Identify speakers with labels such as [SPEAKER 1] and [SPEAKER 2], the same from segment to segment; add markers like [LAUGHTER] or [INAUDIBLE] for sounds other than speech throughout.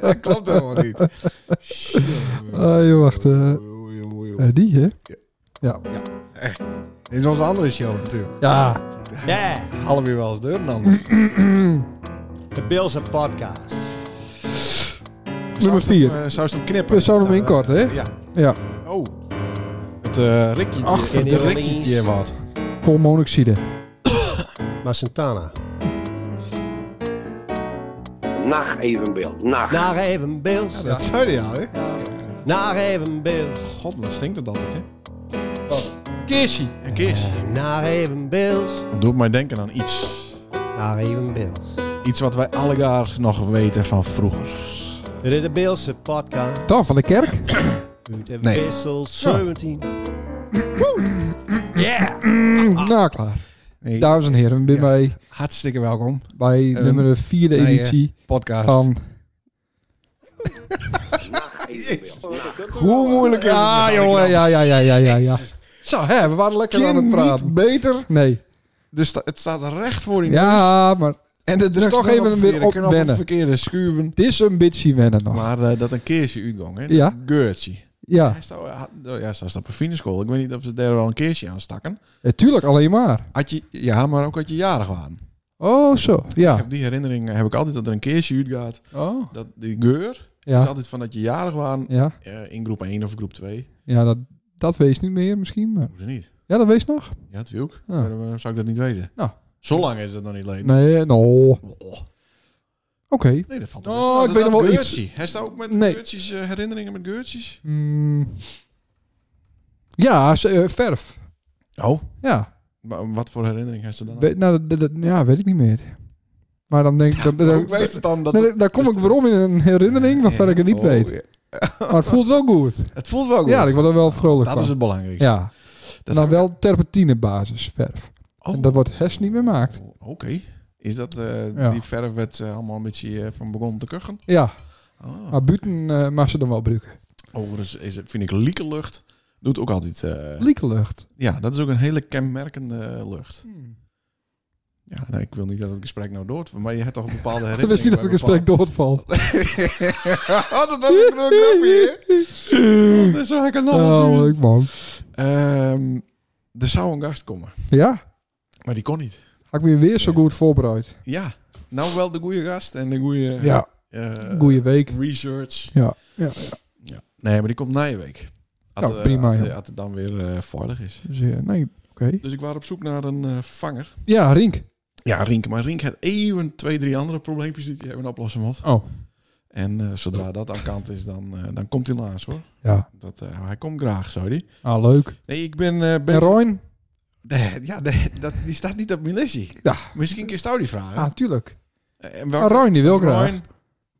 [SPEAKER 1] dat klopt helemaal niet.
[SPEAKER 2] Ah, joh, wacht. eh,
[SPEAKER 1] Oei, oei, oei.
[SPEAKER 2] eh, die, hè? Ja.
[SPEAKER 1] Dit is onze andere show natuurlijk.
[SPEAKER 2] Ja.
[SPEAKER 3] Ja,
[SPEAKER 1] Alle weer wel eens deur dan.
[SPEAKER 3] de Bills podcast.
[SPEAKER 2] Nummer vier.
[SPEAKER 1] Zou ze hem knippen?
[SPEAKER 2] We zouden hem
[SPEAKER 1] Ja,
[SPEAKER 2] inkorten, hè?
[SPEAKER 1] Ja.
[SPEAKER 2] Ja.
[SPEAKER 1] Oh. Het eh Rikkie.
[SPEAKER 2] Ach,
[SPEAKER 1] de
[SPEAKER 3] verdorie.
[SPEAKER 1] Rikkie die wat.
[SPEAKER 2] Koolmonoxide.
[SPEAKER 3] Maar Santana.
[SPEAKER 4] Nacht evenbeeld. Nacht.
[SPEAKER 3] Naar even Bills.
[SPEAKER 1] Dat zei hij al, hè?
[SPEAKER 3] Naar even Bills.
[SPEAKER 1] God, wat stinkt het altijd, hè?
[SPEAKER 2] Keersie.
[SPEAKER 5] Een kist.
[SPEAKER 3] Naar even Bills.
[SPEAKER 5] Dat doet mij denken aan iets.
[SPEAKER 3] Naar even Bills.
[SPEAKER 5] Iets wat wij allegaar nog weten van vroeger.
[SPEAKER 3] Dit is de Beelse podcast.
[SPEAKER 2] Dan van de kerk. [CLEARS THROAT]
[SPEAKER 3] Uit de
[SPEAKER 5] Nee.
[SPEAKER 3] Wissel 17.
[SPEAKER 2] Nou, klaar.
[SPEAKER 1] Nee.
[SPEAKER 2] Dames en heren, we zijn
[SPEAKER 1] Ja.
[SPEAKER 2] bij,
[SPEAKER 1] Hartstikke welkom.
[SPEAKER 2] bij
[SPEAKER 1] Ehm,
[SPEAKER 2] nummer de vierde
[SPEAKER 1] nee,
[SPEAKER 2] editie
[SPEAKER 1] Podcast.
[SPEAKER 2] van...
[SPEAKER 4] Nacht evenbeeld. Nacht.
[SPEAKER 1] Hoe moeilijk is het?
[SPEAKER 2] Ja,
[SPEAKER 1] nou?
[SPEAKER 2] Ah, jongen.
[SPEAKER 1] Ik
[SPEAKER 2] Ja, ja, ja, ja, ja, ja. Zo, hè, we waren lekker aan
[SPEAKER 1] Ken
[SPEAKER 2] het praten.
[SPEAKER 1] niet beter.
[SPEAKER 2] Nee.
[SPEAKER 5] Dus sta- het staat recht voor in.
[SPEAKER 2] Ja, maar
[SPEAKER 5] En de drugs
[SPEAKER 2] toch
[SPEAKER 5] staan
[SPEAKER 2] even
[SPEAKER 5] op
[SPEAKER 2] weer
[SPEAKER 5] verkeerde knop,
[SPEAKER 2] opwennen.
[SPEAKER 5] verkeerde schuwen.
[SPEAKER 2] het is een bitchy wennen nog.
[SPEAKER 5] Maar eh, dat een keertje uitgong, hè?
[SPEAKER 2] Ja. Ah.
[SPEAKER 5] Een geurtje.
[SPEAKER 2] Ja,
[SPEAKER 5] Hij staat, had- oh ja, ze staat op een school. Ik weet niet of ze daar al een keertje aan stakken.
[SPEAKER 2] eh, tuurlijk, alleen maar.
[SPEAKER 5] Had je, ja, maar ook had je jarig waren.
[SPEAKER 2] Oh, zo.
[SPEAKER 5] Ik
[SPEAKER 2] Ja.
[SPEAKER 5] heb die herinnering eh, heb ik altijd dat er een keertje uitgaat.
[SPEAKER 2] Oh.
[SPEAKER 5] Dat die geur is
[SPEAKER 2] Ja,
[SPEAKER 5] altijd van dat je jarig waren
[SPEAKER 2] ja.
[SPEAKER 5] eh, in groep 1 of groep 2.
[SPEAKER 2] ja dat, dat wees niet meer misschien. Maar...
[SPEAKER 5] Hoe ze niet.
[SPEAKER 2] Ja, dat wees nog.
[SPEAKER 5] Ja, het wil ook.
[SPEAKER 2] Ja.
[SPEAKER 5] Waarom waarom zou ik dat niet weten?
[SPEAKER 2] Ah. Nou.
[SPEAKER 5] Zo lang is dat nog niet leden.
[SPEAKER 2] Nee, nou. Oké.
[SPEAKER 5] Oh, nee, dat valt er best
[SPEAKER 2] Oh,
[SPEAKER 5] wel.
[SPEAKER 2] ik
[SPEAKER 5] Dat-
[SPEAKER 2] weet nog
[SPEAKER 5] dat
[SPEAKER 2] wel
[SPEAKER 5] geurtje. Hij staat ook met
[SPEAKER 2] Nee.
[SPEAKER 5] geurtjes, eh, herinneringen met geurtjes.
[SPEAKER 2] Mm. Ja, ze- eh, verf.
[SPEAKER 5] Oh.
[SPEAKER 2] Ja.
[SPEAKER 5] Maar wat voor herinnering heeft ze dan?
[SPEAKER 2] We- nou, dat, dat- ja, weet ik niet meer. Maar dan denk ik... Dan,
[SPEAKER 1] Maar
[SPEAKER 2] dan-
[SPEAKER 1] Hoe weet het dan? Dat
[SPEAKER 2] nee, daar kom ik weer om in een herinnering waarvan ik het niet
[SPEAKER 5] Oh,
[SPEAKER 2] weet.
[SPEAKER 5] ja.
[SPEAKER 2] Maar het voelt wel goed.
[SPEAKER 5] Het voelt wel goed.
[SPEAKER 2] Ja, ik word er wel vrolijk
[SPEAKER 5] dat
[SPEAKER 2] van.
[SPEAKER 5] is het belangrijkste.
[SPEAKER 2] Ja,
[SPEAKER 5] Dat
[SPEAKER 2] nou
[SPEAKER 5] heb ik-
[SPEAKER 2] wel terpentinebasis verf.
[SPEAKER 5] Oh.
[SPEAKER 2] En dat wordt Hess niet meer gemaakt.
[SPEAKER 5] Oh, Oké. Is dat eh,
[SPEAKER 2] Ja.
[SPEAKER 5] die verf werd eh, allemaal een beetje eh, van begonnen te kuchen?
[SPEAKER 2] Ja,
[SPEAKER 5] Oh.
[SPEAKER 2] maar buiten eh, mag ze dan wel gebruiken.
[SPEAKER 5] Overigens is, het- vind ik liekenlucht doet ook altijd... eh,
[SPEAKER 2] Liekelucht.
[SPEAKER 5] ja, dat is ook een hele kenmerkende lucht. Ja, nou, ik wil niet dat het gesprek nou doort, maar je hebt toch een bepaalde
[SPEAKER 2] [LAUGHS] Ik
[SPEAKER 5] herinnering.
[SPEAKER 2] wist niet dat
[SPEAKER 5] bij
[SPEAKER 2] het gesprek doorvalt.
[SPEAKER 5] [LAUGHS] oh, dat was een groot grapje,
[SPEAKER 2] [LAUGHS]
[SPEAKER 5] hè? Dat is waar ik aan
[SPEAKER 2] Oh,
[SPEAKER 5] oh,
[SPEAKER 2] leuk man.
[SPEAKER 5] Ehm, Er zou een gast komen,
[SPEAKER 2] Ja,
[SPEAKER 5] maar die kon niet.
[SPEAKER 2] had ik me weer zo goed voorbereid.
[SPEAKER 5] Ja, nou wel de goede gast en de goede...
[SPEAKER 2] Ja,
[SPEAKER 5] eh,
[SPEAKER 2] goeie week.
[SPEAKER 5] Research.
[SPEAKER 2] Ja, ja.
[SPEAKER 5] Ja. Nee, maar die komt na je week. Als
[SPEAKER 2] Nou, prima,
[SPEAKER 5] Als
[SPEAKER 2] joh.
[SPEAKER 5] het dan weer eh veilig is.
[SPEAKER 2] Dus, eh, nee, oké.
[SPEAKER 5] Dus ik was op zoek naar een eh, vanger.
[SPEAKER 2] Ja, Rink.
[SPEAKER 5] Ja, Rink. Maar Rink had even twee, drie andere probleempjes die hij hebben oplossen moet.
[SPEAKER 2] Oh,
[SPEAKER 5] En eh, zodra dat aan kant is, dan, eh, dan komt hij laatst hoor.
[SPEAKER 2] ja.
[SPEAKER 5] Dat, eh, hij komt graag, zou die.
[SPEAKER 2] Ah, leuk.
[SPEAKER 5] Nee, ik ben... eh
[SPEAKER 2] En
[SPEAKER 5] bezig-
[SPEAKER 2] Roin?
[SPEAKER 5] Nee, ja, nee, dat, die staat niet op mijn lesje.
[SPEAKER 2] Ja.
[SPEAKER 5] Misschien kun je jou die vragen.
[SPEAKER 2] Ah, tuurlijk.
[SPEAKER 5] Eh, en
[SPEAKER 2] Ah,
[SPEAKER 5] welke-
[SPEAKER 2] Roin die wil graag.
[SPEAKER 5] Ryan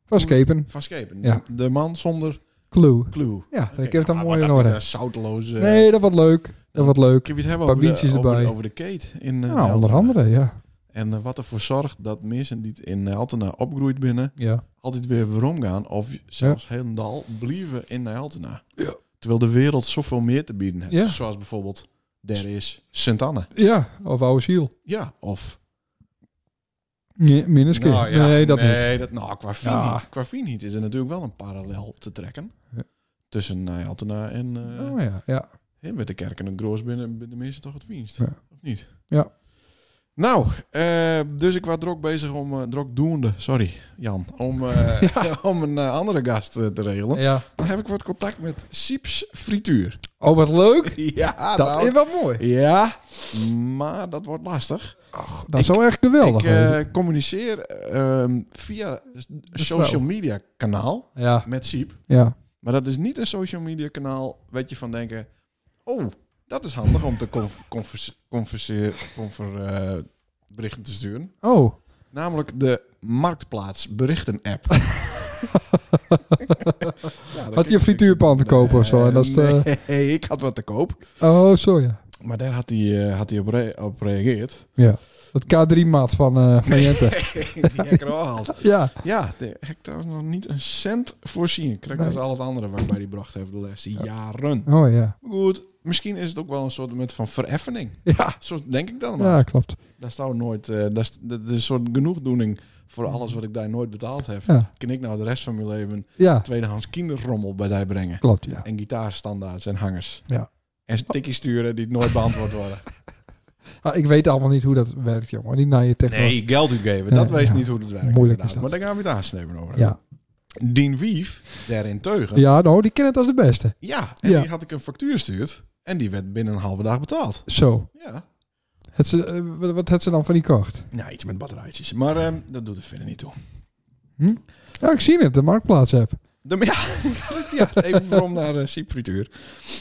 [SPEAKER 2] Van Skepen.
[SPEAKER 5] van Schepen.
[SPEAKER 2] Ja.
[SPEAKER 5] De, de man zonder
[SPEAKER 2] Clue.
[SPEAKER 5] clue.
[SPEAKER 2] Ja, ik heb
[SPEAKER 5] Oké,
[SPEAKER 2] het dan
[SPEAKER 5] ah,
[SPEAKER 2] mooi
[SPEAKER 5] maar
[SPEAKER 2] in
[SPEAKER 5] dat niet,
[SPEAKER 2] orde.
[SPEAKER 5] eh, Zoutloze...
[SPEAKER 2] Nee, dat wordt leuk. Dat wordt
[SPEAKER 5] Ik heb
[SPEAKER 2] leuk.
[SPEAKER 5] je het hebben
[SPEAKER 2] Paar
[SPEAKER 5] over de,
[SPEAKER 2] biertjes
[SPEAKER 5] over,
[SPEAKER 2] erbij.
[SPEAKER 5] over de Kate in eh,
[SPEAKER 2] Nou,
[SPEAKER 5] Altena.
[SPEAKER 2] onder andere, ja.
[SPEAKER 5] En eh, wat ervoor zorgt dat mensen die in Heltena opgroeid binnen,
[SPEAKER 2] Ja.
[SPEAKER 5] altijd weer weer gaan of zelfs helemaal blijven in Heltena. Terwijl de wereld zoveel meer te bieden heeft.
[SPEAKER 2] Ja.
[SPEAKER 5] Zoals bijvoorbeeld, daar is Sint-Anne.
[SPEAKER 2] Ja, of oude ziel.
[SPEAKER 5] Ja, of...
[SPEAKER 2] Nee, Minneske.
[SPEAKER 5] Nou ja,
[SPEAKER 2] Dus nee, dat niet.
[SPEAKER 5] nee, Dat, nou, qua Fien
[SPEAKER 2] Ja.
[SPEAKER 5] niet. Qua Fien niet is er natuurlijk wel een parallel te trekken.
[SPEAKER 2] Ja.
[SPEAKER 5] Tussen eh, Heltena en... eh,
[SPEAKER 2] Oh ja, ja.
[SPEAKER 5] Hè, met de kerk en het groos binnen, binnen de meeste toch het dienst.
[SPEAKER 2] Ja.
[SPEAKER 5] Of niet?
[SPEAKER 2] Ja.
[SPEAKER 5] Nou, eh, dus ik was drok bezig om, eh drok doende, sorry Jan, om, eh,
[SPEAKER 2] [LAUGHS]
[SPEAKER 5] [LAUGHS] om een eh, andere gast eh, te regelen.
[SPEAKER 2] ja.
[SPEAKER 5] Dan heb ik wat contact met Sieps Frituur. [LAUGHS]
[SPEAKER 2] Oh, wat leuk.
[SPEAKER 5] Ja,
[SPEAKER 2] Dat
[SPEAKER 5] nou.
[SPEAKER 2] is wel mooi.
[SPEAKER 5] Ja, maar dat wordt lastig.
[SPEAKER 2] Dat zou echt geweldig
[SPEAKER 5] ik eh,
[SPEAKER 2] zijn.
[SPEAKER 5] communiceer ehm, via een social media kanaal
[SPEAKER 2] Ja,
[SPEAKER 5] met Siep.
[SPEAKER 2] ja.
[SPEAKER 5] Maar dat is niet een social media kanaal waar je van denken... Oh, dat is handig om te conf- [LAUGHS] converse- converseer- conver, eh, berichten te sturen.
[SPEAKER 2] Oh,
[SPEAKER 5] Namelijk de Marktplaats berichten
[SPEAKER 2] [LAUGHS]
[SPEAKER 5] app. Ja, dat
[SPEAKER 2] had je
[SPEAKER 5] klinkt
[SPEAKER 2] een frituurpan te kopen of zo? En dat is eh, de...
[SPEAKER 5] Nee, nee, ik had wat te koop.
[SPEAKER 2] Oh, zo ja.
[SPEAKER 5] Maar daar had hij, eh, had hij op, re- op
[SPEAKER 2] [LAUGHS]
[SPEAKER 5] reageerd.
[SPEAKER 2] Ja. Dat K3-maat van, eh van Jente.
[SPEAKER 5] Die heb ik er al gehaald.
[SPEAKER 2] Ja.
[SPEAKER 5] [LAUGHS] Ja, daar heb ik trouwens nog niet een cent voorzien. Krijg dat is al het andere waarbij die bracht heeft de laatste jaren.
[SPEAKER 2] Oh ja.
[SPEAKER 5] Maar Goed, misschien is het ook wel een soort met van vereffening.
[SPEAKER 2] Ja.
[SPEAKER 5] Zo denk ik dan maar.
[SPEAKER 2] Ja, klopt.
[SPEAKER 5] Daar zou nooit, eh, dat, is, dat is een soort genoegdoening voor alles wat ik daar nooit betaald heb.
[SPEAKER 2] Ja,
[SPEAKER 5] Kan ik nou de rest van mijn leven
[SPEAKER 2] ja
[SPEAKER 5] tweedehands kinderrommel bij daar brengen?
[SPEAKER 2] klopt, ja.
[SPEAKER 5] En gitaarstandaards en hangers.
[SPEAKER 2] Ja.
[SPEAKER 5] En tikkie sturen die nooit beantwoord
[SPEAKER 2] [LAUGHS]
[SPEAKER 5] worden.
[SPEAKER 2] Ah, ik weet allemaal niet hoe dat werkt, jongen. Niet naar je technologie.
[SPEAKER 5] Nee, geld uitgeven.
[SPEAKER 2] Ja,
[SPEAKER 5] Dat wees
[SPEAKER 2] ja.
[SPEAKER 5] niet hoe het werkt.
[SPEAKER 2] Moeilijk
[SPEAKER 5] inderdaad.
[SPEAKER 2] is dat.
[SPEAKER 5] Maar daar gaan we het aansnijden over. hebben.
[SPEAKER 2] Ja.
[SPEAKER 5] Dien Wief, daarentegen. Ja.
[SPEAKER 2] ja, nou, die kent het als de beste.
[SPEAKER 5] ja, en
[SPEAKER 2] Ja.
[SPEAKER 5] die had ik een factuur gestuurd. En die werd binnen een halve dag betaald.
[SPEAKER 2] Zo.
[SPEAKER 5] Ja.
[SPEAKER 2] Het ze, eh, wat- wat had ze dan van die kocht?
[SPEAKER 5] Nou, iets met batterijtjes. Maar ehm, dat doet er verder niet toe.
[SPEAKER 2] Ja, ik zie het. De marktplaats heb.
[SPEAKER 5] De, [LAUGHS] ja, ja, even waarom naar eh Cyprituur.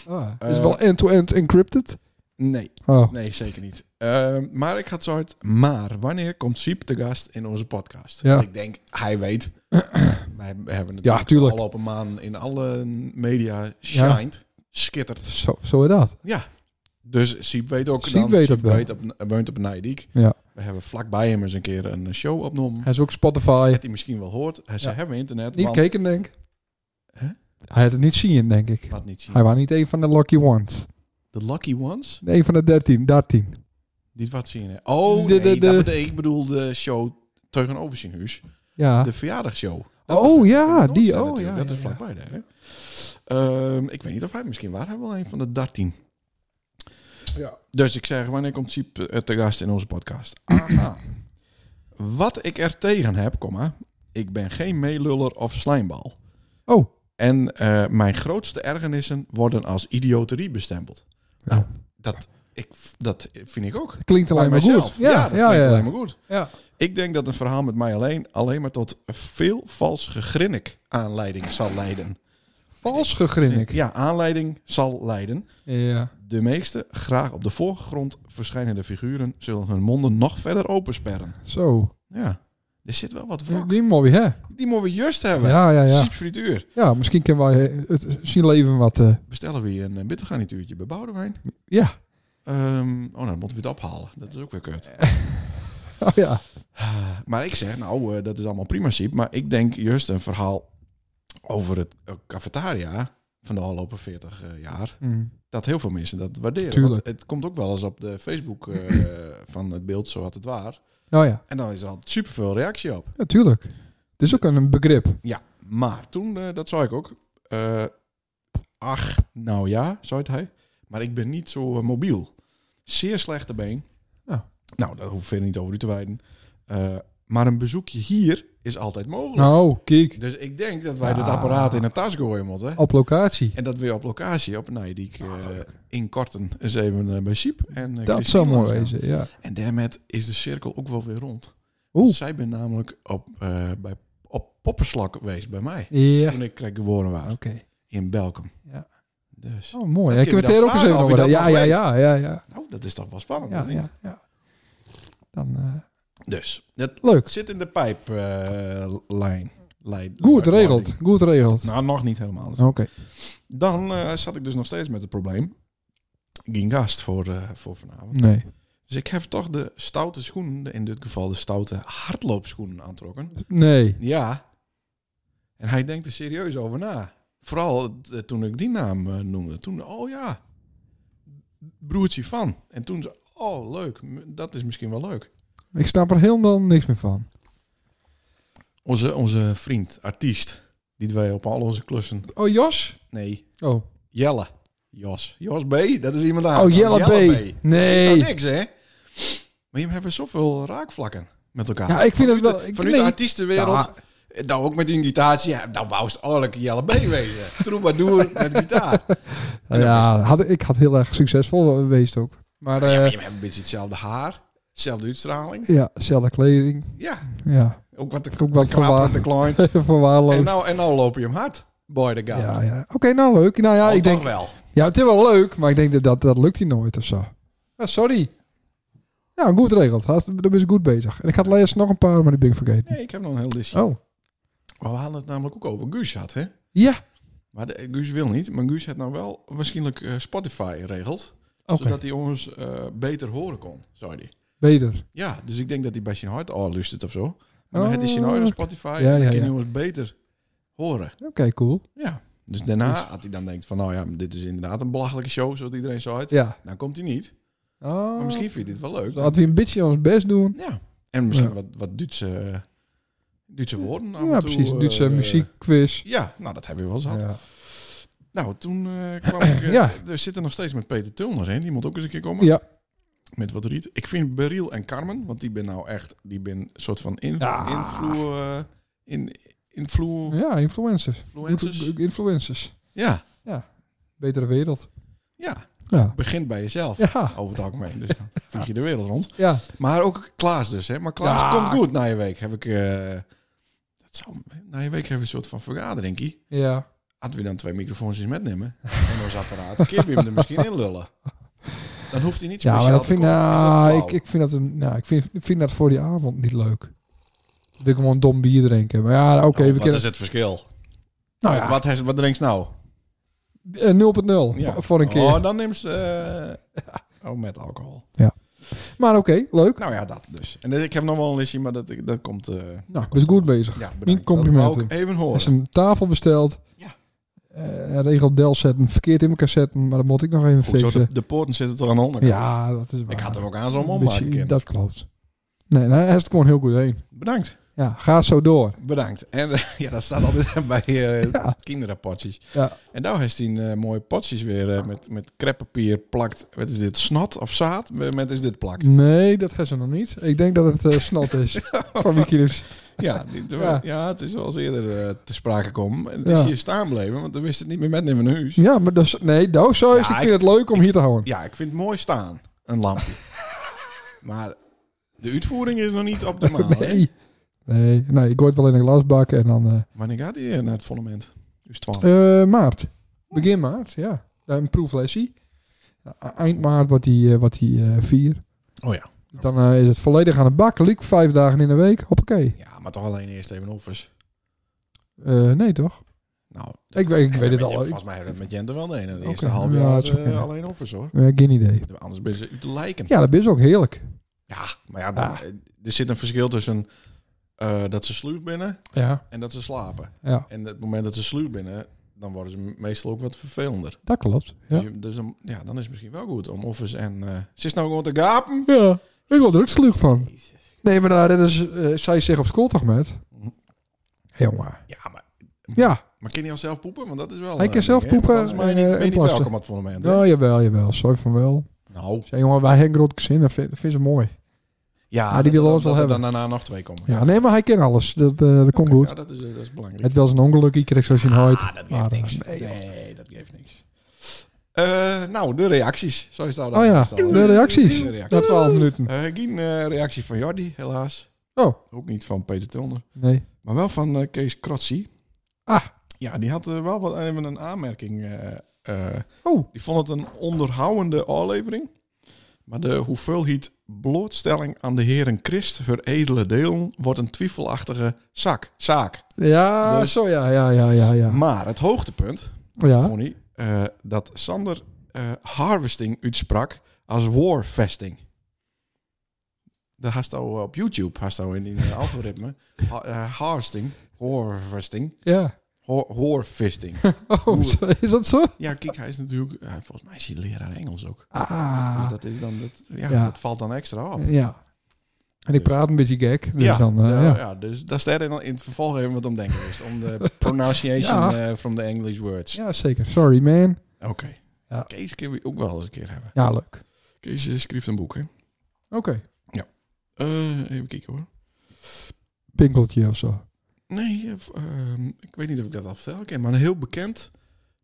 [SPEAKER 2] Ah,
[SPEAKER 5] Eh,
[SPEAKER 2] is wel end-to-end encrypted?
[SPEAKER 5] Nee,
[SPEAKER 2] Oh,
[SPEAKER 5] nee, zeker niet. Ehm, maar ik had soort, maar wanneer komt Siep te gast in onze podcast?
[SPEAKER 2] Ja.
[SPEAKER 5] Ik denk, hij weet. [CLEARS THROAT] Wij hebben het
[SPEAKER 2] Ja, tuurlijk.
[SPEAKER 5] al op een maand in alle media shined, schittert.
[SPEAKER 2] zo, zo is dat.
[SPEAKER 5] Dus Siep weet ook.
[SPEAKER 2] Siep
[SPEAKER 5] dan,
[SPEAKER 2] weet het wel.
[SPEAKER 5] Weet op, woont op Nijdijk.
[SPEAKER 2] Ja.
[SPEAKER 5] We hebben vlakbij hem eens een keer een show opgenomen.
[SPEAKER 2] Hij is ook Spotify.
[SPEAKER 5] Dat hij misschien wel hoort. Hij zei,
[SPEAKER 2] Ja.
[SPEAKER 5] hebben we internet?
[SPEAKER 2] Niet
[SPEAKER 5] want-
[SPEAKER 2] keken, denk ik.
[SPEAKER 5] Hè?
[SPEAKER 2] Hij had het niet zien, denk ik.
[SPEAKER 5] Laat niet zien.
[SPEAKER 2] Hij was niet een van de lucky ones.
[SPEAKER 5] The Lucky Ones?
[SPEAKER 2] Nee, Een van de 13. 13.
[SPEAKER 5] Niet wat zien. hè? Oh,
[SPEAKER 2] De-
[SPEAKER 5] nee,
[SPEAKER 2] de-
[SPEAKER 5] dat
[SPEAKER 2] de-
[SPEAKER 5] bede- ik bedoel de show tegenover zijn huis.
[SPEAKER 2] Ja.
[SPEAKER 5] De verjaardagshow.
[SPEAKER 2] Ah. Oh,
[SPEAKER 5] was-
[SPEAKER 2] ja,
[SPEAKER 5] in Noordstad
[SPEAKER 2] die, oh,
[SPEAKER 5] natuurlijk.
[SPEAKER 2] ja,
[SPEAKER 5] Dat
[SPEAKER 2] ja,
[SPEAKER 5] is
[SPEAKER 2] ja.
[SPEAKER 5] vlakbij daar. hè? Ehm, ik weet niet of hij misschien waar hij wel een van de 13.
[SPEAKER 2] Ja.
[SPEAKER 5] Dus ik zeg, wanneer komt Siep eh, te gast in onze podcast? Aha. Wat ik er tegen heb, komma, ik ben geen meeluller of slijmbal.
[SPEAKER 2] Oh,
[SPEAKER 5] En eh, mijn grootste ergernissen worden als idioterie bestempeld. Nou,
[SPEAKER 2] Ja.
[SPEAKER 5] dat, ik, dat vind ik ook.
[SPEAKER 2] klinkt alleen maar goed.
[SPEAKER 5] Ja, dat klinkt alleen maar goed.
[SPEAKER 2] Ja.
[SPEAKER 5] Ik denk dat een verhaal met mij alleen alleen maar tot veel vals gegrinnik aanleiding zal leiden.
[SPEAKER 2] Vals gegrinnik.
[SPEAKER 5] Ja, aanleiding zal leiden.
[SPEAKER 2] Ja.
[SPEAKER 5] De meeste graag op de voorgrond verschijnende figuren zullen hun monden nog verder opensperren.
[SPEAKER 2] Zo.
[SPEAKER 5] Ja, er zit wel wat
[SPEAKER 2] Die,
[SPEAKER 5] wrok.
[SPEAKER 2] die mooi, hè?
[SPEAKER 5] Die moeten we juist hebben.
[SPEAKER 2] Ja, ja, ja.
[SPEAKER 5] Siep frituur.
[SPEAKER 2] Ja, misschien kunnen wij eh, het zien leven wat... eh, [LAUGHS]
[SPEAKER 5] Bestellen we hier een eh, bittergarnituurtje bij Boudewijn?
[SPEAKER 2] ja.
[SPEAKER 5] Ehm, oh, dan moeten we het ophalen. Dat is ook weer kut.
[SPEAKER 2] Oh ja.
[SPEAKER 5] Ah, [SIGHS] Maar ik zeg, nou, eh, dat is allemaal prima, Siep. Maar ik denk juist een verhaal over het eh, cafetaria van de afgelopen 40 eh, jaar.
[SPEAKER 2] Hm.
[SPEAKER 5] Dat heel veel mensen dat waarderen.
[SPEAKER 2] Tuurlijk.
[SPEAKER 5] Want het komt ook wel eens op de Facebook
[SPEAKER 2] [LAUGHS]
[SPEAKER 5] eh, van het beeld, zo had het waar.
[SPEAKER 2] Oh ja.
[SPEAKER 5] En dan is er altijd superveel reactie op.
[SPEAKER 2] Ja, tuurlijk. Het is ook een- een begrip.
[SPEAKER 5] Maar toen, eh, dat zei ik ook. eh, ach, nou ja, zei het hij. Maar ik ben niet zo eh, mobiel. Zeer slechte been.
[SPEAKER 2] Ja.
[SPEAKER 5] Nou, daar hoef ik verder niet over u te wijden. Eh, maar een bezoekje hier is altijd mogelijk.
[SPEAKER 2] Nou, kijk.
[SPEAKER 5] Dus ik denk dat wij dit
[SPEAKER 2] Ah.
[SPEAKER 5] apparaat in een tas gooien moeten.
[SPEAKER 2] Op locatie.
[SPEAKER 5] En dat weer op locatie, op Nijdiek, eh in Korten, eens even eh, bij Siep. En, eh,
[SPEAKER 2] Dat
[SPEAKER 5] Christine
[SPEAKER 2] zou mooi
[SPEAKER 5] langs gaan.
[SPEAKER 2] wezen, ja.
[SPEAKER 5] En daarmee is de cirkel ook wel weer rond.
[SPEAKER 2] Oeh.
[SPEAKER 5] Zij ben namelijk op, eh, bij, op Popperslak geweest bij mij.
[SPEAKER 2] Ja.
[SPEAKER 5] Toen ik krijg geboren was.
[SPEAKER 2] Oké.
[SPEAKER 5] in Belkum.
[SPEAKER 2] Ja.
[SPEAKER 5] Dus,
[SPEAKER 2] Oh, mooi.
[SPEAKER 5] Dat
[SPEAKER 2] Ik heb
[SPEAKER 5] kun
[SPEAKER 2] het
[SPEAKER 5] je
[SPEAKER 2] hier
[SPEAKER 5] dan
[SPEAKER 2] ook eens even
[SPEAKER 5] vragen of je
[SPEAKER 2] over.
[SPEAKER 5] dat
[SPEAKER 2] Ja,
[SPEAKER 5] nog
[SPEAKER 2] ja,
[SPEAKER 5] weet.
[SPEAKER 2] ja, ja, ja.
[SPEAKER 5] nou, dat is toch wel spannend.
[SPEAKER 2] Ja,
[SPEAKER 5] of niet?
[SPEAKER 2] ja, ja. Dan, eh,
[SPEAKER 5] Dus, dat
[SPEAKER 2] leuk.
[SPEAKER 5] zit in de pijplijn. lijn. Lijn-
[SPEAKER 2] Goed
[SPEAKER 5] lijn-
[SPEAKER 2] regeld. Goed regeld.
[SPEAKER 5] Nou, nog niet helemaal.
[SPEAKER 2] Oké.
[SPEAKER 5] Dan eh, zat ik dus nog steeds met het probleem. Geen gast voor, eh, voor vanavond.
[SPEAKER 2] Nee.
[SPEAKER 5] Dus ik heb toch de stoute schoenen, de- in dit geval de stoute hardloopschoenen aantrokken.
[SPEAKER 2] Nee.
[SPEAKER 5] Ja. En hij denkt er serieus over na. Vooral eh, toen ik die naam eh, noemde. Toen, oh ja, broertje van. En toen ze, oh leuk, m- dat is misschien wel leuk.
[SPEAKER 2] Ik snap er helemaal niks meer van.
[SPEAKER 5] Onze, onze vriend, artiest, die wij op al onze klussen...
[SPEAKER 2] Oh, Jos?
[SPEAKER 5] Nee,
[SPEAKER 2] Oh,
[SPEAKER 5] Jelle. Jos. Jos B, dat is iemand aan.
[SPEAKER 2] oh Jelle, B.
[SPEAKER 5] is nou
[SPEAKER 2] Nee.
[SPEAKER 5] niks, hè? Maar je hebt zoveel raakvlakken met elkaar.
[SPEAKER 2] Ja, ik vind het wel... Ik,
[SPEAKER 5] Vanuit de
[SPEAKER 2] nee.
[SPEAKER 5] artiestenwereld. Nou, ook met die gitaartje. Ja, dan wou het oorlijk Jelle B
[SPEAKER 2] [LAUGHS]
[SPEAKER 5] wezen. Troubadour met gitaar.
[SPEAKER 2] Eh.
[SPEAKER 5] En dan
[SPEAKER 2] Ja, had, ik had heel erg succesvol geweest ook. Maar
[SPEAKER 5] Ja, maar
[SPEAKER 2] eh
[SPEAKER 5] je hebt een beetje hetzelfde haar. Hetzelfde uitstraling.
[SPEAKER 2] ja, zelfde kleding.
[SPEAKER 5] Ja,
[SPEAKER 2] Ja, [LAUGHS]
[SPEAKER 5] ook wat te,
[SPEAKER 2] Ook wat
[SPEAKER 5] te krap en te
[SPEAKER 2] verwagen. [LAUGHS]
[SPEAKER 5] klein. En
[SPEAKER 2] verwaarloosd.
[SPEAKER 5] nou, en nou loop je hem hard. Boy de guy.
[SPEAKER 2] Ja, ja. Oké, nou leuk. Nou ja,
[SPEAKER 5] Oh,
[SPEAKER 2] ik
[SPEAKER 5] toch
[SPEAKER 2] denk...
[SPEAKER 5] wel.
[SPEAKER 2] Ja, het is wel leuk, maar ik denk dat dat, dat lukt hij nooit of zo. Ja, sorry. Ja, goed regeld. Dan ben je goed bezig. En ik had laatst nog een paar, maar die ben ik vergeten.
[SPEAKER 5] Nee, ik heb nog een heel listje.
[SPEAKER 2] Oh.
[SPEAKER 5] Maar we hadden het namelijk ook over Guus had, hè?
[SPEAKER 2] Ja.
[SPEAKER 5] Maar de, Guus wil niet. Maar Guus had nou wel waarschijnlijk eh, Spotify geregeld.
[SPEAKER 2] Oké.
[SPEAKER 5] Zodat hij ons eh, beter horen kon, zei hij.
[SPEAKER 2] Beter.
[SPEAKER 5] Ja, dus ik denk dat hij bij zijn hart al luistert of zo. Maar dan
[SPEAKER 2] Oh,
[SPEAKER 5] had hij zijn eigen Spotify en
[SPEAKER 2] Ja,
[SPEAKER 5] dan
[SPEAKER 2] ja,
[SPEAKER 5] kan
[SPEAKER 2] ja.
[SPEAKER 5] hij ons beter horen.
[SPEAKER 2] Oké, cool.
[SPEAKER 5] Ja. Dus daarna had hij dan denkt van, nou ja, dit is inderdaad een belachelijke show, zoals iedereen zo uit.
[SPEAKER 2] Ja.
[SPEAKER 5] Dan komt hij niet.
[SPEAKER 2] Oh.
[SPEAKER 5] Maar misschien vindt hij het wel leuk.
[SPEAKER 2] Laten we een beetje ons best doen.
[SPEAKER 5] Ja. En misschien
[SPEAKER 2] Ja.
[SPEAKER 5] wat, wat Duitse Duitse woorden. af en
[SPEAKER 2] Ja,
[SPEAKER 5] toe,
[SPEAKER 2] precies.
[SPEAKER 5] eh,
[SPEAKER 2] Duitse muziekquiz.
[SPEAKER 5] Ja, nou, dat hebben we wel eens gehad.
[SPEAKER 2] Ja.
[SPEAKER 5] Nou, toen eh,
[SPEAKER 2] [CLEARS THROAT]
[SPEAKER 5] kwam ik... eh,
[SPEAKER 2] Ja.
[SPEAKER 5] We zitten nog steeds met Peter Tulner heen. Die moet ook eens een keer komen.
[SPEAKER 2] ja.
[SPEAKER 5] Met wat riet. Ik vind Beryl en Carmen, want die ben nou echt... Die ben een soort van inv
[SPEAKER 2] Ja. Hm?
[SPEAKER 5] invloe... eh, in, invloe...
[SPEAKER 2] Ja, influencers.
[SPEAKER 5] Influencers.
[SPEAKER 2] Influencers.
[SPEAKER 5] Ja,
[SPEAKER 2] Betere wereld.
[SPEAKER 5] ja.
[SPEAKER 2] Ja.
[SPEAKER 5] Begint bij jezelf.
[SPEAKER 2] Ja.
[SPEAKER 5] Over het algemeen. Dus dan vlieg je de wereld rond.
[SPEAKER 2] Ja.
[SPEAKER 5] Maar ook Klaas dus, hè. Maar Klaas
[SPEAKER 2] Ja.
[SPEAKER 5] komt goed na je week. Heb ik... eh, dat zou, na je week hebben we een soort van vergaderingie.
[SPEAKER 2] Ja.
[SPEAKER 5] Hadden we dan twee microfoons eens metnemen. En ons apparaat. Keer weer hem er misschien in lullen. Dan hoeft hij niet
[SPEAKER 2] Ja,
[SPEAKER 5] speciaal
[SPEAKER 2] maar dat
[SPEAKER 5] te
[SPEAKER 2] vind,
[SPEAKER 5] komen. Is dat
[SPEAKER 2] nou,
[SPEAKER 5] flauw?
[SPEAKER 2] ik, ik vind dat een, nou, ik vind, ik vind dat voor die avond niet leuk. Ik wil gewoon dom bier drinken. Maar ja, oké,
[SPEAKER 5] Nou,
[SPEAKER 2] we
[SPEAKER 5] wat
[SPEAKER 2] kunnen.
[SPEAKER 5] is het verschil?
[SPEAKER 2] Nou ja,
[SPEAKER 5] Wat, wat, wat drinkt nou?
[SPEAKER 2] eh, 0.0
[SPEAKER 5] Ja.
[SPEAKER 2] voor- voor een keer.
[SPEAKER 5] Oh, dan neemt ze... eh, oh, met alcohol.
[SPEAKER 2] Maar oké, leuk.
[SPEAKER 5] Nou ja, dat dus. En dit- ik heb nog wel een listje, maar dat, dat komt... eh
[SPEAKER 2] Nou, dus goed bezig.
[SPEAKER 5] ja,
[SPEAKER 2] Mijn
[SPEAKER 5] bedankt. Dat wou
[SPEAKER 2] complimenten.
[SPEAKER 5] ik even
[SPEAKER 2] Als
[SPEAKER 5] horen.
[SPEAKER 2] een tafel besteld.
[SPEAKER 5] Ja.
[SPEAKER 2] Eh, regel Del zetten, verkeerd in elkaar zetten, maar dat moet ik nog even
[SPEAKER 5] Hoezo,
[SPEAKER 2] fixen.
[SPEAKER 5] de, de poorten zitten toch aan de onderkant?
[SPEAKER 2] Ja, dat is waar.
[SPEAKER 5] Ik had er ook aan zo'n
[SPEAKER 2] Een
[SPEAKER 5] ommaken.
[SPEAKER 2] beetje-
[SPEAKER 5] kunnen.
[SPEAKER 2] Dat klopt. Nee, nou, hij is het gewoon heel goed heen.
[SPEAKER 5] Bedankt,
[SPEAKER 2] Ja, ga zo door.
[SPEAKER 5] bedankt. En eh, [LAUGHS] ja, dat staat altijd bij eh
[SPEAKER 2] Ja.
[SPEAKER 5] kinderpotjes.
[SPEAKER 2] Ja.
[SPEAKER 5] En daar heeft hij een eh, mooie potjes weer eh, met, met kreppapier plakt. Wat is dit, snat of zaad? Eh, Met is dit
[SPEAKER 2] [LAUGHS]
[SPEAKER 5] plakt.
[SPEAKER 2] Nee, dat hebben ze nog niet. Ik denk dat het eh snot is van Wikileaks.
[SPEAKER 5] Ja, die- de-
[SPEAKER 2] Ja.
[SPEAKER 5] ja. het is wel eens eerder eh, te sprake gekomen. En het
[SPEAKER 2] Ja.
[SPEAKER 5] is hier staan bleven, want dan wist het niet meer met in mijn huis.
[SPEAKER 2] Ja, maar dus, nee, nou, zo is
[SPEAKER 5] Ja,
[SPEAKER 2] Ik vind
[SPEAKER 5] ik-
[SPEAKER 2] het leuk om hier te houden.
[SPEAKER 5] Ja, ik vind het mooi staan, een
[SPEAKER 2] [LAUGHS]
[SPEAKER 5] lampje. maar de uitvoering is nog niet op de maan. hè?
[SPEAKER 2] nee. nee. Nee, ik gooi het wel in een glasbak en dan... eh,
[SPEAKER 5] Wanneer gaat hij naar het fundament? Dus 12.
[SPEAKER 2] eh, maart. Begin maart, ja. Een proeflessie. Eind maart wordt die, eh, wordt die eh, vier.
[SPEAKER 5] Oh ja.
[SPEAKER 2] Dan eh, is het volledig aan de bak. Liek vijf dagen in de week. Hoppakee.
[SPEAKER 5] Ja, maar toch alleen eerst even offers.
[SPEAKER 2] Eh nee, toch?
[SPEAKER 5] Nou,
[SPEAKER 2] Ik, weet- ik weet het al. Ik-
[SPEAKER 5] Volgens mij hebben we het met Jente wel de ene. De eerste
[SPEAKER 2] Oké.
[SPEAKER 5] half
[SPEAKER 2] Ja,
[SPEAKER 5] jaar
[SPEAKER 2] het is ook
[SPEAKER 5] eh,
[SPEAKER 2] kunnen.
[SPEAKER 5] alleen offers hoor.
[SPEAKER 2] eh, geen idee.
[SPEAKER 5] Anders ben ze uit de lijken. Ja,
[SPEAKER 2] Ja, dat is ook heerlijk.
[SPEAKER 5] maar ja, dan- eh,
[SPEAKER 2] Ah.
[SPEAKER 5] er zit een verschil tussen eh, dat ze sluw binnen
[SPEAKER 2] Ja,
[SPEAKER 5] en dat ze slapen.
[SPEAKER 2] ja
[SPEAKER 5] En het moment dat ze sluw binnen, dan worden ze meestal ook wat vervelender.
[SPEAKER 2] dat klopt.
[SPEAKER 5] Dus,
[SPEAKER 2] Ja.
[SPEAKER 5] je- dus dan, ja, dan is het misschien wel goed om offers en... eh ze is nou gewoon te gapen.
[SPEAKER 2] ja, ik word er ook slug van. Nee, maar daar is, eh, zij zich op school toch met? Jongen.
[SPEAKER 5] Ja, maar,
[SPEAKER 2] Ja,
[SPEAKER 5] maar kan hij al zelf poepen? Want dat is wel...
[SPEAKER 2] Hij
[SPEAKER 5] eh,
[SPEAKER 2] kan zelf
[SPEAKER 5] ding, hè?
[SPEAKER 2] poepen,
[SPEAKER 5] Want Anders ben je
[SPEAKER 2] eh,
[SPEAKER 5] niet, ben je
[SPEAKER 2] en
[SPEAKER 5] niet
[SPEAKER 2] plassen.
[SPEAKER 5] welkom op het fundament. hè?
[SPEAKER 2] nou, jawel, jawel. Sorry van wel.
[SPEAKER 5] Nou,
[SPEAKER 2] Zij jongen, wij hebben een groot gezin. Dat vind, dat vind ze mooi.
[SPEAKER 5] ja,
[SPEAKER 2] die willen
[SPEAKER 5] dat-
[SPEAKER 2] ons wel
[SPEAKER 5] dat er Dan
[SPEAKER 2] hebben.
[SPEAKER 5] daarna nog twee komen.
[SPEAKER 2] Ja, nee, maar hij kent alles. Dat, eh, dat komt goed.
[SPEAKER 5] Ja, dat is, eh, dat is belangrijk.
[SPEAKER 2] Het was een ongeluk, ik kreeg zoals je nooit.
[SPEAKER 5] Ah, dat geeft
[SPEAKER 2] Maar,
[SPEAKER 5] niks.
[SPEAKER 2] eh, nee,
[SPEAKER 5] Nee, dat geeft niks. Eh, nou, de reacties. Zo is dat
[SPEAKER 2] Oh ja,
[SPEAKER 5] meestal, hè?
[SPEAKER 2] de reacties.
[SPEAKER 5] De reacties.
[SPEAKER 2] Na 12 minuten.
[SPEAKER 5] Eh, geen eh, reactie van Jordi, helaas.
[SPEAKER 2] Oh,
[SPEAKER 5] Ook niet van Peter Tulner.
[SPEAKER 2] nee.
[SPEAKER 5] Maar wel van eh, Kees Krotsi.
[SPEAKER 2] Ah.
[SPEAKER 5] Ja, die had eh, wel wat, even een aanmerking. eh, eh,
[SPEAKER 2] Oh,
[SPEAKER 5] die vond het een onderhoudende aflevering. Maar de hoeveelheid blootstelling aan de heren Christ, hun edele delen, wordt een twijfelachtige zak, zaak.
[SPEAKER 2] ja,
[SPEAKER 5] Dus-
[SPEAKER 2] zo, ja, ja, ja, ja, ja.
[SPEAKER 5] Maar het hoogtepunt
[SPEAKER 2] Ja,
[SPEAKER 5] Vonnie, eh, dat Sander eh, harvesting uitsprak als warfesting. Dat had al eh, op YouTube, had al in die eh, algoritme. Ha- eh, harvesting, harvesting,
[SPEAKER 2] ja.
[SPEAKER 5] ho- harvesting.
[SPEAKER 2] [LAUGHS] Oh, zo- is dat zo?
[SPEAKER 5] ja, kijk, hij is natuurlijk, eh, volgens mij is hij leraar Engels ook. Dus
[SPEAKER 2] Ah,
[SPEAKER 5] dat is dan, dat, ja,
[SPEAKER 2] Ja.
[SPEAKER 5] dat valt dan extra op.
[SPEAKER 2] ja. En ik praat een beetje gek, dus
[SPEAKER 5] ja,
[SPEAKER 2] dan, eh,
[SPEAKER 5] ja,
[SPEAKER 2] ja.
[SPEAKER 5] ja, dus dat is daar in, in het vervolg even wat om denken is. Om
[SPEAKER 2] [LAUGHS]
[SPEAKER 5] de pronunciation
[SPEAKER 2] Ja.
[SPEAKER 5] eh, from the English words.
[SPEAKER 2] Ja, zeker. Sorry, man.
[SPEAKER 5] Oké.
[SPEAKER 2] Ja.
[SPEAKER 5] Kees kunnen we ook wel eens een keer hebben.
[SPEAKER 2] Ja, leuk.
[SPEAKER 5] Kees eh, schreef een boek, hè?
[SPEAKER 2] Oké.
[SPEAKER 5] Eh, even kijken hoor.
[SPEAKER 2] Pinkeltje of zo.
[SPEAKER 5] Nee, eh, v- ehm, ik weet niet of ik dat al vertel ken, maar een heel bekend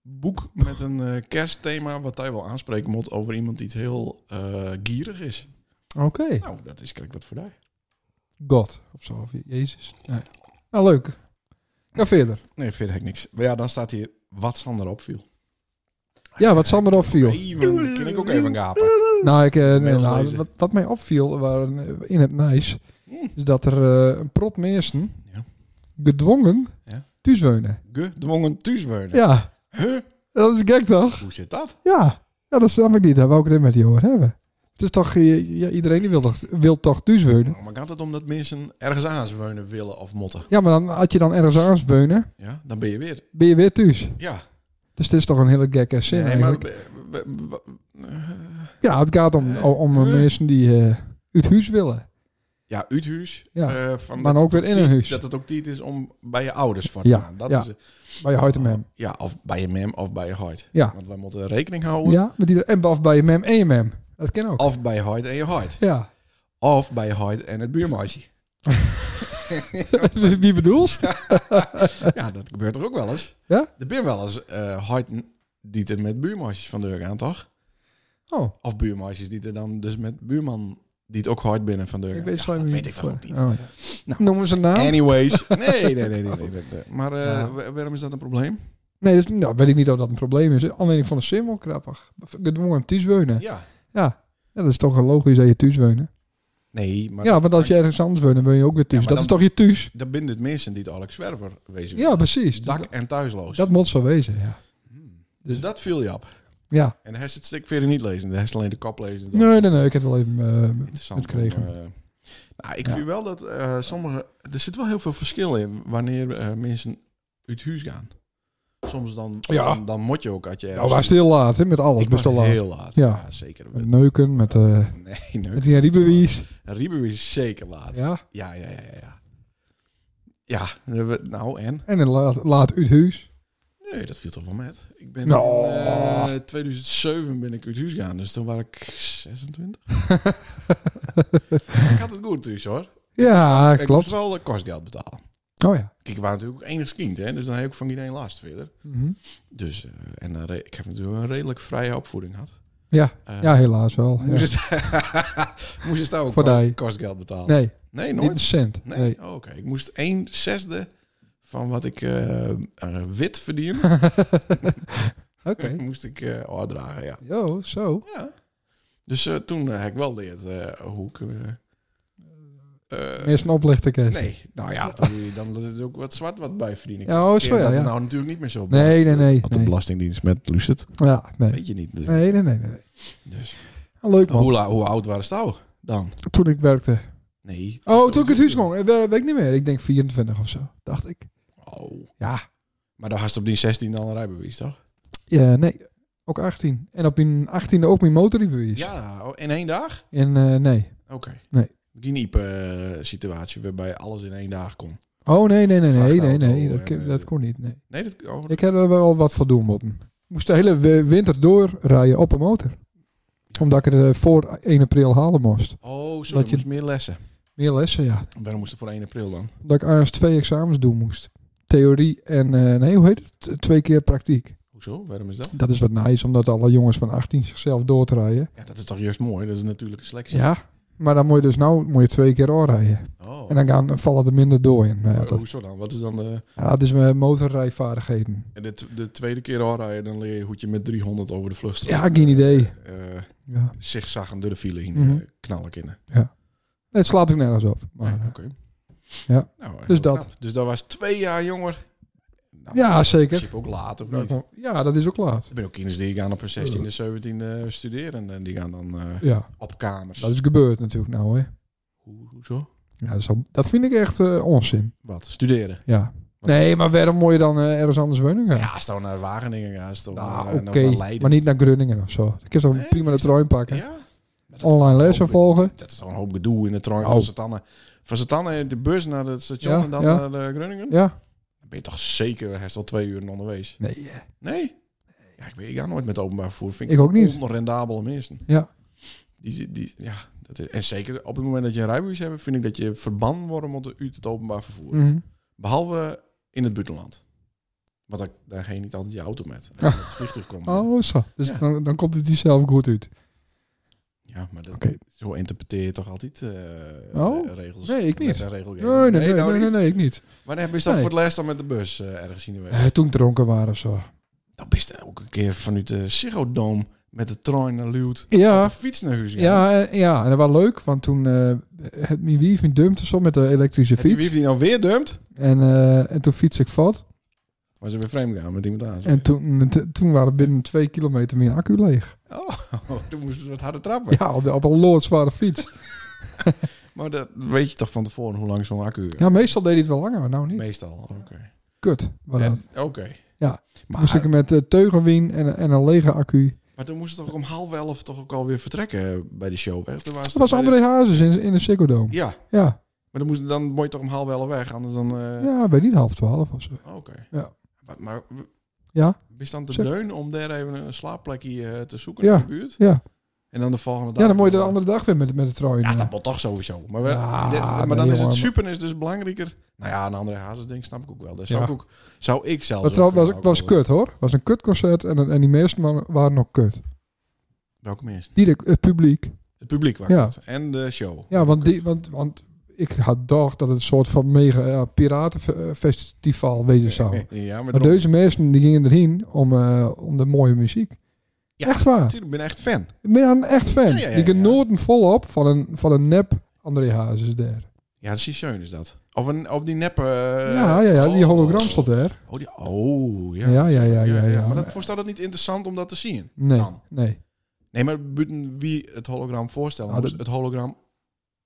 [SPEAKER 5] boek met een eh, kerstthema wat hij wel aanspreken moet over iemand die het heel eh, gierig is.
[SPEAKER 2] Oké.
[SPEAKER 5] Nou, dat is kijk wat voor daar.
[SPEAKER 2] God of zo. Of Jezus. Nee. Nou, leuk. Ga verder.
[SPEAKER 5] Nee, verder heb ik niks. Maar ja, dan staat hier wat Sander opviel.
[SPEAKER 2] Ja, wat Sander opviel.
[SPEAKER 5] Even, kan ik ook even gapen.
[SPEAKER 2] Nou, ik, eh, nee,
[SPEAKER 5] Mails
[SPEAKER 2] nou,
[SPEAKER 5] lezen. Hmm.
[SPEAKER 2] wat, wat mij opviel waren, eh, in het nice, is dat er eh, een prot mensen
[SPEAKER 5] Ja.
[SPEAKER 2] gedwongen
[SPEAKER 5] Ja.
[SPEAKER 2] thuis wonen.
[SPEAKER 5] Gedwongen thuis worden.
[SPEAKER 2] Ja,
[SPEAKER 5] Huh?
[SPEAKER 2] dat is gek toch?
[SPEAKER 5] Hoe zit dat?
[SPEAKER 2] Ja. ja, dat snap ik niet. Daar wou ik het even met die over hebben. Het is toch, eh, ja, iedereen die wil toch, wil toch thuis wonen?
[SPEAKER 5] Nou, maar gaat het om dat mensen ergens aan wonen willen of motten?
[SPEAKER 2] Ja, maar dan, als je dan ergens aan wonen,
[SPEAKER 5] Ja, dan ben je weer.
[SPEAKER 2] ben je weer thuis.
[SPEAKER 5] Ja.
[SPEAKER 2] Dus dit is toch een hele gekke zin
[SPEAKER 5] Nee, maar,
[SPEAKER 2] eigenlijk.
[SPEAKER 5] we- we- we- eh,
[SPEAKER 2] Ja, het gaat om, om, om
[SPEAKER 5] Eh.
[SPEAKER 2] mensen die eh uit huis willen.
[SPEAKER 5] Ja, uithuis.
[SPEAKER 2] Ja,
[SPEAKER 5] eh, van
[SPEAKER 2] maar
[SPEAKER 5] dat
[SPEAKER 2] ook
[SPEAKER 5] het
[SPEAKER 2] weer in een
[SPEAKER 5] tiet-
[SPEAKER 2] huis.
[SPEAKER 5] Dat het ook tijd is om bij je ouders van
[SPEAKER 2] Ja,
[SPEAKER 5] te gaan. Dat
[SPEAKER 2] ja.
[SPEAKER 5] is,
[SPEAKER 2] Bij je huid en mem.
[SPEAKER 5] ja, of bij je mem of bij je hart.
[SPEAKER 2] Ja.
[SPEAKER 5] Want wij moeten rekening houden.
[SPEAKER 2] Ja, met die, en of bij je mem en je mem. Dat ken ook.
[SPEAKER 5] Of bij je hart en je hart.
[SPEAKER 2] Ja. [LAUGHS]
[SPEAKER 5] Of bij je hart en het buurmeisje.
[SPEAKER 2] Wie wie bedoelst?
[SPEAKER 5] ja, dat gebeurt er ook wel eens.
[SPEAKER 2] Ja?
[SPEAKER 5] Er zijn wel eens eh hart die er met buurmeisjes van de deur gaan, toch?
[SPEAKER 2] Oh,
[SPEAKER 5] Of buurmeisjes die er dan dus met buurman die het ook hard binnen van de deur
[SPEAKER 2] ik
[SPEAKER 5] gaan.
[SPEAKER 2] weet
[SPEAKER 5] Ja,
[SPEAKER 2] zo
[SPEAKER 5] dat
[SPEAKER 2] niet
[SPEAKER 5] weet ik toch
[SPEAKER 2] voor-
[SPEAKER 5] ook niet. Nou.
[SPEAKER 2] Oh, ja. Noemen ze een naam? [LAUGHS]
[SPEAKER 5] Anyways. Nee, nee, nee. nee, nee, nee, nee. Maar eh,
[SPEAKER 2] Oh. Ja.
[SPEAKER 5] wa- waarom is dat een probleem?
[SPEAKER 2] Nee, dus, nou, weet ik niet of dat een probleem is. Alleen ik vond het simpel grappig. Gedwongen hem thuis wonen.
[SPEAKER 5] Ja.
[SPEAKER 2] Ja. ja, dat is toch logisch dat je thuis wonen.
[SPEAKER 5] Nee, maar
[SPEAKER 2] Ja, want als je ergens anders woont, dan woon je ook weer thuis.
[SPEAKER 5] Ja,
[SPEAKER 2] dat
[SPEAKER 5] maar
[SPEAKER 2] is
[SPEAKER 5] dan-
[SPEAKER 2] toch je thuis?
[SPEAKER 5] dat bindt het mensen die het Alex Zwerver wezen
[SPEAKER 2] Ja, precies.
[SPEAKER 5] Dak
[SPEAKER 2] Dat,
[SPEAKER 5] en thuisloos.
[SPEAKER 2] dat moet zo wezen, ja.
[SPEAKER 5] dus dat viel je op.
[SPEAKER 2] Ja.
[SPEAKER 5] En hij is het stuk verder niet lezen. Hij is alleen de kop lezen. Dat-
[SPEAKER 2] Nee, nee, nee. Ik heb het wel even... eh,
[SPEAKER 5] interessant.
[SPEAKER 2] Het kregen.
[SPEAKER 5] om, eh, nou, ik
[SPEAKER 2] Ja.
[SPEAKER 5] vind wel dat eh, sommige... Er zit wel heel veel verschil in wanneer eh, mensen uit huis gaan. Soms dan,
[SPEAKER 2] Ja.
[SPEAKER 5] dan, dan moet je ook als je...
[SPEAKER 2] nou, was heel laat, hè. Met alles
[SPEAKER 5] Ik
[SPEAKER 2] best wel
[SPEAKER 5] was
[SPEAKER 2] laat.
[SPEAKER 5] heel laat.
[SPEAKER 2] Ja.
[SPEAKER 5] Ja, zeker.
[SPEAKER 2] Met neuken, met, eh
[SPEAKER 5] nee, nee.
[SPEAKER 2] met die riebewies.
[SPEAKER 5] Ribu is zeker laat. Ja, ja,
[SPEAKER 2] Ja.
[SPEAKER 5] ja, ja. ja. Ja, eh, we- nou en?
[SPEAKER 2] En een laat, laat uit huis.
[SPEAKER 5] Nee, dat viel toch wel met. Ik ben
[SPEAKER 2] Nou.
[SPEAKER 5] in eh, 2007 ben ik uit huis gegaan, dus toen was ik
[SPEAKER 2] [LAUGHS]
[SPEAKER 5] 26. ik had het goed thuis hoor.
[SPEAKER 2] Ja,
[SPEAKER 5] Ik moest
[SPEAKER 2] klopt.
[SPEAKER 5] wel eh, kostgeld betalen.
[SPEAKER 2] Oh ja.
[SPEAKER 5] Kijk, we waren natuurlijk ook enigszins kind, hè? dus dan heb ik van iedereen last verder.
[SPEAKER 2] Mhm.
[SPEAKER 5] Dus, eh, en dan re- ik heb natuurlijk een redelijk vrije opvoeding gehad.
[SPEAKER 2] Ja,
[SPEAKER 5] Eh,
[SPEAKER 2] ja, helaas wel. Ja.
[SPEAKER 5] Moest het, [LAUGHS] moest het daar ook
[SPEAKER 2] Voor die.
[SPEAKER 5] kost, kostgeld betalen?
[SPEAKER 2] Nee,
[SPEAKER 5] Nee,
[SPEAKER 2] niet een
[SPEAKER 5] nooit?
[SPEAKER 2] cent.
[SPEAKER 5] Nee?
[SPEAKER 2] Nee.
[SPEAKER 5] Oh, Oké, ik moest een zesde van wat ik eh, eh, wit [LAUGHS] verdien,
[SPEAKER 2] Oké.
[SPEAKER 5] moest ik eh oordragen, ja.
[SPEAKER 2] [LAUGHS] Yo, zo.
[SPEAKER 5] ja. Dus eh, toen eh, heb ik wel geleerd eh, hoe ik... eh, eh,
[SPEAKER 2] Eerst een oplichterkerst.
[SPEAKER 5] nee, nou ja, toen- dan is er ook wat zwart wat bij verdienen.
[SPEAKER 2] Ja, oh, zo ja.
[SPEAKER 5] dat is
[SPEAKER 2] ja.
[SPEAKER 5] nou natuurlijk niet meer zo.
[SPEAKER 2] Nee, nee, nee,
[SPEAKER 5] Had de
[SPEAKER 2] nee.
[SPEAKER 5] Belastingdienst met luistert.
[SPEAKER 2] Ja, nee.
[SPEAKER 5] Weet je niet. natuurlijk.
[SPEAKER 2] Nee, nee, nee, nee. nee.
[SPEAKER 5] Dus.
[SPEAKER 2] Leuk man.
[SPEAKER 5] Hoe, la- hoe oud waren ze nou dan?
[SPEAKER 2] Toen ik werkte.
[SPEAKER 5] Nee.
[SPEAKER 2] Oh, toen ik het huis kwam. Eh, we- Weet ik niet meer. Ik denk 24 of zo, dacht ik.
[SPEAKER 5] Oh.
[SPEAKER 2] Ja.
[SPEAKER 5] Maar dan had ze op die 16 al een rijbewijs, toch?
[SPEAKER 2] Ja, nee. Ook 18. En op mijn 18e ook mijn motorriebewijs.
[SPEAKER 5] Ja, oh, in één dag?
[SPEAKER 2] En eh, nee.
[SPEAKER 5] Oké.
[SPEAKER 2] Nee.
[SPEAKER 5] Geen hype situatie waarbij alles in één dag kon.
[SPEAKER 2] Oh, nee, nee, nee, nee, nee,
[SPEAKER 5] Vrachtauto
[SPEAKER 2] nee. Dat,
[SPEAKER 5] en,
[SPEAKER 2] kon-
[SPEAKER 5] eh,
[SPEAKER 2] dat kon niet, nee.
[SPEAKER 5] Nee, dat... Oh,
[SPEAKER 2] Ik heb er wel wat voor doen moeten. Ik moest de hele wi- winter doorrijden op een motor. Omdat ik het eh, voor 1 april halen moest.
[SPEAKER 5] oh zo.
[SPEAKER 2] Dat
[SPEAKER 5] Dat
[SPEAKER 2] je-
[SPEAKER 5] je moest meer lessen.
[SPEAKER 2] Meer lessen, ja.
[SPEAKER 5] Waarom moest het voor 1 april dan?
[SPEAKER 2] Omdat ik eerst twee examens doen moest. Theorie en, eh, nee, hoe heet het? T- Twee keer praktiek.
[SPEAKER 5] Hoezo? Waarom is dat?
[SPEAKER 2] Dat is wat nice, omdat alle jongens van 18 zichzelf doordraaien.
[SPEAKER 5] Ja, dat is toch juist mooi? Dat is natuurlijk een selectie.
[SPEAKER 2] Ja. Maar dan moet je dus nou moet je twee keer oorrijden.
[SPEAKER 5] Oh.
[SPEAKER 2] En dan gaan, vallen er minder door in. Nou ja,
[SPEAKER 5] Maar
[SPEAKER 2] dat,
[SPEAKER 5] Hoezo dan? Wat is dan de,
[SPEAKER 2] ja, dat is mijn motorrijvaardigheden.
[SPEAKER 5] de, t- de tweede keer aanrijden? Dan leer je hoe je met 300 over de vlucht
[SPEAKER 2] Ja, geen idee.
[SPEAKER 5] Eh,
[SPEAKER 2] Ja.
[SPEAKER 5] zigzaggen door de file heen
[SPEAKER 2] Mhm.
[SPEAKER 5] eh, knallen kunnen.
[SPEAKER 2] Nee, Het slaat ook nergens op. Maar,
[SPEAKER 5] Nee,
[SPEAKER 2] eh,
[SPEAKER 5] oké.
[SPEAKER 2] ja.
[SPEAKER 5] Nou, eh,
[SPEAKER 2] Dus
[SPEAKER 5] heel
[SPEAKER 2] dat.
[SPEAKER 5] knap. Dus dat was twee jaar jonger. Nou,
[SPEAKER 2] Ja,
[SPEAKER 5] dat is in
[SPEAKER 2] zeker.
[SPEAKER 5] principe ook laat, of niet?
[SPEAKER 2] ja, dat is ook laat.
[SPEAKER 5] Er zijn ook kinderen die gaan op hun 16e, 17e studeren. En die gaan dan eh,
[SPEAKER 2] Ja,
[SPEAKER 5] op kamers.
[SPEAKER 2] dat is gebeurd natuurlijk nou, hè.
[SPEAKER 5] Hoe- hoezo?
[SPEAKER 2] Ja, dat, is al- dat vind ik echt eh, onzin.
[SPEAKER 5] Wat? Studeren?
[SPEAKER 2] Ja.
[SPEAKER 5] Wat-
[SPEAKER 2] Nee, maar waarom moet je dan eh, ergens anders wonen gaan?
[SPEAKER 5] Ja, als dan naar Wageningen gaan, als dan
[SPEAKER 2] nou,
[SPEAKER 5] naar,
[SPEAKER 2] oké.
[SPEAKER 5] eh, naar Leiden.
[SPEAKER 2] Maar niet naar Grunningen of zo. Dan kun je toch
[SPEAKER 5] Nee,
[SPEAKER 2] prima de
[SPEAKER 5] is dat-
[SPEAKER 2] trein pakken.
[SPEAKER 5] Ja? Maar dat is toch
[SPEAKER 2] Online
[SPEAKER 5] een
[SPEAKER 2] lessen
[SPEAKER 5] hoop-
[SPEAKER 2] volgen.
[SPEAKER 5] Dat is toch een hoop gedoe in de trein
[SPEAKER 2] Oh.
[SPEAKER 5] van Satannen. Van Satannen de bus naar het station
[SPEAKER 2] Ja,
[SPEAKER 5] en dan
[SPEAKER 2] ja.
[SPEAKER 5] naar de Groningen.
[SPEAKER 2] Ja?
[SPEAKER 5] Dan ben je toch zeker, hij is al twee uur onderwees.
[SPEAKER 2] Nee. eh,
[SPEAKER 5] Nee. Ja, ik, weet, ik ga nooit met openbaar vervoer. Vind
[SPEAKER 2] Ik ook niet.
[SPEAKER 5] Onrendabele mensen.
[SPEAKER 2] Ja.
[SPEAKER 5] Die, die, ja dat is, en zeker op het moment dat je een rijbewijs hebt, vind ik dat je verbannen wordt om te- uit het openbaar vervoer.
[SPEAKER 2] mhm.
[SPEAKER 5] Behalve in het buitenland. Want daar, daar ga je niet altijd je auto
[SPEAKER 2] [LAUGHS]
[SPEAKER 5] met. Als je
[SPEAKER 2] Ah.
[SPEAKER 5] met het vliegtuig komt.
[SPEAKER 2] Oh, zo. Dus
[SPEAKER 5] Ja.
[SPEAKER 2] dan, dan komt het die zelf goed uit.
[SPEAKER 5] Ja, maar dat,
[SPEAKER 2] Oké.
[SPEAKER 5] zo interpreteer je toch altijd eh,
[SPEAKER 2] Oh,
[SPEAKER 5] regels?
[SPEAKER 2] nee, ik
[SPEAKER 5] Wet
[SPEAKER 2] niet.
[SPEAKER 5] en regelgeving.
[SPEAKER 2] Nee, nee, nee, nee,
[SPEAKER 5] nou
[SPEAKER 2] nee,
[SPEAKER 5] niet.
[SPEAKER 2] nee, ik niet.
[SPEAKER 5] Wanneer heb je dan
[SPEAKER 2] Nee.
[SPEAKER 5] voor het laatst dan met de bus eh, ergens zien geweest?
[SPEAKER 2] Eh, toen ik dronken waren of zo.
[SPEAKER 5] Dan ben je ook een keer vanuit de Ziggo Dome met de trein naar Luwt.
[SPEAKER 2] Ja.
[SPEAKER 5] Op de fiets naar huis gegaan.
[SPEAKER 2] Ja, eh, ja, en dat was leuk, want toen eh het mijn wief me dumpte zo met de elektrische
[SPEAKER 5] En die wief
[SPEAKER 2] fiets.
[SPEAKER 5] die nou weer dumpt,
[SPEAKER 2] En, eh, en toen fiets ik vat.
[SPEAKER 5] was ze weer vreemd gaan met iemand aan.
[SPEAKER 2] En toen, t- toen waren binnen twee kilometer mijn accu leeg.
[SPEAKER 5] Oh, [LAUGHS] toen moesten ze wat harder trappen.
[SPEAKER 2] Ja, op, de- op een loodzware fiets.
[SPEAKER 5] Maar dat weet je toch van tevoren hoe lang zo'n accu
[SPEAKER 2] Ja, meestal deed hij het wel langer, maar nou niet.
[SPEAKER 5] Meestal, oké.
[SPEAKER 2] Kut. was dat.
[SPEAKER 5] En- Oké.
[SPEAKER 2] Ja.
[SPEAKER 5] Maar
[SPEAKER 2] Moest ik hem met eh, teugenwien en, en een lege accu.
[SPEAKER 5] Maar toen moesten ze toch om half elf toch ook alweer vertrekken bij de show. Hè? Toen was
[SPEAKER 2] Dat was André Hazes in, in de Ziggo Dome.
[SPEAKER 5] Ja,
[SPEAKER 2] Ja.
[SPEAKER 5] maar dan, moest, dan moet je toch om half elf weg, anders dan... eh, oh,
[SPEAKER 2] ja, bij niet half twaalf of zo.
[SPEAKER 5] Oké.
[SPEAKER 2] Ja.
[SPEAKER 5] Maar, maar w-
[SPEAKER 2] Ja,
[SPEAKER 5] wist dan te
[SPEAKER 2] Zeg.
[SPEAKER 5] deun om daar even een slaapplekje eh, te zoeken
[SPEAKER 2] Ja.
[SPEAKER 5] in de buurt?
[SPEAKER 2] ja.
[SPEAKER 5] En dan de volgende dag...
[SPEAKER 2] ja dan moet je de andere dag weer met, met de trui.
[SPEAKER 5] Ja,
[SPEAKER 2] eh.
[SPEAKER 5] dat moet toch sowieso. Maar, we-
[SPEAKER 2] Ja,
[SPEAKER 5] de- de- maar
[SPEAKER 2] nee,
[SPEAKER 5] dan is het
[SPEAKER 2] jongen.
[SPEAKER 5] super is dus belangrijker. Nou ja, een andere hazes ding snap ik ook wel. Dat zou,
[SPEAKER 2] Ja.
[SPEAKER 5] ik ook, zou ik zelf.
[SPEAKER 2] Dat was, was, was kut hoor. was een kutconcert en, en die meesten waren- waren ook kut.
[SPEAKER 5] Welke mensen?
[SPEAKER 2] Die, de- het publiek.
[SPEAKER 5] Het publiek was
[SPEAKER 2] Ja.
[SPEAKER 5] kut. En de show.
[SPEAKER 2] Ja, want,
[SPEAKER 5] Kut.
[SPEAKER 2] die, want, want ik had dacht dat het een soort van mega ja, piratenfestival wezen zou.
[SPEAKER 5] [LAUGHS] Ja, maar,
[SPEAKER 2] Maar
[SPEAKER 5] daarom-
[SPEAKER 2] deze mensen die gingen erheen om, eh, om de mooie muziek.
[SPEAKER 5] Ja.
[SPEAKER 2] Echt waar.
[SPEAKER 5] Tuurlijk, ik ben echt fan.
[SPEAKER 2] Ik ben een echt fan.
[SPEAKER 5] Ja, ja, ja,
[SPEAKER 2] die
[SPEAKER 5] ja.
[SPEAKER 2] genoten volop van een, van een nep André Hazes daar.
[SPEAKER 5] Ja, dat is is dat. Of, een, of die neppe...
[SPEAKER 2] ja, ja, ja, die hologram stond daar.
[SPEAKER 5] Oh, die, oh Eh, ja.
[SPEAKER 2] Ja, ja, ja, ja. ja,
[SPEAKER 5] Maar dat voorstelt het niet interessant om dat te zien.
[SPEAKER 2] nee,
[SPEAKER 5] dan.
[SPEAKER 2] nee.
[SPEAKER 5] Nee, maar buiten wie het hologram voorstellen,
[SPEAKER 2] Nou,
[SPEAKER 5] moest
[SPEAKER 2] dat-
[SPEAKER 5] het hologram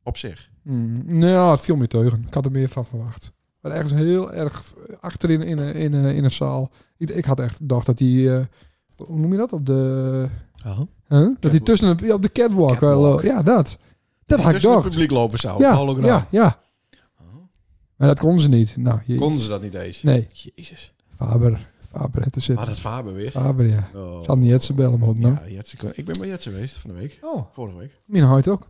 [SPEAKER 5] op zich.
[SPEAKER 2] Mm, nou, het viel me teugen. Ik had er meer van verwacht. Maar ergens heel erg achterin in een, in een, in een zaal. Ik, ik had echt gedacht dat die... eh, hoe noem je dat? Op de...
[SPEAKER 5] Oh.
[SPEAKER 2] Huh? Dat hij
[SPEAKER 5] Catwalk.
[SPEAKER 2] tussen de, op de catwalk, wel,
[SPEAKER 5] Catwalk.
[SPEAKER 2] eh, ja, dat. Dat had
[SPEAKER 5] Tussen
[SPEAKER 2] ik
[SPEAKER 5] het
[SPEAKER 2] gedacht.
[SPEAKER 5] publiek lopen zou,
[SPEAKER 2] ja,
[SPEAKER 5] het hologram. Oh.
[SPEAKER 2] ja, ja. Maar dat konden ze niet. Nou, je,
[SPEAKER 5] Konden ze dat niet eens?
[SPEAKER 2] Nee,
[SPEAKER 5] Jezus.
[SPEAKER 2] Faber. Faber, het is
[SPEAKER 5] Maar
[SPEAKER 2] het.
[SPEAKER 5] Ah, dat Faber weer.
[SPEAKER 2] Faber, ja.
[SPEAKER 5] Oh.
[SPEAKER 2] Zal niet Jetsen bellen, moet nou.
[SPEAKER 5] Ja, Jetsen. kon- Ik ben bij Jetsen geweest van de week.
[SPEAKER 2] Oh,
[SPEAKER 5] Vorige week.
[SPEAKER 2] mijn hart ook.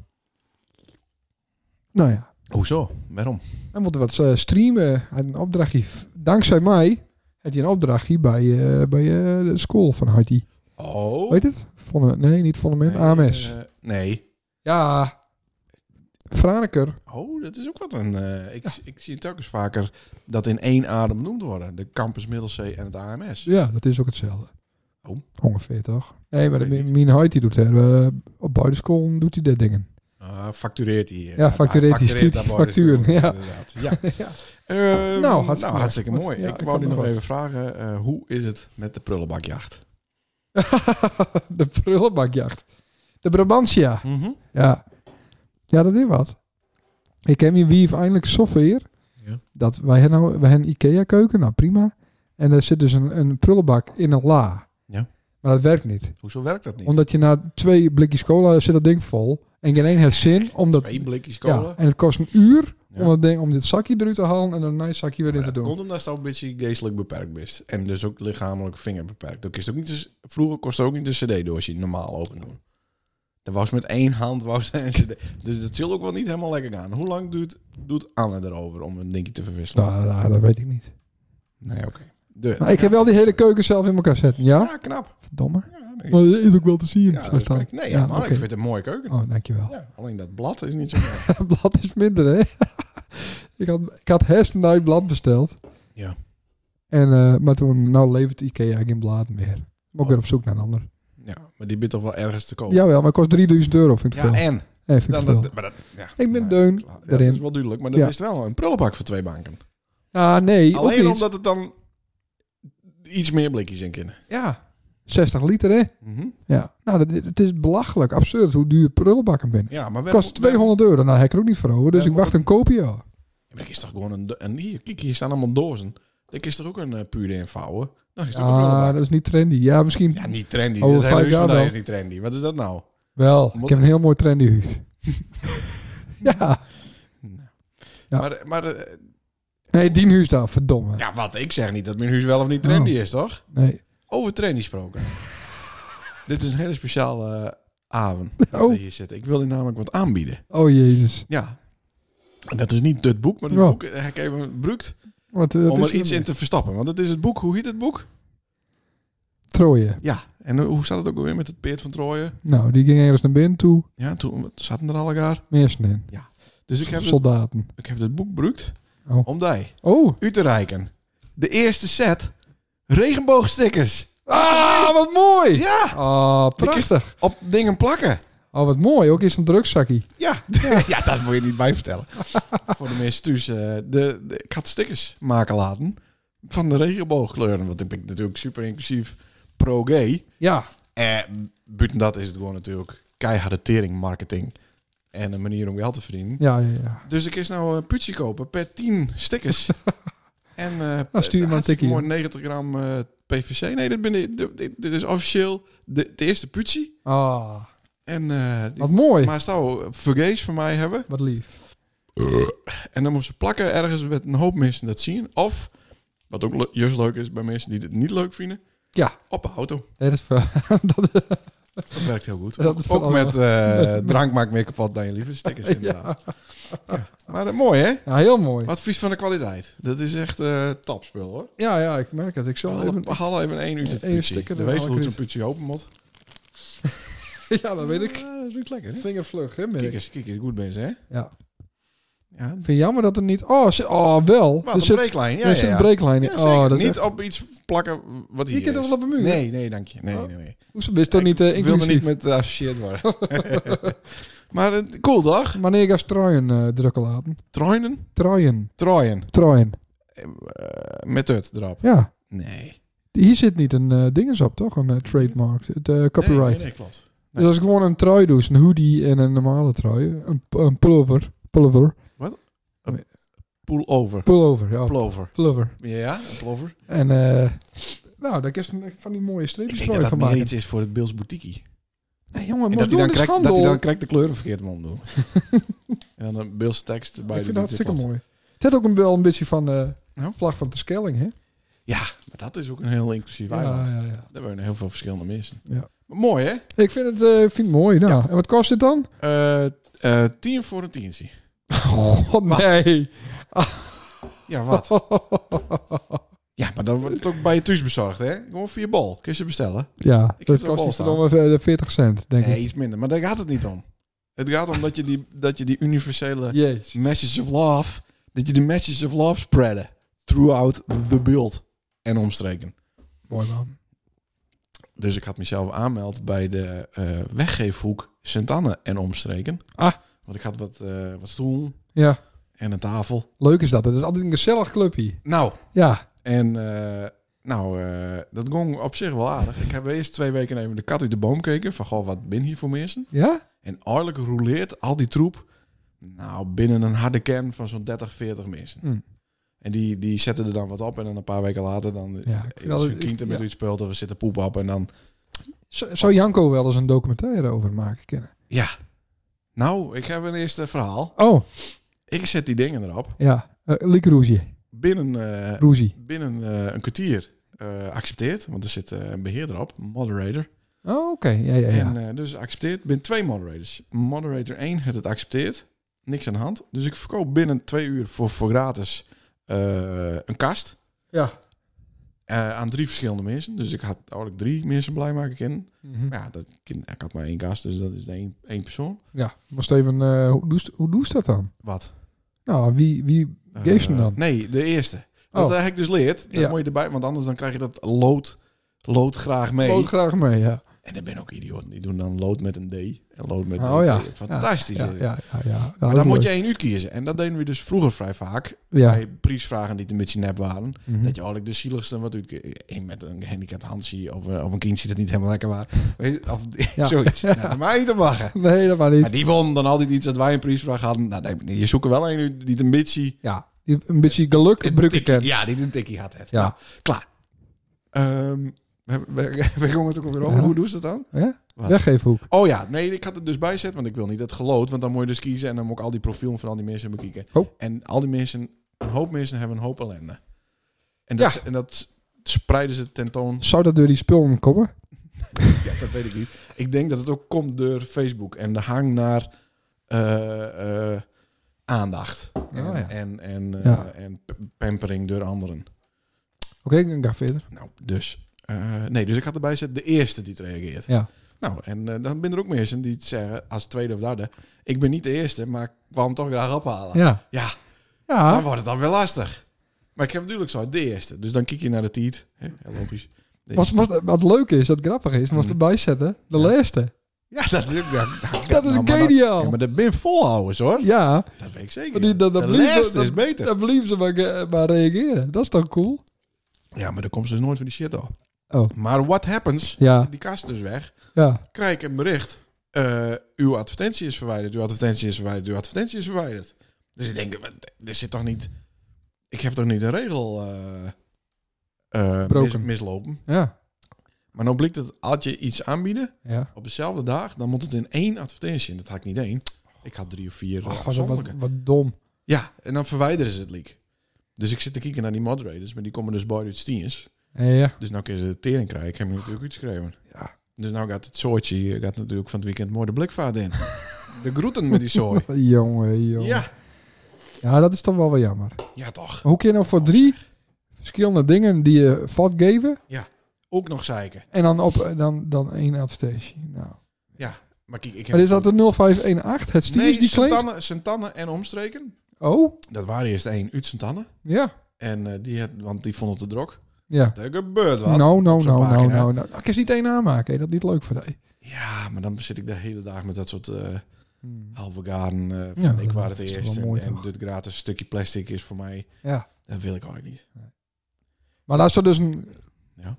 [SPEAKER 2] Nou ja.
[SPEAKER 5] Hoezo? Waarom?
[SPEAKER 2] Hij moet wat eh, streamen. Hij had een opdrachtje. Dankzij mij had hij een opdrachtje bij, eh, bij eh, de school van Harty.
[SPEAKER 5] Oh.
[SPEAKER 2] Weet het? Vonne, nee, niet Vonnement.
[SPEAKER 5] Nee,
[SPEAKER 2] AMS.
[SPEAKER 5] eh, nee.
[SPEAKER 2] ja. Franeker.
[SPEAKER 5] Oh, dat is ook wat een... eh, ik, ik zie telkens vaker dat in één adem genoemd worden. De Campus Middelzee en het AMS.
[SPEAKER 2] Ja, dat is ook hetzelfde.
[SPEAKER 5] Oh.
[SPEAKER 2] Ongeveer toch? Nee, maar
[SPEAKER 5] Weet
[SPEAKER 2] de-
[SPEAKER 5] niet.
[SPEAKER 2] mijn Harty doet er. eh, op buitenschool doet hij dat dingen.
[SPEAKER 5] Ah, factureert hij. eh,
[SPEAKER 2] Ja, factureert hij, stuurt
[SPEAKER 5] dat
[SPEAKER 2] hij
[SPEAKER 5] woord,
[SPEAKER 2] facturen,
[SPEAKER 5] dus,
[SPEAKER 2] ja.
[SPEAKER 5] inderdaad. Ja.
[SPEAKER 2] [LAUGHS] Ja.
[SPEAKER 5] Ehm,
[SPEAKER 2] Nou,
[SPEAKER 5] nou,
[SPEAKER 2] hartstikke
[SPEAKER 5] hartstikke,
[SPEAKER 2] mooi.
[SPEAKER 5] mooi.
[SPEAKER 2] Ja, ik
[SPEAKER 5] ik
[SPEAKER 2] had
[SPEAKER 5] wou nu
[SPEAKER 2] nog
[SPEAKER 5] nog
[SPEAKER 2] wat.
[SPEAKER 5] even vragen, eh, hoe is het met de prullenbakjacht?
[SPEAKER 2] [LAUGHS] de prullenbakjacht. De Brabantia.
[SPEAKER 5] Mhm.
[SPEAKER 2] Ja. Ja, dat is wat. Ik heb hier wie eindelijk software.
[SPEAKER 5] Ja.
[SPEAKER 2] Dat wij hebben nou, wij hebben een IKEA keuken, nou prima. En er zit dus een, een prullenbak in een la.
[SPEAKER 5] Ja.
[SPEAKER 2] Maar dat werkt niet.
[SPEAKER 5] Hoezo werkt dat niet?
[SPEAKER 2] Omdat je na twee blikjes cola zit dat ding vol. En geen één heeft zin. Omdat,
[SPEAKER 5] Twee blikjes
[SPEAKER 2] ja,
[SPEAKER 5] kolen.
[SPEAKER 2] en het kost een uur
[SPEAKER 5] Ja.
[SPEAKER 2] om, dat ding, om dit zakje eruit te halen en een nice zakje weer in te
[SPEAKER 5] dat
[SPEAKER 2] doen.
[SPEAKER 5] komt omdat je een beetje geestelijk beperkt bent. En dus ook lichamelijk vingerbeperkt. Ook is het ook niet eens- vroeger kostte ook niet een cd-doosje normaal open doen. Er was met één hand was een cd. Dus dat zult ook wel niet helemaal lekker gaan. Hoe lang duurt, doet Anne erover om een dingetje te verwisselen?
[SPEAKER 2] Nou, nou, dat weet ik niet.
[SPEAKER 5] Nee, oké. De-
[SPEAKER 2] Maar ik heb wel die hele keuken zelf in elkaar zetten, ja?
[SPEAKER 5] Ja, knap.
[SPEAKER 2] Verdomme.
[SPEAKER 5] Ja, nee.
[SPEAKER 2] Maar dat is ook wel te zien.
[SPEAKER 5] Ja,
[SPEAKER 2] zo
[SPEAKER 5] dat is
[SPEAKER 2] staan.
[SPEAKER 5] correct. Nee,
[SPEAKER 2] dus Ja,
[SPEAKER 5] ja, maar
[SPEAKER 2] oké.
[SPEAKER 5] ik vind het een mooie keuken.
[SPEAKER 2] Oh, dankjewel.
[SPEAKER 5] Ja, alleen dat blad is niet zo mooi.
[SPEAKER 2] Het [LAUGHS] blad is minder, hè? ik had, ik had hersenduit blad besteld.
[SPEAKER 5] Ja.
[SPEAKER 2] En, eh, maar toen, nou levert IKEA geen blad meer. Moet ik
[SPEAKER 5] Oh.
[SPEAKER 2] weer op zoek naar een ander.
[SPEAKER 5] ja, maar die bent toch wel ergens te koop.
[SPEAKER 2] Jawel, maar het kost 3000 euro, vind ik
[SPEAKER 5] Oh. Ja,
[SPEAKER 2] veel.
[SPEAKER 5] en?
[SPEAKER 2] Ja, vind ik
[SPEAKER 5] Dan,
[SPEAKER 2] veel.
[SPEAKER 5] dat, maar dat, ja,
[SPEAKER 2] ik ben
[SPEAKER 5] nou,
[SPEAKER 2] deun
[SPEAKER 5] klaar. Ja, dat
[SPEAKER 2] daarin.
[SPEAKER 5] is wel duidelijk, maar dat
[SPEAKER 2] Ja.
[SPEAKER 5] is wel een prullenbak voor twee banken.
[SPEAKER 2] Ah, nee, ook
[SPEAKER 5] alleen
[SPEAKER 2] niet.
[SPEAKER 5] omdat het dan iets meer blikjes in kunnen.
[SPEAKER 2] Ja, 60 liter, hè? Ja. Nou, dat, het is belachelijk, absurd hoe duur prullenbakken binnen.
[SPEAKER 5] Ja, maar wel,
[SPEAKER 2] Het kost 200 euro, nou, heb ik er ook niet voor over. Dus
[SPEAKER 5] Ja,
[SPEAKER 2] ik wacht een koopje al.
[SPEAKER 5] Ja, maar dat is toch gewoon een, do- een... Hier, kijk, hier staan allemaal dozen. Dat is toch ook een eh, pure eenvouwen? Dan is het ook een
[SPEAKER 2] Ah,
[SPEAKER 5] prullenbak.
[SPEAKER 2] dat is niet trendy. Ja, misschien
[SPEAKER 5] Ja, niet trendy.
[SPEAKER 2] Over
[SPEAKER 5] dat hele
[SPEAKER 2] vijf
[SPEAKER 5] huis
[SPEAKER 2] jaar
[SPEAKER 5] vandaag
[SPEAKER 2] wel.
[SPEAKER 5] is niet trendy. Wat is dat nou?
[SPEAKER 2] wel. Ik
[SPEAKER 5] Omdat-
[SPEAKER 2] heb een heel mooi trendy
[SPEAKER 5] [LAUGHS]
[SPEAKER 2] huis. [LAUGHS] ja. Ja.
[SPEAKER 5] Maar, maar eh,
[SPEAKER 2] Nee, die huis daar, verdomme.
[SPEAKER 5] ja, wat? Ik zeg niet dat mijn huis wel of niet trendy
[SPEAKER 2] Oh.
[SPEAKER 5] is, toch?
[SPEAKER 2] Nee.
[SPEAKER 5] Over training
[SPEAKER 2] [LAUGHS]
[SPEAKER 5] gesproken. Dit is een hele speciale eh, avond dat
[SPEAKER 2] Oh.
[SPEAKER 5] we hier zitten. Ik wil u namelijk wat aanbieden.
[SPEAKER 2] Oh jezus.
[SPEAKER 5] Ja. En dat is niet het boek, maar het
[SPEAKER 2] Ja.
[SPEAKER 5] boek eh, heb ik even gebruikt
[SPEAKER 2] Wat, eh, wat
[SPEAKER 5] om
[SPEAKER 2] is
[SPEAKER 5] er
[SPEAKER 2] dat?
[SPEAKER 5] iets in te verstappen. Want het is het boek, hoe heet het boek?
[SPEAKER 2] Trooien.
[SPEAKER 5] Ja. En eh, hoe zat het ook alweer met het Peert van Trooien?
[SPEAKER 2] Nou, die ging ergens naar binnen toe.
[SPEAKER 5] Ja, toen wat zaten er al elkaar.
[SPEAKER 2] Mensen in.
[SPEAKER 5] Dus ik heb, het,
[SPEAKER 2] Soldaten.
[SPEAKER 5] ik heb het boek gebruikt
[SPEAKER 2] Oh.
[SPEAKER 5] om die
[SPEAKER 2] Oh.
[SPEAKER 5] u te reiken. De eerste set regenboogstickers.
[SPEAKER 2] Ah, wat mooi.
[SPEAKER 5] Ja,
[SPEAKER 2] Ah, prachtig.
[SPEAKER 5] op dingen plakken.
[SPEAKER 2] Oh, wat mooi. Ook eens een drugzakkie.
[SPEAKER 5] Ja, [LAUGHS] ja. dat moet je niet bij vertellen. [LAUGHS] Voor de mensen thuis. eh, de, de, ik had stickers maken laten van de regenboogkleuren. Want ik ben natuurlijk super inclusief pro-gay.
[SPEAKER 2] Ja.
[SPEAKER 5] Eh, buiten dat is het gewoon natuurlijk keiharde tering marketing. En een manier om geld te verdienen.
[SPEAKER 2] Ja, ja, ja.
[SPEAKER 5] Dus ik is nou een putje
[SPEAKER 2] [LAUGHS]
[SPEAKER 5] kopen per 10 stickers. en eh
[SPEAKER 2] Nou, stuur maar een
[SPEAKER 5] hartstikke
[SPEAKER 2] tikkie,
[SPEAKER 5] mooi 90 gram eh, PVC. Nee, dit, ben ik, dit, dit- dit is officieel de, de eerste putsie.
[SPEAKER 2] Ah,
[SPEAKER 5] En eh die-
[SPEAKER 2] wat mooi.
[SPEAKER 5] maar zou vergees van mij hebben.
[SPEAKER 2] Wat lief.
[SPEAKER 5] En dan moest ze plakken ergens met een hoop mensen dat zien. Of, wat ook le- juist leuk is bij mensen die het niet leuk vinden.
[SPEAKER 2] Ja.
[SPEAKER 5] Op een auto.
[SPEAKER 2] Nee, dat is ver- dat,
[SPEAKER 5] Dat werkt heel goed.
[SPEAKER 2] Dat is
[SPEAKER 5] ook
[SPEAKER 2] wel-
[SPEAKER 5] met
[SPEAKER 2] [LAUGHS]
[SPEAKER 5] eh, drank maakt meer kapot dan je lieve stickers inderdaad. Ja. Maar eh, mooi hè?
[SPEAKER 2] [LAUGHS] ja, heel mooi.
[SPEAKER 5] Advies van de kwaliteit. Dat is echt eh topspul hoor.
[SPEAKER 2] Ja, ja, ik merk het. Ik zal
[SPEAKER 5] Haal
[SPEAKER 2] even...
[SPEAKER 5] even, haal even één uurtje
[SPEAKER 2] Even
[SPEAKER 5] putje.
[SPEAKER 2] sticker
[SPEAKER 5] De
[SPEAKER 2] erin,
[SPEAKER 5] wees hoe
[SPEAKER 2] haal ik
[SPEAKER 5] het een putje open moet.
[SPEAKER 2] [LAUGHS] Ja, dat weet ik.
[SPEAKER 5] Ja, dat doet lekker hè?
[SPEAKER 2] Vingervlug, hè, merk
[SPEAKER 5] Kijk
[SPEAKER 2] ik.
[SPEAKER 5] eens, kijk eens, goed ben je hè?
[SPEAKER 2] Ja.
[SPEAKER 5] Ja,
[SPEAKER 2] Vind je jammer dat er niet... Oh, zit- oh wel.
[SPEAKER 5] wat
[SPEAKER 2] er
[SPEAKER 5] een
[SPEAKER 2] zit,
[SPEAKER 5] breeklijn. Ja,
[SPEAKER 2] er
[SPEAKER 5] ja,
[SPEAKER 2] zit een
[SPEAKER 5] ja.
[SPEAKER 2] breeklijn in.
[SPEAKER 5] Ja, zeker.
[SPEAKER 2] oh, dat is
[SPEAKER 5] niet
[SPEAKER 2] echt-
[SPEAKER 5] op iets plakken wat hier
[SPEAKER 2] Je kunt het
[SPEAKER 5] is.
[SPEAKER 2] wel op een muur.
[SPEAKER 5] Nee, nee, dank je. Nee,
[SPEAKER 2] Oh.
[SPEAKER 5] nee, nee.
[SPEAKER 2] Hoezo is toch niet eh,
[SPEAKER 5] Ik wilde
[SPEAKER 2] inclusief?
[SPEAKER 5] niet met geassocieerd worden.
[SPEAKER 2] [LAUGHS]
[SPEAKER 5] [LAUGHS] maar eh, cool dag.
[SPEAKER 2] Wanneer ga je truien eh, drukken laten?
[SPEAKER 5] Troinen?
[SPEAKER 2] Truien.
[SPEAKER 5] Troien.
[SPEAKER 2] Truien.
[SPEAKER 5] Eh, met het erop.
[SPEAKER 2] Ja.
[SPEAKER 5] Nee.
[SPEAKER 2] Hier zit niet een eh dinges op, toch? Een eh, trademark. Het eh, copyright.
[SPEAKER 5] Nee, nee, nee, klopt. nee.
[SPEAKER 2] Dus als ik gewoon een trui doe, dus een hoodie en een normale trui, een, een pullover, pullover,
[SPEAKER 5] Pullover.
[SPEAKER 2] pullover, ja,
[SPEAKER 5] Pullover.
[SPEAKER 2] pullover.
[SPEAKER 5] Ja, een pullover.
[SPEAKER 2] En eh nou, daar kun je een- van die mooie
[SPEAKER 5] Ik
[SPEAKER 2] streepjes
[SPEAKER 5] denk dat
[SPEAKER 2] trui
[SPEAKER 5] dat
[SPEAKER 2] van
[SPEAKER 5] meer
[SPEAKER 2] maken.
[SPEAKER 5] iets is voor het Bills Boutique.
[SPEAKER 2] Nee, jongen,
[SPEAKER 5] En
[SPEAKER 2] maar
[SPEAKER 5] dat
[SPEAKER 2] doen
[SPEAKER 5] hij, dan
[SPEAKER 2] is
[SPEAKER 5] krijgt, dat
[SPEAKER 2] handel.
[SPEAKER 5] hij dan
[SPEAKER 2] ik
[SPEAKER 5] krijgt de kleuren verkeerd om
[SPEAKER 2] [LAUGHS]
[SPEAKER 5] doen. en dan een Bills tekst bij
[SPEAKER 2] vind
[SPEAKER 5] de
[SPEAKER 2] dat hartstikke
[SPEAKER 5] klopt.
[SPEAKER 2] mooi. Het had ook een, wel een beetje van eh
[SPEAKER 5] Nou?
[SPEAKER 2] vlag van de Skelling, hè?
[SPEAKER 5] Maar dat is ook een heel inclusief
[SPEAKER 2] Ja,
[SPEAKER 5] eiland.
[SPEAKER 2] ja, ja.
[SPEAKER 5] Daar wonen heel veel verschillende mensen.
[SPEAKER 2] Ja.
[SPEAKER 5] Maar mooi hè?
[SPEAKER 2] Ik vind het, eh, vind het mooi. Nou, en wat kost dit
[SPEAKER 5] [LAUGHS]
[SPEAKER 2] dan?
[SPEAKER 5] Eh, eh, tien voor een tientje.
[SPEAKER 2] God, nee.
[SPEAKER 5] Ja, wat? Ja, maar dan wordt het ook bij je thuis bezorgd, hè? Gewoon via bol. Kun je ze bestellen?
[SPEAKER 2] [LAUGHS] ja,
[SPEAKER 5] Ik heb
[SPEAKER 2] dat
[SPEAKER 5] het
[SPEAKER 2] kost
[SPEAKER 5] wel
[SPEAKER 2] iets
[SPEAKER 5] staan.
[SPEAKER 2] van ongeveer 40 cent, denk
[SPEAKER 5] Nee,
[SPEAKER 2] ik.
[SPEAKER 5] iets minder. Maar daar gaat het niet om. Het gaat om dat je die, dat je die universele
[SPEAKER 2] Jeez.
[SPEAKER 5] messages of love... Dat je de messages of love spreaden. Throughout the build. En omstreken.
[SPEAKER 2] Mooi, man.
[SPEAKER 5] Dus ik had mezelf aanmeld bij de eh, weggeefhoek Sint-Anne en omstreken.
[SPEAKER 2] Ah.
[SPEAKER 5] Want ik had wat, eh, wat stoel
[SPEAKER 2] Ja,
[SPEAKER 5] en een tafel.
[SPEAKER 2] leuk is dat. Het is altijd een gezellig clubje.
[SPEAKER 5] Nou,
[SPEAKER 2] Ja,
[SPEAKER 5] En eh, nou, eh, dat ging op zich wel aardig. Ik heb eerst twee weken even de kat uit de boom gekeken. Van, goh, wat ben hier voor mensen?
[SPEAKER 2] ja?
[SPEAKER 5] En eigenlijk rouleert al die troep nou, binnen een harde kern van zo'n 30, 40 mensen.
[SPEAKER 2] Hm.
[SPEAKER 5] En die, die zetten er dan wat op. En dan een paar weken later dan
[SPEAKER 2] Ja,
[SPEAKER 5] ja,
[SPEAKER 2] ik vind
[SPEAKER 5] is
[SPEAKER 2] altijd-
[SPEAKER 5] een kind er met
[SPEAKER 2] ja.
[SPEAKER 5] iets speelt of er zit een poep op. En dan,
[SPEAKER 2] Z- Zou Janko wel eens een documentaire over maken kunnen?
[SPEAKER 5] ja. Nou, ik heb een eerste verhaal.
[SPEAKER 2] Oh,
[SPEAKER 5] Ik zet die dingen erop.
[SPEAKER 2] ja. Uh, Liek Roezie.
[SPEAKER 5] Binnen, eh,
[SPEAKER 2] Roezie.
[SPEAKER 5] binnen eh, een kwartier eh, accepteerd. Want er zit eh, een beheerder op, een moderator.
[SPEAKER 2] Oh, oké. Ja, ja, ja.
[SPEAKER 5] En eh, dus accepteert. Binnen twee moderators. Moderator 1 het het accepteert. Niks aan de hand. Dus ik verkoop binnen twee uur voor, voor gratis eh, een kast.
[SPEAKER 2] Ja.
[SPEAKER 5] Eh, aan drie verschillende mensen. Dus ik had eigenlijk drie mensen blij maken kennen.
[SPEAKER 2] Mhm.
[SPEAKER 5] Maar eh, ja, dat, kind- ik had maar één kast, dus dat is één, één persoon.
[SPEAKER 2] Ja, moest even... eh, hoe, doest, hoe doest dat dan?
[SPEAKER 5] Wat?
[SPEAKER 2] Nou, wie... wie Geef ze hem dan.
[SPEAKER 5] Eh, Nee, de eerste.
[SPEAKER 2] Oh.
[SPEAKER 5] Dat heb ik dus leerd. Dat
[SPEAKER 2] Ja.
[SPEAKER 5] moet je erbij, want anders dan krijg je dat lood, lood graag mee.
[SPEAKER 2] Lood graag mee, ja.
[SPEAKER 5] En er ben ook idioten. Die doen dan lood met een D en lood met
[SPEAKER 2] Oh
[SPEAKER 5] een
[SPEAKER 2] ja.
[SPEAKER 5] T. Fantastisch.
[SPEAKER 2] Ja,
[SPEAKER 5] is
[SPEAKER 2] ja,
[SPEAKER 5] het.
[SPEAKER 2] ja. ja, ja. Nou,
[SPEAKER 5] Maar
[SPEAKER 2] dat
[SPEAKER 5] dan
[SPEAKER 2] is
[SPEAKER 5] moet je
[SPEAKER 2] leuk.
[SPEAKER 5] één uur kiezen. En dat deden we dus vroeger vrij vaak.
[SPEAKER 2] Ja.
[SPEAKER 5] Bij prijsvragen die een beetje nep waren.
[SPEAKER 2] Mhm.
[SPEAKER 5] Dat je eigenlijk de zieligste wat uit... Eén met een gehandicapt handje of, een- of een kindje dat niet helemaal lekker
[SPEAKER 2] [LAUGHS]
[SPEAKER 5] was. Weet je, Of
[SPEAKER 2] Ja.
[SPEAKER 5] [LAUGHS] zoiets. Nou, maar niet te lachen.
[SPEAKER 2] Mhm. Nee, dat maar
[SPEAKER 5] Maar
[SPEAKER 2] niet.
[SPEAKER 5] die won dan altijd iets dat wij een prijsvraag hadden. Nou, nee, je zoekt er wel een uit die het een beetje...
[SPEAKER 2] Ja, die- een beetje geluk gebruiken
[SPEAKER 5] tikkie-
[SPEAKER 2] kan.
[SPEAKER 5] Ja, [LAUGHS] die het een tikkie had. Het.
[SPEAKER 2] Ja.
[SPEAKER 5] Nou, klaar. Ehm, we, [LAUGHS] we, we gingen het ook weer over.
[SPEAKER 2] Ja.
[SPEAKER 5] Hoe doen ze dat dan?
[SPEAKER 2] Ja?
[SPEAKER 5] Wat?
[SPEAKER 2] Weggeefhoek.
[SPEAKER 5] Oh ja, nee, ik had het dus bijzet, want ik wil niet dat gelood. Want dan moet je dus kiezen en dan moet ik al die profielen van al die mensen bekijken.
[SPEAKER 2] Oh.
[SPEAKER 5] En al die mensen, een hoop mensen hebben een hoop ellende. En dat, en dat spreiden ze tentoon. [LAUGHS]
[SPEAKER 2] Zou dat door die spullen komen?
[SPEAKER 5] Ja, dat weet ik niet. Ik denk dat het ook komt door Facebook en de hang naar eh, eh, aandacht. en,
[SPEAKER 2] Oh, ja.
[SPEAKER 5] en, en, eh,
[SPEAKER 2] Ja.
[SPEAKER 5] en p- pampering door anderen.
[SPEAKER 2] Oké, ik ga verder.
[SPEAKER 5] Nou, dus. eh, nee, dus ik had erbij zet de eerste die het reageert.
[SPEAKER 2] Ja.
[SPEAKER 5] Nou, en eh, dan ben er ook mensen die het zeggen als tweede of derde. Ik ben niet de eerste, maar ik kwam hem toch graag ophalen.
[SPEAKER 2] Ja. Ah.
[SPEAKER 5] Ja. Dan
[SPEAKER 2] Ja.
[SPEAKER 5] wordt het dan weer lastig. Maar ik heb natuurlijk zo de eerste. Dus dan kijk je naar de tiet. Hè, Heel logisch. Dus- De
[SPEAKER 2] Wat,
[SPEAKER 5] eerste.
[SPEAKER 2] wat, wat leuk is, wat grappig is, moest
[SPEAKER 5] Mhm.
[SPEAKER 2] erbij zetten. De
[SPEAKER 5] Ja.
[SPEAKER 2] laatste.
[SPEAKER 5] Ja, dat is ook...
[SPEAKER 2] [LAUGHS]
[SPEAKER 5] Ja,
[SPEAKER 2] Dat is
[SPEAKER 5] nou, maar
[SPEAKER 2] geniaal.
[SPEAKER 5] dat- Ja, maar dat ben volhouders hoor.
[SPEAKER 2] Ja,
[SPEAKER 5] Dat weet ik
[SPEAKER 2] maar
[SPEAKER 5] zeker.
[SPEAKER 2] die, dat, dat
[SPEAKER 5] de
[SPEAKER 2] blijven
[SPEAKER 5] laatste
[SPEAKER 2] ze,
[SPEAKER 5] is beter.
[SPEAKER 2] Dat blijven ze maar, ge- maar reageren. Dat is toch cool?
[SPEAKER 5] Ja, maar dan komt ze dus nooit van die shit af.
[SPEAKER 2] Oh. Ah.
[SPEAKER 5] Maar what happens?
[SPEAKER 2] Ja,
[SPEAKER 5] Die kast dus weg.
[SPEAKER 2] ja.
[SPEAKER 5] krijg ik een bericht. eh, uw advertentie is verwijderd, uw advertentie is verwijderd, uw advertentie is verwijderd. Dus ik denk, maar er zit toch niet... Ik heb toch niet een regel... eh, eh, mis-
[SPEAKER 2] Broken.
[SPEAKER 5] mislopen.
[SPEAKER 2] Ja.
[SPEAKER 5] Maar nou blijkt het, als je iets aanbieden
[SPEAKER 2] ja.
[SPEAKER 5] op dezelfde dag, dan moet het in één advertentie. En dat had ik niet één. Ik had drie of vier
[SPEAKER 2] Ach,
[SPEAKER 5] Ach,
[SPEAKER 2] wat, wat, wat dom.
[SPEAKER 5] Ja, en dan verwijderen ze het leak. Dus ik zit te kijken naar die moderators, maar die komen dus bij de tieners.
[SPEAKER 2] Ja.
[SPEAKER 5] Dus nou kunnen ze de tering krijgen. Ik heb hem natuurlijk uitgeschreven.
[SPEAKER 2] Ja.
[SPEAKER 5] Dus nou gaat het soortje eh, gaat natuurlijk van het weekend mooi de blikvaart
[SPEAKER 2] [LAUGHS]
[SPEAKER 5] in. de groeten met die zooi.
[SPEAKER 2] Jongen, jongen. Ja.
[SPEAKER 5] Ja.
[SPEAKER 2] dat is toch wel wel jammer.
[SPEAKER 5] ja, toch.
[SPEAKER 2] Maar hoe kun je nou voor drie verschillende dingen die je fout geven
[SPEAKER 5] Ook nog zeiken.
[SPEAKER 2] en dan op dan, dan één advertentie? Nou.
[SPEAKER 5] Maar kijk, ik heb
[SPEAKER 2] Maar is dat de 0518? Het stiers
[SPEAKER 5] Nee,
[SPEAKER 2] die claimt?
[SPEAKER 5] Santanne, Santanne en omstreken.
[SPEAKER 2] Oh,
[SPEAKER 5] Dat waren eerst één uit Santanne.
[SPEAKER 2] ja.
[SPEAKER 5] En eh, die had, want die vond het te drok.
[SPEAKER 2] Ja.
[SPEAKER 5] Er gebeurt wat.
[SPEAKER 2] Nou, nou, nou,
[SPEAKER 5] Zo'n
[SPEAKER 2] nou,
[SPEAKER 5] pagina.
[SPEAKER 2] nou. nou. Ik is niet één aanmaken. hè. Dat niet leuk voor die.
[SPEAKER 5] Ja, maar dan zit ik de hele dag met dat soort eh,
[SPEAKER 2] Hmm.
[SPEAKER 5] halve garen. eh, van
[SPEAKER 2] Ja,
[SPEAKER 5] ik
[SPEAKER 2] dat
[SPEAKER 5] waar het
[SPEAKER 2] is toch
[SPEAKER 5] eerst.
[SPEAKER 2] wel
[SPEAKER 5] En,
[SPEAKER 2] mooi,
[SPEAKER 5] en
[SPEAKER 2] toch?
[SPEAKER 5] dit gratis stukje plastic is voor mij.
[SPEAKER 2] Ja.
[SPEAKER 5] Dat wil ik ook niet.
[SPEAKER 2] Maar als er dus een...
[SPEAKER 5] Ja.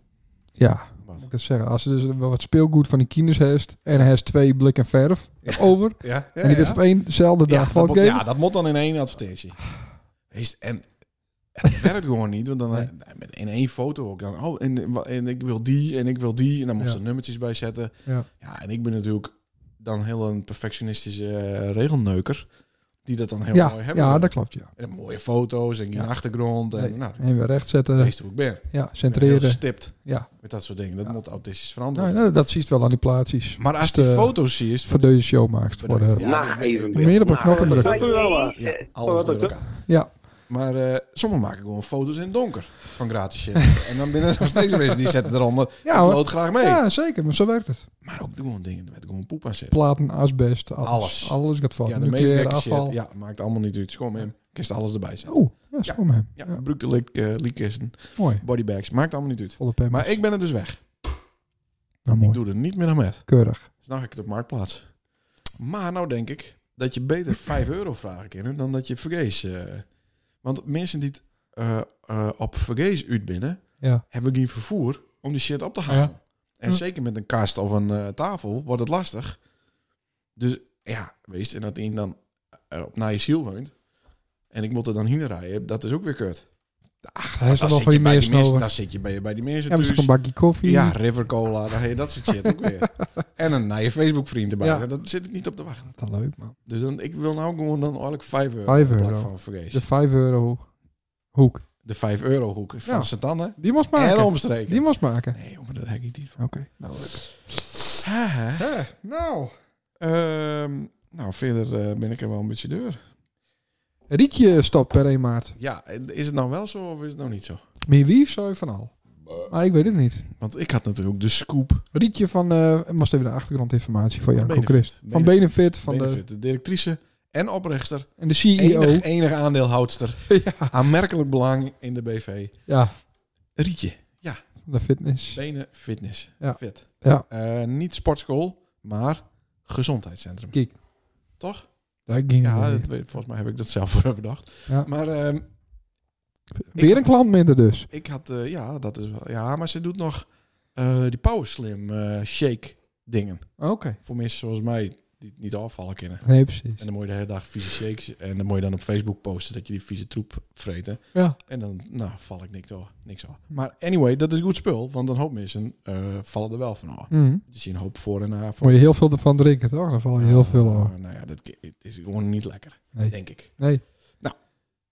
[SPEAKER 2] Ja, moet
[SPEAKER 5] Wat?
[SPEAKER 2] ik het zeggen. Als er dus wel wat speelgoed van die kinders heeft en hij heeft twee blikken verf over
[SPEAKER 5] Ja, ja,
[SPEAKER 2] en die is op éénzelfde dag
[SPEAKER 5] ja, dat
[SPEAKER 2] fout
[SPEAKER 5] moet,
[SPEAKER 2] geven.
[SPEAKER 5] ja, dat moet dan in één advertentie. Wees- En het [LAUGHS] werkt gewoon niet, want dan
[SPEAKER 2] Nee.
[SPEAKER 5] eh, met in één foto ook dan. Oh, en, wa- en ik wil die en ik wil die. En dan moest
[SPEAKER 2] Ja.
[SPEAKER 5] er nummertjes bij zetten.
[SPEAKER 2] Ja.
[SPEAKER 5] ja, en ik ben natuurlijk dan heel een perfectionistische eh, regelneuker. Die dat dan heel
[SPEAKER 2] Ja,
[SPEAKER 5] mooi hebben.
[SPEAKER 2] ja,
[SPEAKER 5] wil.
[SPEAKER 2] dat klopt, ja.
[SPEAKER 5] En mooie foto's en je
[SPEAKER 2] Ja.
[SPEAKER 5] achtergrond. En
[SPEAKER 2] Nee.
[SPEAKER 5] nou,
[SPEAKER 2] En weer recht zetten,
[SPEAKER 5] dat is hoe ik ben. Ik
[SPEAKER 2] ja,
[SPEAKER 5] ben heel
[SPEAKER 2] centreren.
[SPEAKER 5] gestipt
[SPEAKER 2] Ja.
[SPEAKER 5] met dat soort dingen. Dat
[SPEAKER 2] Ja.
[SPEAKER 5] moet autistisch
[SPEAKER 2] Nou,
[SPEAKER 5] veranderen.
[SPEAKER 2] nou, dat ziet wel aan die plaatjes.
[SPEAKER 5] Maar als
[SPEAKER 2] Als
[SPEAKER 5] je
[SPEAKER 2] de-
[SPEAKER 5] foto's zie is
[SPEAKER 2] Voor deze show maakt. Voor de,
[SPEAKER 5] Ja,
[SPEAKER 4] Nacht evenbeeld.
[SPEAKER 2] meer op een knop
[SPEAKER 4] Nacht-
[SPEAKER 2] drukken.
[SPEAKER 4] Dat is wel waar.
[SPEAKER 5] Ja, alles door elkaar.
[SPEAKER 2] Ja.
[SPEAKER 5] Maar eh, sommigen maken gewoon foto's in het donker van gratis shit. [LAUGHS] en dan binnen nog steeds mensen die zetten eronder.
[SPEAKER 2] [LAUGHS] Ja,
[SPEAKER 5] ik
[SPEAKER 2] hoor.
[SPEAKER 5] lood graag mee.
[SPEAKER 2] ja, zeker. Maar zo werkt het.
[SPEAKER 5] Maar ook gewoon dingen, er werd gewoon poep aan zitten.
[SPEAKER 2] Platen, asbest, alles.
[SPEAKER 5] Alles.
[SPEAKER 2] Alles, gaat fout.
[SPEAKER 5] Ja, de meest
[SPEAKER 2] Nucleaire
[SPEAKER 5] gekke
[SPEAKER 2] afval.
[SPEAKER 5] shit. Ja, maakt allemaal niet uit. Schoon hem. Kist alles erbij zetten.
[SPEAKER 2] Oh, ja, schoon hem.
[SPEAKER 5] Ja,
[SPEAKER 2] Ja.
[SPEAKER 5] gebruikte leak, eh, leakkisten,
[SPEAKER 2] Mooi.
[SPEAKER 5] bodybags. Maakt allemaal niet uit.
[SPEAKER 2] Volle pampers.
[SPEAKER 5] Maar ik ben er dus weg.
[SPEAKER 2] nou,
[SPEAKER 5] Ik
[SPEAKER 2] mooi.
[SPEAKER 5] doe er niet meer aan met.
[SPEAKER 2] Keurig.
[SPEAKER 5] Dus dan ga ik het op Marktplaats. Maar nou denk ik dat je
[SPEAKER 2] [LAUGHS]
[SPEAKER 5] beter 5 euro vragen kan dan dat je vergees. eh, want mensen die het eh, eh, op vergees uitbinden,
[SPEAKER 2] Ja.
[SPEAKER 5] hebben geen vervoer om die shit op te halen. En
[SPEAKER 2] Ja.
[SPEAKER 5] zeker met een kast of een eh, tafel wordt het lastig. Dus ja, wees en dat iemand dan eh, op naar je ziel woont. En ik moet er dan heen rijden, dat is ook weer kut.
[SPEAKER 2] Ach, hij is
[SPEAKER 5] Dan
[SPEAKER 2] er wel
[SPEAKER 5] Ah, zit
[SPEAKER 2] van
[SPEAKER 5] je
[SPEAKER 2] je
[SPEAKER 5] bij
[SPEAKER 2] meer
[SPEAKER 5] die mensen-
[SPEAKER 2] snoren.
[SPEAKER 5] Dan zit je bij, bij die mensen
[SPEAKER 2] Ja, misschien een
[SPEAKER 5] thuis.
[SPEAKER 2] bakje koffie.
[SPEAKER 5] Ja, River Cola, dan heb je dat soort shit ook
[SPEAKER 2] [LAUGHS]
[SPEAKER 5] weer. En een naar je Facebook vriend erbij.
[SPEAKER 2] Ja.
[SPEAKER 5] Dat zit ik niet op te wachten.
[SPEAKER 2] Dat is leuk, man.
[SPEAKER 5] Dus dan, ik wil nou gewoon dan eigenlijk 5 euro.
[SPEAKER 2] Vijf
[SPEAKER 5] in plaats
[SPEAKER 2] euro.
[SPEAKER 5] Van vergees.
[SPEAKER 2] De 5 euro hoek.
[SPEAKER 5] De 5 euro hoek van
[SPEAKER 2] Ja.
[SPEAKER 5] Satanne.
[SPEAKER 2] Die moest
[SPEAKER 5] En
[SPEAKER 2] maken.
[SPEAKER 5] omstreken.
[SPEAKER 2] Die moest maken.
[SPEAKER 5] Nee, eh. joh, maar dat heb ik niet van.
[SPEAKER 2] Oké. Nou, nou.
[SPEAKER 5] Ehm, nou, verder eh, ben ik er wel een beetje deur.
[SPEAKER 2] Rietje stopt per 1 maart.
[SPEAKER 5] Ja, is het nou wel zo of is het nou niet zo?
[SPEAKER 2] Meer lief zou je van al. Maar ik weet het niet.
[SPEAKER 5] Want ik had natuurlijk de scoop.
[SPEAKER 2] Rietje van... eh moest even de achtergrondinformatie van Janko
[SPEAKER 5] Benefit.
[SPEAKER 2] Christ. Van Benefit. Van de,
[SPEAKER 5] Benefit, de... directrice en oprichter.
[SPEAKER 2] en de E CEO.
[SPEAKER 5] Enig, enige aandeelhoudster.
[SPEAKER 2] [LAUGHS] ja.
[SPEAKER 5] Aanmerkelijk belang in de BV.
[SPEAKER 2] ja,
[SPEAKER 5] Rietje.
[SPEAKER 2] van de fitness.
[SPEAKER 5] Benen fitness.
[SPEAKER 2] Ja.
[SPEAKER 5] Fit.
[SPEAKER 2] Ja.
[SPEAKER 5] Eh, niet sportschool, maar gezondheidscentrum.
[SPEAKER 2] Kijk.
[SPEAKER 5] Toch?
[SPEAKER 2] Daar ging
[SPEAKER 5] Ja,
[SPEAKER 2] ja,
[SPEAKER 5] dat weet, volgens mij heb ik dat zelf voor bedacht.
[SPEAKER 2] Ja.
[SPEAKER 5] Maar ehm,
[SPEAKER 2] Weer een klant minder dus.
[SPEAKER 5] Ik had, eh, ja, dat is wel. Ja, maar ze doet nog eh, die Power Slim eh, shake dingen.
[SPEAKER 2] Oké.
[SPEAKER 5] Voor mensen zoals mij die het niet afvallen kennen.
[SPEAKER 2] Nee, precies.
[SPEAKER 5] En dan moet je de hele dag vieze shakes. En dan moet je dan op Facebook posten dat je die vieze troep vreten.
[SPEAKER 2] Ja.
[SPEAKER 5] En dan, nou, val ik niks door. Niks af. Maar anyway, dat is goed spul. Want een hoop mensen eh, vallen er wel van af.
[SPEAKER 2] Mhm.
[SPEAKER 5] Je ziet een hoop voor en na. Voor
[SPEAKER 2] Moet je heel veel ervan drinken, toch? Dan val je Oh, heel veel over.
[SPEAKER 5] Eh, nou ja, dat het is gewoon niet lekker.
[SPEAKER 2] Nee.
[SPEAKER 5] Denk ik.
[SPEAKER 2] Nee.
[SPEAKER 5] Nou,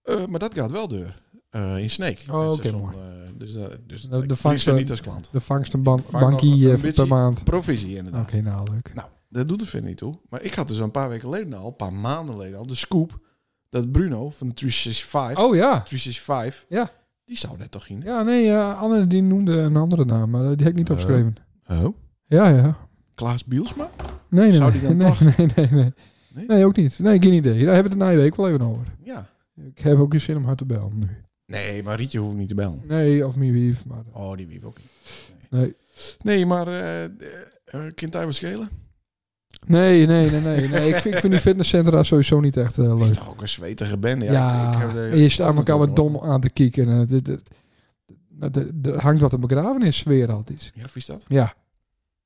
[SPEAKER 5] eh, maar dat gaat wel door. eh, in Snake.
[SPEAKER 2] Oh,
[SPEAKER 5] Het
[SPEAKER 2] oké,
[SPEAKER 5] seizoen,
[SPEAKER 2] mooi.
[SPEAKER 5] eh, dus dat, dus
[SPEAKER 2] De-
[SPEAKER 5] dat-
[SPEAKER 2] de
[SPEAKER 5] ik verlies
[SPEAKER 2] vangst-
[SPEAKER 5] er niet als klant.
[SPEAKER 2] De vangstenbank
[SPEAKER 5] Ik vang nog
[SPEAKER 2] bankie
[SPEAKER 5] een
[SPEAKER 2] eh, voor
[SPEAKER 5] beetje.
[SPEAKER 2] per maand.
[SPEAKER 5] Provisie,
[SPEAKER 2] Oké,
[SPEAKER 5] inderdaad.
[SPEAKER 2] nou leuk.
[SPEAKER 5] Nou, dat doet er verder niet toe. Maar ik had dus een paar weken geleden al, een paar maanden geleden al, de scoop dat Bruno van de 365,
[SPEAKER 2] Oh ja.
[SPEAKER 5] 365
[SPEAKER 2] Ja.
[SPEAKER 5] die zou net toch in.
[SPEAKER 2] Ja, nee, eh Anne die noemde een andere naam, maar eh, die heb ik niet
[SPEAKER 5] Eh.
[SPEAKER 2] opgeschreven.
[SPEAKER 5] Oh.
[SPEAKER 2] Ja, ja.
[SPEAKER 5] Klaas Bielsma?
[SPEAKER 2] Nee, nee,
[SPEAKER 5] Zou
[SPEAKER 2] nee,
[SPEAKER 5] die dan
[SPEAKER 2] nee,
[SPEAKER 5] toch-
[SPEAKER 2] nee, nee, nee.
[SPEAKER 5] Nee?
[SPEAKER 2] Nee, ook niet. Nee, geen idee. Daar hebben we het na je week wel even over.
[SPEAKER 5] Ja.
[SPEAKER 2] Ik heb ook geen zin om haar te bellen nu.
[SPEAKER 5] Nee, maar Rietje hoeft niet te bellen.
[SPEAKER 2] Nee, of meer wief, maar... eh,
[SPEAKER 5] Oh, die wiep ook niet.
[SPEAKER 2] Nee.
[SPEAKER 5] Nee, maar eh eh, eh, kind hij wat schelen?
[SPEAKER 2] Nee, nee, nee, nee. nee. ik, vind, ik vind die fitnesscentra sowieso niet echt eh,
[SPEAKER 5] Het is
[SPEAKER 2] leuk.
[SPEAKER 5] toch ook een zwetige bende.
[SPEAKER 2] Ja,
[SPEAKER 5] Ja, ik, ik heb er-
[SPEAKER 2] je staat elkaar wat
[SPEAKER 5] hoor.
[SPEAKER 2] dom aan te kijken. en eh, het- het- het- het- het- Er hangt wat een begrafenissfeer altijd.
[SPEAKER 5] Ja, vies dat?
[SPEAKER 2] Ja.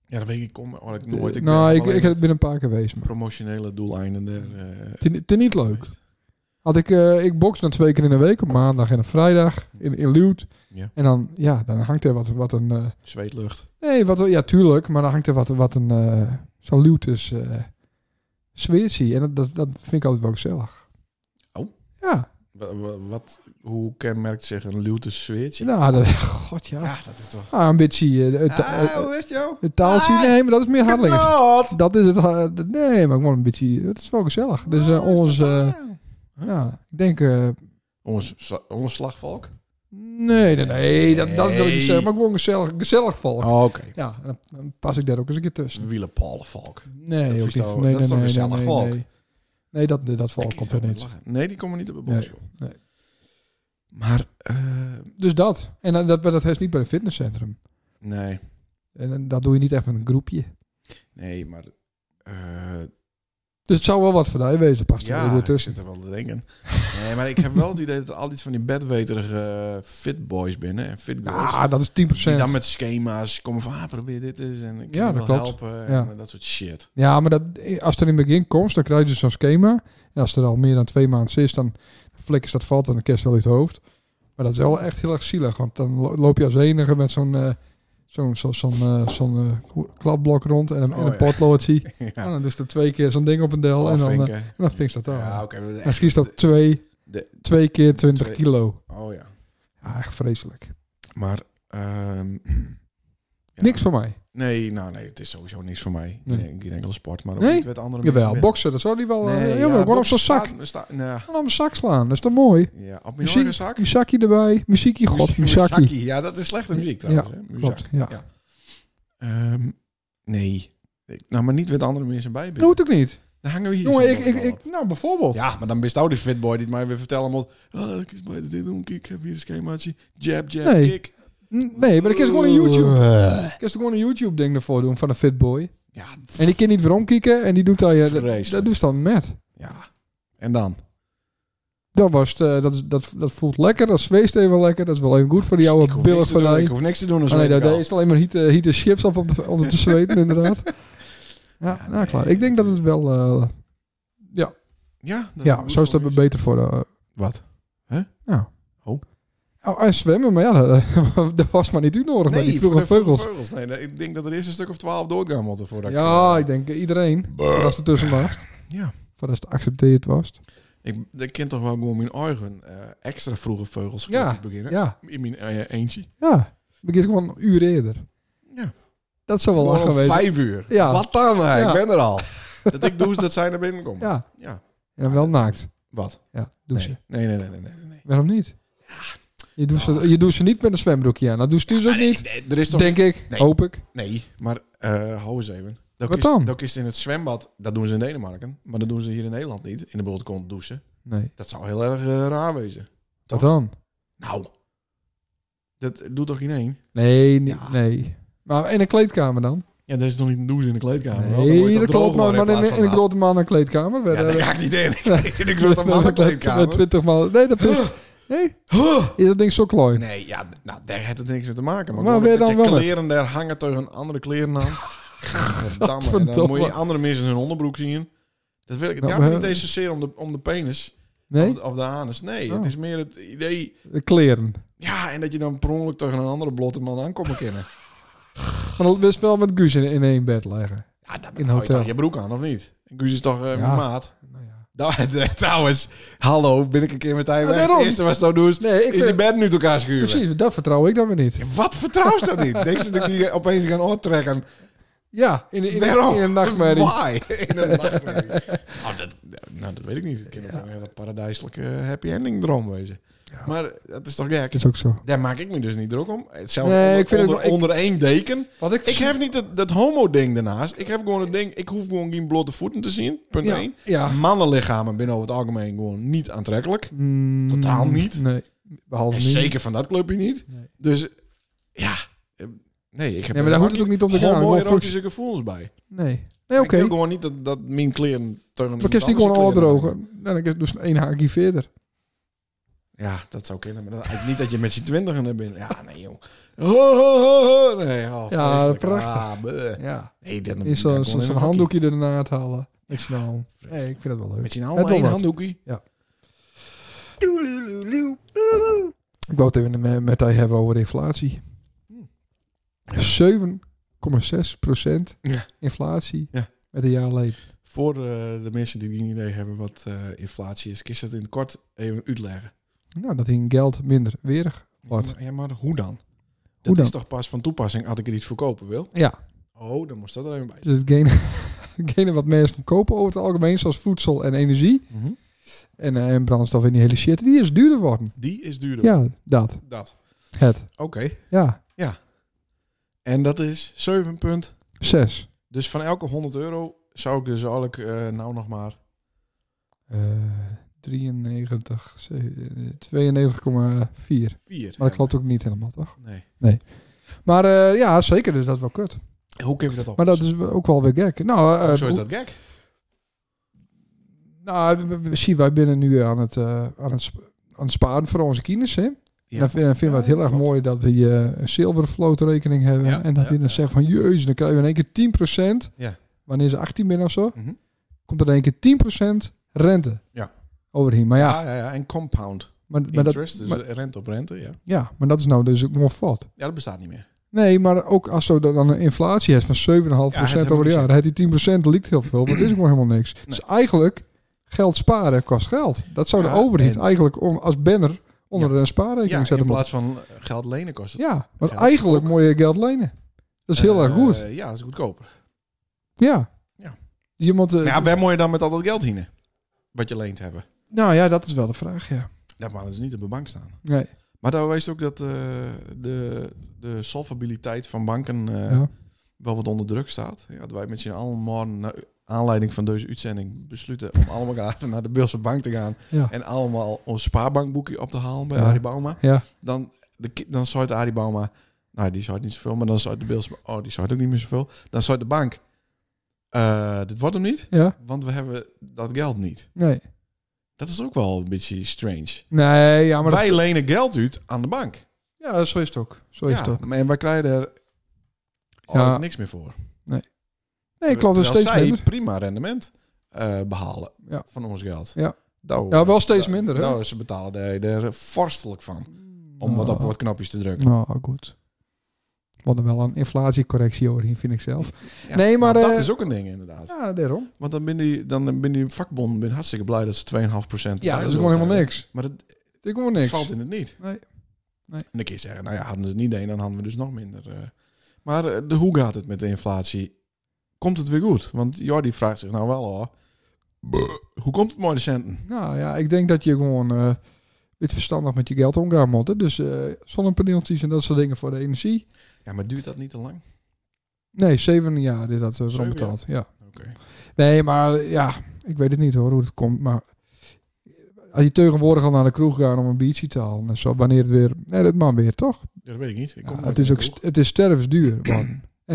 [SPEAKER 5] Ja, dat weet ik, ik kom eigenlijk nooit.
[SPEAKER 2] nou,
[SPEAKER 5] ben
[SPEAKER 2] ik,
[SPEAKER 5] alleen
[SPEAKER 2] ik
[SPEAKER 5] met
[SPEAKER 2] ben een paar keer geweest, maar
[SPEAKER 5] promotionele doeleinden. Er, eh,
[SPEAKER 2] het is niet leuk. Had ik, eh, ik box dan twee keer in de week, op maandag en op vrijdag, in, in Luwt.
[SPEAKER 5] Ja.
[SPEAKER 2] En dan, ja, dan hangt er wat, wat een... eh,
[SPEAKER 5] Zweetlucht.
[SPEAKER 2] nee, wat, ja, tuurlijk, maar dan hangt er wat, wat een... eh Zo'n Luwt is eh sfeertje. En dat, dat, dat vind ik altijd wel gezellig.
[SPEAKER 5] Oh.
[SPEAKER 2] Ja.
[SPEAKER 5] Wa- wa- Wat, hoe kenmerkt zich een luwte zweertje?
[SPEAKER 2] Nou, dat, [LAUGHS] god ja.
[SPEAKER 5] Ja, dat is toch...
[SPEAKER 2] Ah, een beetje eh, het,
[SPEAKER 5] Ah,
[SPEAKER 2] eh,
[SPEAKER 5] hoe is het jou?
[SPEAKER 2] het taaltje. Nee, maar dat is meer Harlingers.
[SPEAKER 5] Kapot!
[SPEAKER 2] Dat is het. ha- dat- Nee, maar gewoon een beetje. Het is wel gezellig. Dus
[SPEAKER 5] Nou,
[SPEAKER 2] eh, ons. eh, ja, ik denk. eh,
[SPEAKER 5] Ons, sla- ons slagvalk?
[SPEAKER 2] nee, nee, nee. Dat, dat wil ik
[SPEAKER 5] Nee.
[SPEAKER 2] niet zeggen. Maar gewoon gezellig, gezellig vallen.
[SPEAKER 5] Oh, oké.
[SPEAKER 2] Ja, en dan, dan pas ik daar ook eens een keer tussen.
[SPEAKER 5] Wielenpalenvalk.
[SPEAKER 2] Nee,
[SPEAKER 5] is
[SPEAKER 2] ook niet.
[SPEAKER 5] toch-
[SPEAKER 2] nee,
[SPEAKER 5] dat is
[SPEAKER 2] nee,
[SPEAKER 5] toch
[SPEAKER 2] nee,
[SPEAKER 5] gezellig
[SPEAKER 2] nee,
[SPEAKER 5] valk?
[SPEAKER 2] Nee, nee dat, dat valk
[SPEAKER 5] Ik
[SPEAKER 2] komt
[SPEAKER 5] zou
[SPEAKER 2] er
[SPEAKER 5] maar
[SPEAKER 2] niet.
[SPEAKER 5] lachen. Nee, die komen niet op de box.
[SPEAKER 2] Nee,
[SPEAKER 5] joh.
[SPEAKER 2] nee.
[SPEAKER 5] Maar, eh,
[SPEAKER 2] Dus dat. En eh, dat, maar dat heeft niet bij een fitnesscentrum.
[SPEAKER 5] nee.
[SPEAKER 2] En eh, dat doe je niet echt met een groepje.
[SPEAKER 5] Nee, maar... eh,
[SPEAKER 2] Dus het zou wel wat voor jou wezen, past er
[SPEAKER 5] ja,
[SPEAKER 2] weer
[SPEAKER 5] ik
[SPEAKER 2] tussen.
[SPEAKER 5] zit er wel te denken. Nee, maar ik heb wel het idee dat er altijd van die bedweterige eh, fit boys binnen en fit girls.
[SPEAKER 2] Ah, dat is 10%.
[SPEAKER 5] die dan met schema's komen van, ah, probeer dit eens en ik
[SPEAKER 2] Ja,
[SPEAKER 5] kan je
[SPEAKER 2] dat
[SPEAKER 5] wel
[SPEAKER 2] klopt.
[SPEAKER 5] helpen en
[SPEAKER 2] Ja.
[SPEAKER 5] eh, dat soort shit. [LAUGHS]
[SPEAKER 2] Ja, maar dat, als er in het begin komt, dan krijg je dus zo'n schema. En als er al meer dan twee maanden is, dan flikkers dat valt en de kerst wel uit het hoofd. Maar dat is wel echt heel erg zielig, want dan lo- loop je als enige met zo'n eh zo'n zo'n zo'n eh, zo'n, eh, hoe- kladblok rond en een, en
[SPEAKER 5] Oh, ja.
[SPEAKER 2] een
[SPEAKER 5] Oh,
[SPEAKER 2] potloodje. En
[SPEAKER 5] ja,
[SPEAKER 2] dan is er twee keer zo'n ding op een del en dan, eh, en
[SPEAKER 5] afvinken.
[SPEAKER 2] dan vinkt dat al.
[SPEAKER 5] Ja, oké. we-
[SPEAKER 2] dan schiet dat op twee,
[SPEAKER 5] de-
[SPEAKER 2] twee keer 20
[SPEAKER 5] Twee.
[SPEAKER 2] kilo.
[SPEAKER 5] Oh ja.
[SPEAKER 2] Ja, echt vreselijk.
[SPEAKER 5] Maar, ehm, [CLEARS THROAT] Ja.
[SPEAKER 2] Niks voor mij.
[SPEAKER 5] nee, nou nee, het is sowieso niks voor mij.
[SPEAKER 2] Nee.
[SPEAKER 5] Nee. Geen enkele sport, maar ook
[SPEAKER 2] Nee?
[SPEAKER 5] niet met andere
[SPEAKER 2] Jawel,
[SPEAKER 5] mensen.
[SPEAKER 2] boksen, dat zou die wel... eh,
[SPEAKER 5] Nee,
[SPEAKER 2] ja, maar gewoon op zo'n zak.
[SPEAKER 5] Staat, staat, nou,
[SPEAKER 2] Gewoon op een zak slaan, dat is toch mooi?
[SPEAKER 5] ja, op mijn
[SPEAKER 2] Muziek,
[SPEAKER 5] eigen zak.
[SPEAKER 2] Een zakje erbij. Muziekje, god, een zakje.
[SPEAKER 5] Ja, dat is slechte muziek trouwens. hè? Muzak.
[SPEAKER 2] Klopt, ja.
[SPEAKER 5] Ja. Ehm, nee. Ik- Nou, maar niet met andere mensen bij.
[SPEAKER 2] Dat hoeft ook niet.
[SPEAKER 5] Dan hangen we hier.
[SPEAKER 2] Nou, Jongen,
[SPEAKER 5] zo
[SPEAKER 2] ik,
[SPEAKER 5] nog
[SPEAKER 2] ik,
[SPEAKER 5] wel op.
[SPEAKER 2] ik, nou bijvoorbeeld.
[SPEAKER 5] Ja, maar dan ben je nou die fitboy die het mij weer vertellen moet. Ah, ik is beter dit doen. Kijk, ik heb hier een schemaatje. Jab, jab,
[SPEAKER 2] Nee.
[SPEAKER 5] kick.
[SPEAKER 2] N- Nee, maar dan kun je gewoon een YouTube. Ik kan gewoon een YouTube ding ervoor doen van een fitboy.
[SPEAKER 5] Ja, d-
[SPEAKER 2] En die kan niet weer omkieken en die doet daar je. Dat,
[SPEAKER 5] Vreselijk.
[SPEAKER 2] dat doet ze dan met.
[SPEAKER 5] ja. En dan?
[SPEAKER 2] Dat was het, eh, dat, is- dat, dat voelt lekker, dat zweest even lekker, dat is wel even goed voor die
[SPEAKER 5] Ik
[SPEAKER 2] oude
[SPEAKER 5] hoef
[SPEAKER 2] billen
[SPEAKER 5] niks te
[SPEAKER 2] van
[SPEAKER 5] doen, Ik
[SPEAKER 2] mij.
[SPEAKER 5] hoef niks te doen. als
[SPEAKER 2] Ah, nee,
[SPEAKER 5] weet
[SPEAKER 2] daar
[SPEAKER 5] ik
[SPEAKER 2] daar
[SPEAKER 5] al.
[SPEAKER 2] is alleen maar hitte, hitte chips af om te, om
[SPEAKER 5] [LAUGHS]
[SPEAKER 2] te zweten, inderdaad. Ja,
[SPEAKER 5] Ja,
[SPEAKER 2] nou klaar.
[SPEAKER 5] nee,
[SPEAKER 2] Ik denk dat het wel. eh,
[SPEAKER 5] Ja, dat
[SPEAKER 2] ja,
[SPEAKER 5] goed
[SPEAKER 2] zo is
[SPEAKER 5] voor
[SPEAKER 2] dat beter voor. eh,
[SPEAKER 5] Wat?
[SPEAKER 2] oh, en zwemmen, maar ja, [LAUGHS] dat, dat was maar niet u nodig. met die
[SPEAKER 5] voor
[SPEAKER 2] vroege
[SPEAKER 5] de vroege
[SPEAKER 2] vleugels.
[SPEAKER 5] vleugels. Nee, nee, ik denk dat er eerst een stuk of twaalf doodgaan moeten voordat
[SPEAKER 2] Ja,
[SPEAKER 5] ik...
[SPEAKER 2] ik denk eh, iedereen. Als er tussen was.
[SPEAKER 5] Ja.
[SPEAKER 2] Voordat het geaccepteerd was.
[SPEAKER 5] Ik, ik ken toch wel gewoon mijn eigen eh, extra vroege vleugels
[SPEAKER 2] Ja,
[SPEAKER 5] knopjes beginnen.
[SPEAKER 2] Ja,
[SPEAKER 5] In mijn eh, eentje.
[SPEAKER 2] ja. Begint gewoon een uur eerder.
[SPEAKER 5] Ja.
[SPEAKER 2] Dat zou wel
[SPEAKER 5] Gewoon
[SPEAKER 2] lachen
[SPEAKER 5] om
[SPEAKER 2] wezen.
[SPEAKER 5] vijf uur.
[SPEAKER 2] Ja.
[SPEAKER 5] Wat dan? hè?
[SPEAKER 2] Ja.
[SPEAKER 5] Ik ben er
[SPEAKER 2] [LAUGHS]
[SPEAKER 5] al. dat ik doe is dat zij naar binnen komen.
[SPEAKER 2] Ja,
[SPEAKER 5] Ja.
[SPEAKER 2] en wel naakt.
[SPEAKER 5] Wat?
[SPEAKER 2] Ja, doe
[SPEAKER 5] Nee.
[SPEAKER 2] ze.
[SPEAKER 5] Nee, nee, nee, nee, nee. nee.
[SPEAKER 2] Waarom niet? Je doet, ze, je doet ze niet met een zwembroekje aan. Dat doet ze dus ook niet.
[SPEAKER 5] Ah, Nee, Er is toch...
[SPEAKER 2] Denk ik.
[SPEAKER 5] Nee.
[SPEAKER 2] Hoop ik.
[SPEAKER 5] Nee, maar eh hou eens even. Dat
[SPEAKER 2] Wat
[SPEAKER 5] is,
[SPEAKER 2] dan?
[SPEAKER 5] Dat is in het zwembad, dat doen ze in Denemarken. Maar dat doen ze hier in Nederland niet. In de blote kont douchen.
[SPEAKER 2] Nee.
[SPEAKER 5] Dat zou heel erg eh, raar wezen.
[SPEAKER 2] Wat dan?
[SPEAKER 5] Nou, dat doet toch geen één?
[SPEAKER 2] Nee, nee,
[SPEAKER 5] Ja.
[SPEAKER 2] nee. Maar in een kleedkamer dan?
[SPEAKER 5] Ja, er is nog niet een douche in de kleedkamer. Wel, dan moet
[SPEAKER 2] Nee,
[SPEAKER 5] je
[SPEAKER 2] dat
[SPEAKER 5] toch
[SPEAKER 2] klopt.
[SPEAKER 5] droog
[SPEAKER 2] Maar,
[SPEAKER 5] worden
[SPEAKER 2] maar in,
[SPEAKER 5] plaats
[SPEAKER 2] in een
[SPEAKER 5] van nat.
[SPEAKER 2] grote man een kleedkamer.
[SPEAKER 5] Ja, daar
[SPEAKER 2] eh,
[SPEAKER 5] ga ik niet in. [LAUGHS] Ik zit in een grote
[SPEAKER 2] [LAUGHS] Met
[SPEAKER 5] mannenkleedkamer.
[SPEAKER 2] 20 man. Nee, dat is... Nee? Is dat ding zo klooi?
[SPEAKER 5] Nee, ja, nou, daar heeft het niks mee te maken. Maar,
[SPEAKER 2] Maar
[SPEAKER 5] gewoon
[SPEAKER 2] weer
[SPEAKER 5] dat
[SPEAKER 2] dan
[SPEAKER 5] je
[SPEAKER 2] wel
[SPEAKER 5] kleren daar hangen tegen andere kleren
[SPEAKER 2] [LAUGHS]
[SPEAKER 5] aan. Gadverdamme. En
[SPEAKER 2] Gadverdamme.
[SPEAKER 5] dan moet je andere mensen hun onderbroek zien. Dat wil ik. Het
[SPEAKER 2] Nou,
[SPEAKER 5] gaat me
[SPEAKER 2] maar-
[SPEAKER 5] niet eens zozeer om de, om de penis of,
[SPEAKER 2] Nee?
[SPEAKER 5] de- of de anus. Nee,
[SPEAKER 2] Oh.
[SPEAKER 5] het is meer het idee...
[SPEAKER 2] Kleren.
[SPEAKER 5] Ja, en dat je dan per ongeluk tegen een andere blotte man aankomt
[SPEAKER 2] [LAUGHS]
[SPEAKER 5] kennen.
[SPEAKER 2] Maar dat wist wel met Guus in, in één bed liggen.
[SPEAKER 5] Ja, daar
[SPEAKER 2] In
[SPEAKER 5] hou je
[SPEAKER 2] hotel.
[SPEAKER 5] toch je broek aan, of niet? Guus is toch eh,
[SPEAKER 2] Ja.
[SPEAKER 5] mijn maat?
[SPEAKER 2] Nou ja.
[SPEAKER 5] [LAUGHS] Nou, Trouwens, hallo, ben ik een keer met hij
[SPEAKER 2] Ja,
[SPEAKER 5] weg. Het
[SPEAKER 2] Ah, daarom.
[SPEAKER 5] eerste wat ze doen
[SPEAKER 2] Nee, ik
[SPEAKER 5] is die
[SPEAKER 2] vind,
[SPEAKER 5] bed nu uit elkaar schuren.
[SPEAKER 2] precies, dat vertrouw ik dan weer niet.
[SPEAKER 5] Wat vertrouwt dat niet? Denk ze dat ik die opeens gaan optrekken?
[SPEAKER 2] Ja, in, in, in,
[SPEAKER 5] Waarom?
[SPEAKER 2] in een nachtmerrie.
[SPEAKER 5] [LAUGHS] Why? In een nachtmerrie.
[SPEAKER 2] [LAUGHS]
[SPEAKER 5] Oh, dat, nou, dat weet ik niet. Het kan ook een hele paradijselijke eh, happy ending droom wezen. Maar dat is toch gek?
[SPEAKER 2] Dat is ook zo.
[SPEAKER 5] Daar maak ik me dus niet druk om. Zelf
[SPEAKER 2] Nee,
[SPEAKER 5] onder,
[SPEAKER 2] ik vind het
[SPEAKER 5] onder,
[SPEAKER 2] wel- ik-
[SPEAKER 5] onder één deken.
[SPEAKER 2] Wat ik,
[SPEAKER 5] Ik heb niet dat, dat homo-ding daarnaast. Ik heb gewoon het ding, ik hoef gewoon geen blote voeten te zien. Punt
[SPEAKER 2] ja,
[SPEAKER 5] 1.
[SPEAKER 2] ja.
[SPEAKER 5] Mannenlichamen binnen over het algemeen gewoon niet aantrekkelijk.
[SPEAKER 2] Mm,
[SPEAKER 5] Totaal niet.
[SPEAKER 2] Nee, behalve
[SPEAKER 5] En
[SPEAKER 2] niet.
[SPEAKER 5] zeker van dat clubje niet.
[SPEAKER 2] Nee.
[SPEAKER 5] Dus ja, eh, nee, ik heb
[SPEAKER 2] Nee, maar daar hoeft het ook niet om te gaan. Gewoon functie-
[SPEAKER 5] homo-erotische gevoelens bij.
[SPEAKER 2] Nee, nee
[SPEAKER 5] Ik
[SPEAKER 2] oké.
[SPEAKER 5] wil gewoon niet dat, dat mijn kleren... tegen
[SPEAKER 2] Maar kist die
[SPEAKER 5] iemand
[SPEAKER 2] gewoon al
[SPEAKER 5] anders kleren hangen.
[SPEAKER 2] drogen. Nou, dan kun je dus één haakje verder.
[SPEAKER 5] Ja, dat zou kunnen. Maar dat, eigenlijk niet dat je met z'n twintigen er bent. Ja, nee joh. Ho, ho, ho, ho. Nee, oh,
[SPEAKER 2] Ja,
[SPEAKER 5] vreselijk.
[SPEAKER 2] prachtig.
[SPEAKER 5] Ah, bleh.
[SPEAKER 2] Ja.
[SPEAKER 5] nee, dat
[SPEAKER 2] Is
[SPEAKER 5] dat
[SPEAKER 2] zo'n
[SPEAKER 5] kon in
[SPEAKER 2] zo
[SPEAKER 5] een
[SPEAKER 2] handdoekje ernaar te halen. Met z'n allen.
[SPEAKER 5] hokje.
[SPEAKER 2] Nee, ik vind dat wel leuk.
[SPEAKER 5] Met je nou
[SPEAKER 2] Het
[SPEAKER 5] maar één
[SPEAKER 2] wel wat.
[SPEAKER 5] handdoekje?
[SPEAKER 2] Ja. Ik wou het even me- met hij hebben over inflatie. 7,6
[SPEAKER 5] Ja.
[SPEAKER 2] inflatie
[SPEAKER 5] Ja.
[SPEAKER 2] met een jaar geleden.
[SPEAKER 5] Voor eh, de mensen die geen idee hebben wat eh, inflatie is, kun je dat in het kort even uitleggen.
[SPEAKER 2] Nou, dat ging geld minder weerig wordt.
[SPEAKER 5] Ja, maar, ja, maar hoe dan? Dat
[SPEAKER 2] dan?
[SPEAKER 5] is toch pas van toepassing als ik er iets voor kopen wil?
[SPEAKER 2] Ja,
[SPEAKER 5] Oh, dan moest dat er even bij.
[SPEAKER 2] dus [LAUGHS] hetgene, hetgene wat mensen kopen over het algemeen, zoals voedsel en energie
[SPEAKER 5] Mhm.
[SPEAKER 2] en, eh, en brandstof en die hele shit, die is duurder worden.
[SPEAKER 5] Die is duurder.
[SPEAKER 2] Ja, dat.
[SPEAKER 5] Dat.
[SPEAKER 2] Het.
[SPEAKER 5] Oké.
[SPEAKER 2] Ja,
[SPEAKER 5] En dat is 7 punt.
[SPEAKER 2] 6.
[SPEAKER 5] Dus van elke 100 euro zou ik dus eigenlijk eh, nou nog maar...
[SPEAKER 2] Eh 93, ze- eh, 92,4.
[SPEAKER 5] 4.
[SPEAKER 2] Maar dat klopt ook niet helemaal, toch?
[SPEAKER 5] Nee.
[SPEAKER 2] Maar eh, ja, zeker, dus dat is wel kut.
[SPEAKER 5] En hoe kun je dat op?
[SPEAKER 2] Maar dat is ook wel weer gek. Nou, eh,
[SPEAKER 5] Oh, Zo is
[SPEAKER 2] hoe-
[SPEAKER 5] dat gek.
[SPEAKER 2] nou we- we- we zien, wij binnen nu aan het, eh, aan het, sp- aan het sparen voor onze kinders. Hè? En dan vind- dan vinden we het heel erg
[SPEAKER 5] klopt.
[SPEAKER 2] mooi dat we eh, een zilveren floatrekening hebben.
[SPEAKER 5] Ja,
[SPEAKER 2] en dat
[SPEAKER 5] ja,
[SPEAKER 2] je dan
[SPEAKER 5] ja.
[SPEAKER 2] zegt van, jezus, dan krijgen we in één keer 10%.
[SPEAKER 5] Ja.
[SPEAKER 2] Wanneer ze 18 zijn of zo,
[SPEAKER 5] Mhm.
[SPEAKER 2] komt er in één keer 10% rente
[SPEAKER 5] Ja.
[SPEAKER 2] overheen. Maar ja,
[SPEAKER 5] Ah, Ja, ja, ja. En compound
[SPEAKER 2] maar, maar, dat,
[SPEAKER 5] interest, dus
[SPEAKER 2] maar-
[SPEAKER 5] rente op rente, ja.
[SPEAKER 2] ja, maar dat is nou dus gewoon fout.
[SPEAKER 5] Ja, dat bestaat niet meer.
[SPEAKER 2] Nee, maar ook als je dan een inflatie hebt van 7,5%
[SPEAKER 5] Ja, het
[SPEAKER 2] over de
[SPEAKER 5] helemaal
[SPEAKER 2] jaar, dan heeft die 10% liekt heel veel, maar dat is gewoon helemaal niks. Dus eigenlijk, geld sparen kost geld. Dat zou
[SPEAKER 5] Ja,
[SPEAKER 2] de overheid
[SPEAKER 5] en-
[SPEAKER 2] eigenlijk on- als banner onder
[SPEAKER 5] Ja.
[SPEAKER 2] een spaarrekening
[SPEAKER 5] Ja, in
[SPEAKER 2] zetten.
[SPEAKER 5] plaats van geld lenen kost het.
[SPEAKER 2] ja, want
[SPEAKER 5] geld
[SPEAKER 2] eigenlijk
[SPEAKER 5] ook.
[SPEAKER 2] moet je geld lenen. Dat is heel erg
[SPEAKER 5] Eh,
[SPEAKER 2] goed. Eh,
[SPEAKER 5] ja, dat is goedkoper.
[SPEAKER 2] Ja.
[SPEAKER 5] ja.
[SPEAKER 2] Je moet, eh,
[SPEAKER 5] Maar ja, waar moet je dan met al dat geld heen? Wat je leent hebben.
[SPEAKER 2] nou ja, dat is wel de vraag, ja.
[SPEAKER 5] Dat mag dus niet op de bank staan.
[SPEAKER 2] Nee,
[SPEAKER 5] Maar daar wijst ook dat eh, de, de solvabiliteit van banken eh,
[SPEAKER 2] ja.
[SPEAKER 5] wel wat onder druk staat. Ja, dat wij met z'n allen morgen naar aanleiding van deze uitzending besluiten om allemaal [LAUGHS] naar de Beelse Bank te gaan
[SPEAKER 2] Ja.
[SPEAKER 5] en allemaal ons spaarbankboekje op te halen bij
[SPEAKER 2] Ja.
[SPEAKER 5] Arie Bauma.
[SPEAKER 2] Ja.
[SPEAKER 5] Dan, de, ki- dan zou het Arie Bauma, nou die zou het niet zoveel, maar dan zou het de Beelse oh die zou het ook niet meer zoveel. Dan zou het de bank, eh, dit wordt hem niet,
[SPEAKER 2] ja.
[SPEAKER 5] want we hebben dat geld niet.
[SPEAKER 2] Nee.
[SPEAKER 5] Dat is ook wel een beetje strange.
[SPEAKER 2] Nee, ja, maar dat
[SPEAKER 5] wij
[SPEAKER 2] is toch-
[SPEAKER 5] lenen geld uit aan de bank.
[SPEAKER 2] ja, zo is het ook. Zo is
[SPEAKER 5] Ja,
[SPEAKER 2] het ook.
[SPEAKER 5] maar en wij krijgen er al
[SPEAKER 2] Ja.
[SPEAKER 5] niks meer voor.
[SPEAKER 2] Nee, klopt, er is
[SPEAKER 5] Terwijl
[SPEAKER 2] steeds
[SPEAKER 5] zij
[SPEAKER 2] minder.
[SPEAKER 5] prima rendement eh, behalen
[SPEAKER 2] Ja.
[SPEAKER 5] van ons geld.
[SPEAKER 2] Ja.
[SPEAKER 5] Nou,
[SPEAKER 2] Ja, wel
[SPEAKER 5] eh,
[SPEAKER 2] steeds
[SPEAKER 5] nou-
[SPEAKER 2] minder, hè?
[SPEAKER 5] Nou, ze betalen er, er vorstelijk van om wat
[SPEAKER 2] Ah.
[SPEAKER 5] op wat knopjes te drukken.
[SPEAKER 2] Nou, goed. We hadden wel een inflatiecorrectie overheen, vind ik zelf.
[SPEAKER 5] Ja,
[SPEAKER 2] Nee, maar,
[SPEAKER 5] nou,
[SPEAKER 2] eh,
[SPEAKER 5] dat is ook een ding inderdaad.
[SPEAKER 2] Ja, daarom.
[SPEAKER 5] Want dan ben die, dan ben die vakbond ben hartstikke blij dat ze 2,5%
[SPEAKER 2] Ja, dat
[SPEAKER 5] prijs
[SPEAKER 2] is gewoon
[SPEAKER 5] hebben.
[SPEAKER 2] helemaal niks.
[SPEAKER 5] Maar dat, het
[SPEAKER 2] Dit is gewoon niks.
[SPEAKER 5] valt in het niet.
[SPEAKER 2] Nee. Nee.
[SPEAKER 5] En dan kun je zeggen, nou ja, hadden ze het niet deed, dan hadden we dus nog minder. eh. Maar eh, de, hoe gaat het met de inflatie? Komt het weer goed? Want Jordi vraagt zich nou wel hoor. Hoe komt het mooi de centen?
[SPEAKER 2] Nou ja, ik denk dat je gewoon eh dit verstandig met je geld omgaan moet. hè. Dus eh zonnepaneeltjes en dat soort dingen voor de energie.
[SPEAKER 5] Ja, maar duurt dat niet te lang?
[SPEAKER 2] Nee, zeven jaar is dat uh,
[SPEAKER 5] Zeven
[SPEAKER 2] betaald. Ja.
[SPEAKER 5] Oké.
[SPEAKER 2] Nee, maar eh, ja, ik weet het niet hoor hoe het komt. Maar als je tegenwoordig al naar de kroeg gaat om een biertje te halen en zo, wanneer het weer... Nee, dat man weer, toch?
[SPEAKER 5] Ja, dat weet ik niet. Ik kom
[SPEAKER 2] Ja,
[SPEAKER 5] nooit
[SPEAKER 2] het, is
[SPEAKER 5] in
[SPEAKER 2] ook
[SPEAKER 5] de
[SPEAKER 2] st-
[SPEAKER 5] kroeg.
[SPEAKER 2] het is stervensduur.
[SPEAKER 5] [CLEARS THROAT]
[SPEAKER 2] man. En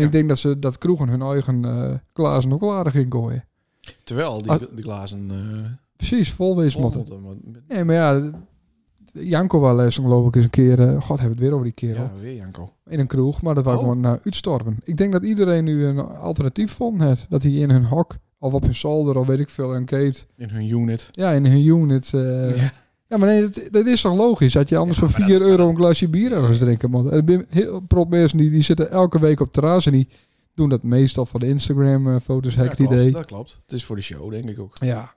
[SPEAKER 5] Ja.
[SPEAKER 2] ik denk dat ze dat kroegen hun eigen eh glazen ook al aardig in gooien.
[SPEAKER 5] Terwijl die,
[SPEAKER 2] Ah.
[SPEAKER 5] de glazen eh
[SPEAKER 2] Precies, vol wezen
[SPEAKER 5] vol
[SPEAKER 2] moeten.
[SPEAKER 5] moeten, maar-
[SPEAKER 2] Nee, maar ja, Janko was les geloof ik eens een keer. eh, God, hebben we het weer over die kerel.
[SPEAKER 5] Ja, weer Janko.
[SPEAKER 2] In een kroeg, maar dat was
[SPEAKER 5] Oh.
[SPEAKER 2] gewoon eh, uitstorven. Ik denk dat iedereen nu een alternatief vond. Het, dat hij in hun hok, of op hun zolder, of weet ik veel, een gate.
[SPEAKER 5] In hun unit.
[SPEAKER 2] Ja, in hun unit. eh, ja.
[SPEAKER 5] Ja.
[SPEAKER 2] maar nee, dat, dat is toch logisch? Dat je anders
[SPEAKER 5] Ja,
[SPEAKER 2] voor
[SPEAKER 5] maar
[SPEAKER 2] 4
[SPEAKER 5] dat-
[SPEAKER 2] euro een glaasje bier ergens drinken moet. En Er zijn heel prop mensen die, die zitten elke week op het terras en die doen dat meestal van de Instagram-foto's,
[SPEAKER 5] Ja,
[SPEAKER 2] hek het
[SPEAKER 5] klopt,
[SPEAKER 2] idee.
[SPEAKER 5] Dat klopt. Het is voor de show, denk ik ook.
[SPEAKER 2] Ja.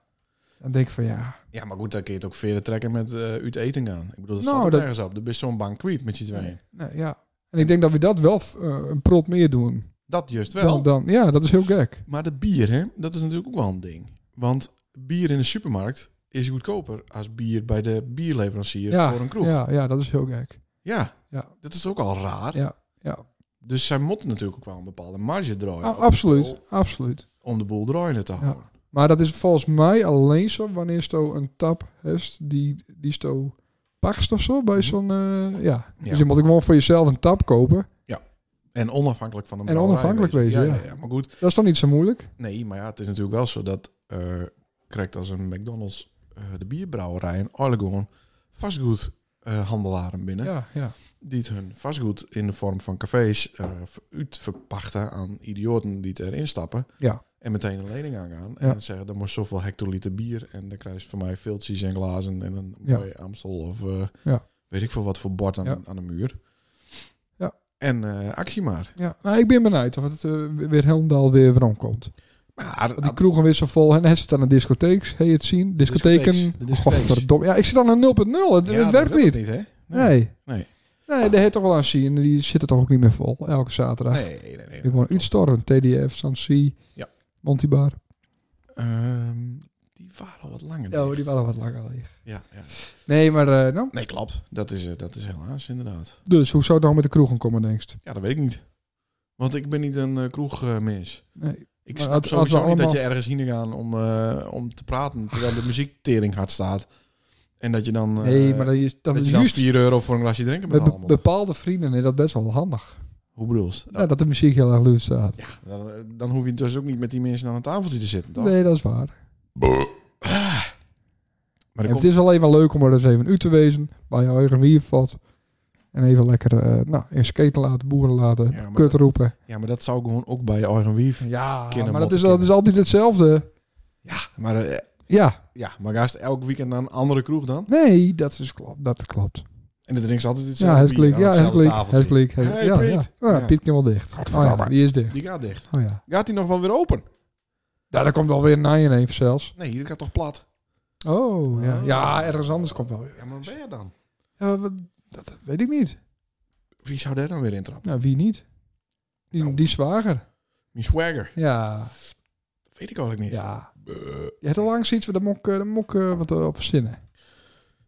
[SPEAKER 2] Dan denk ik van ja,
[SPEAKER 5] Ja, maar goed, dan kun je het ook verder trekken met eh uit eten gaan. Ik bedoel, dat
[SPEAKER 2] Nou,
[SPEAKER 5] staat ook
[SPEAKER 2] dat-
[SPEAKER 5] nergens op. Er is zo'n banquet met je tweeën.
[SPEAKER 2] nou, ja. En ik denk dat we dat wel eh, een prot meer doen.
[SPEAKER 5] Dat juist wel.
[SPEAKER 2] Dan, dan, ja, dat is heel gek.
[SPEAKER 5] Maar de bier, hè, dat is natuurlijk ook wel een ding. Want bier in de supermarkt is goedkoper als bier bij de bierleverancier
[SPEAKER 2] Ja,
[SPEAKER 5] voor een kroeg. Ja.
[SPEAKER 2] ja, ja, dat is heel gek. Ja.
[SPEAKER 5] dat is ook al raar.
[SPEAKER 2] Ja, ja.
[SPEAKER 5] Dus zij moeten natuurlijk ook wel een bepaalde marge draaien.
[SPEAKER 2] Ah, absoluut, absoluut.
[SPEAKER 5] Om de boel draaiende te houden.
[SPEAKER 2] Maar dat is volgens mij alleen zo wanneer je een tap hebt die, die sto past of zo bij zo'n... eh, ja.
[SPEAKER 5] Mhm. Ja.
[SPEAKER 2] Dus je moet ook gewoon voor jezelf een tap kopen.
[SPEAKER 5] En onafhankelijk van de
[SPEAKER 2] En onafhankelijk
[SPEAKER 5] brouwerij
[SPEAKER 2] wezen,
[SPEAKER 5] Ja,
[SPEAKER 2] ja.
[SPEAKER 5] Maar goed,
[SPEAKER 2] Dat is toch niet zo moeilijk?
[SPEAKER 5] nee, maar ja, het is natuurlijk wel zo dat... eh krijgt als een McDonald's eh, de bierbrouwerij en Arlegon vastgoedhandelaren binnen.
[SPEAKER 2] Ja, ja.
[SPEAKER 5] die het hun vastgoed in de vorm van cafés eh uitverpachten aan idioten die het erin stappen.
[SPEAKER 2] Ja.
[SPEAKER 5] En meteen een lening aangaan. En
[SPEAKER 2] Ja.
[SPEAKER 5] dan zeggen, dan moet zoveel hectoliter bier. En dan krijg je van mij filtjes en glazen en een
[SPEAKER 2] Ja.
[SPEAKER 5] mooie Amstel of eh,
[SPEAKER 2] Ja.
[SPEAKER 5] weet ik veel wat voor bord aan,
[SPEAKER 2] Ja.
[SPEAKER 5] aan de muur.
[SPEAKER 2] Ja.
[SPEAKER 5] En eh, actie maar.
[SPEAKER 2] Ja, maar Nou, ik ben benieuwd of het eh, weer Helmdaal weer weer omkomt.
[SPEAKER 5] Maar
[SPEAKER 2] Want Die kroegen weer zo vol. En hij zit aan de discotheeks. Hey, het zien. Discotheken.
[SPEAKER 5] Discotheeks, de discotheeks.
[SPEAKER 2] Godverdomme. Ja, ik zit aan een 0.0. Het,
[SPEAKER 5] Ja,
[SPEAKER 2] het
[SPEAKER 5] dat
[SPEAKER 2] werkt
[SPEAKER 5] wil
[SPEAKER 2] niet.
[SPEAKER 5] het hè?
[SPEAKER 2] Nee. Nee,
[SPEAKER 5] Nee.
[SPEAKER 2] de heet toch wel aan zien. Die zitten toch ook niet meer vol. Elke zaterdag.
[SPEAKER 5] Nee, nee, nee.
[SPEAKER 2] Ik woon Uitstorven. TDF, Sansi.
[SPEAKER 5] Ja.
[SPEAKER 2] Montibar.
[SPEAKER 5] Ehm, die waren al wat langer.
[SPEAKER 2] Ja,
[SPEAKER 5] dicht.
[SPEAKER 2] Oh, die waren wat langer leeg.
[SPEAKER 5] ja, ja.
[SPEAKER 2] Nee, maar eh, nou.
[SPEAKER 5] Nee, klopt. Dat is, eh, dat is helaas inderdaad.
[SPEAKER 2] Dus hoe zou het nou met de kroegen komen, denk je?
[SPEAKER 5] Ja, dat weet ik niet. Want ik ben niet een eh, kroegmens.
[SPEAKER 2] Nee.
[SPEAKER 5] Ik
[SPEAKER 2] Maar
[SPEAKER 5] snap
[SPEAKER 2] had-
[SPEAKER 5] sowieso
[SPEAKER 2] hadden we
[SPEAKER 5] niet dat je
[SPEAKER 2] allemaal-
[SPEAKER 5] ergens heen gaat om, eh, om te praten terwijl de muziek tering hard staat. En dat je dan, eh,
[SPEAKER 2] nee, maar dat is, dat
[SPEAKER 5] dat
[SPEAKER 2] is
[SPEAKER 5] je dan
[SPEAKER 2] juist.
[SPEAKER 5] 4 euro voor een glasje drinken
[SPEAKER 2] Met
[SPEAKER 5] betaalt.
[SPEAKER 2] be- bepaalde vrienden is dat best wel handig.
[SPEAKER 5] Hoe bedoel je?
[SPEAKER 2] Ja, dat de muziek heel erg luid staat.
[SPEAKER 5] Ja, dan, dan hoef je dus ook niet met die mensen aan een tafeltje te zitten. Toch?
[SPEAKER 2] Nee, dat is waar.
[SPEAKER 5] Maar er
[SPEAKER 2] En het
[SPEAKER 5] komt,
[SPEAKER 2] is wel even leuk om er eens even uit te wezen. Bij je eigen wiervat. En even lekker eh nou, in skaten laten, boeren laten,
[SPEAKER 5] Ja, maar
[SPEAKER 2] kut roepen.
[SPEAKER 5] ja, maar dat zou gewoon ook bij je eigen wief.
[SPEAKER 2] Ja,
[SPEAKER 5] kinderen
[SPEAKER 2] maar dat
[SPEAKER 5] motten
[SPEAKER 2] is, dat is
[SPEAKER 5] kennen.
[SPEAKER 2] altijd hetzelfde.
[SPEAKER 5] Ja, maar, eh,
[SPEAKER 2] Ja,
[SPEAKER 5] ja, maar ga je elk weekend naar een andere kroeg dan?
[SPEAKER 2] nee, dat is klopt. Dat klopt.
[SPEAKER 5] En dat drinkt ze altijd
[SPEAKER 2] Ja,
[SPEAKER 5] hetzelfde
[SPEAKER 2] het
[SPEAKER 5] bier
[SPEAKER 2] klik.
[SPEAKER 5] aan
[SPEAKER 2] Ja, het
[SPEAKER 5] hetzelfde
[SPEAKER 2] klik.
[SPEAKER 5] tafeltje.
[SPEAKER 2] Het klik. het-
[SPEAKER 5] Hey,
[SPEAKER 2] ja, ja.
[SPEAKER 5] Piet.
[SPEAKER 2] Ja,
[SPEAKER 5] Ja.
[SPEAKER 2] Piet kan wel dicht. Oh ja, die is dicht.
[SPEAKER 5] Die gaat dicht.
[SPEAKER 2] Oh ja.
[SPEAKER 5] Gaat die nog wel weer open?
[SPEAKER 2] Ja, daar komt wel weer een Nijen even zelfs.
[SPEAKER 5] Nee, die gaat toch plat?
[SPEAKER 2] Oh, ja. Ja, ergens anders komt wel weer.
[SPEAKER 5] Ja, maar waar ben je dan?
[SPEAKER 2] Ja, wat- dat weet ik niet.
[SPEAKER 5] Wie zou daar dan weer intrappen?
[SPEAKER 2] Nou, wie niet? Die, die zwager.
[SPEAKER 5] Mijn swagger.
[SPEAKER 2] Ja,
[SPEAKER 5] Dat weet ik eigenlijk niet.
[SPEAKER 2] ja. Je hebt al lang zoiets, daar moet ik, eh, daar moet ik eh, wat eh, op verzinnen.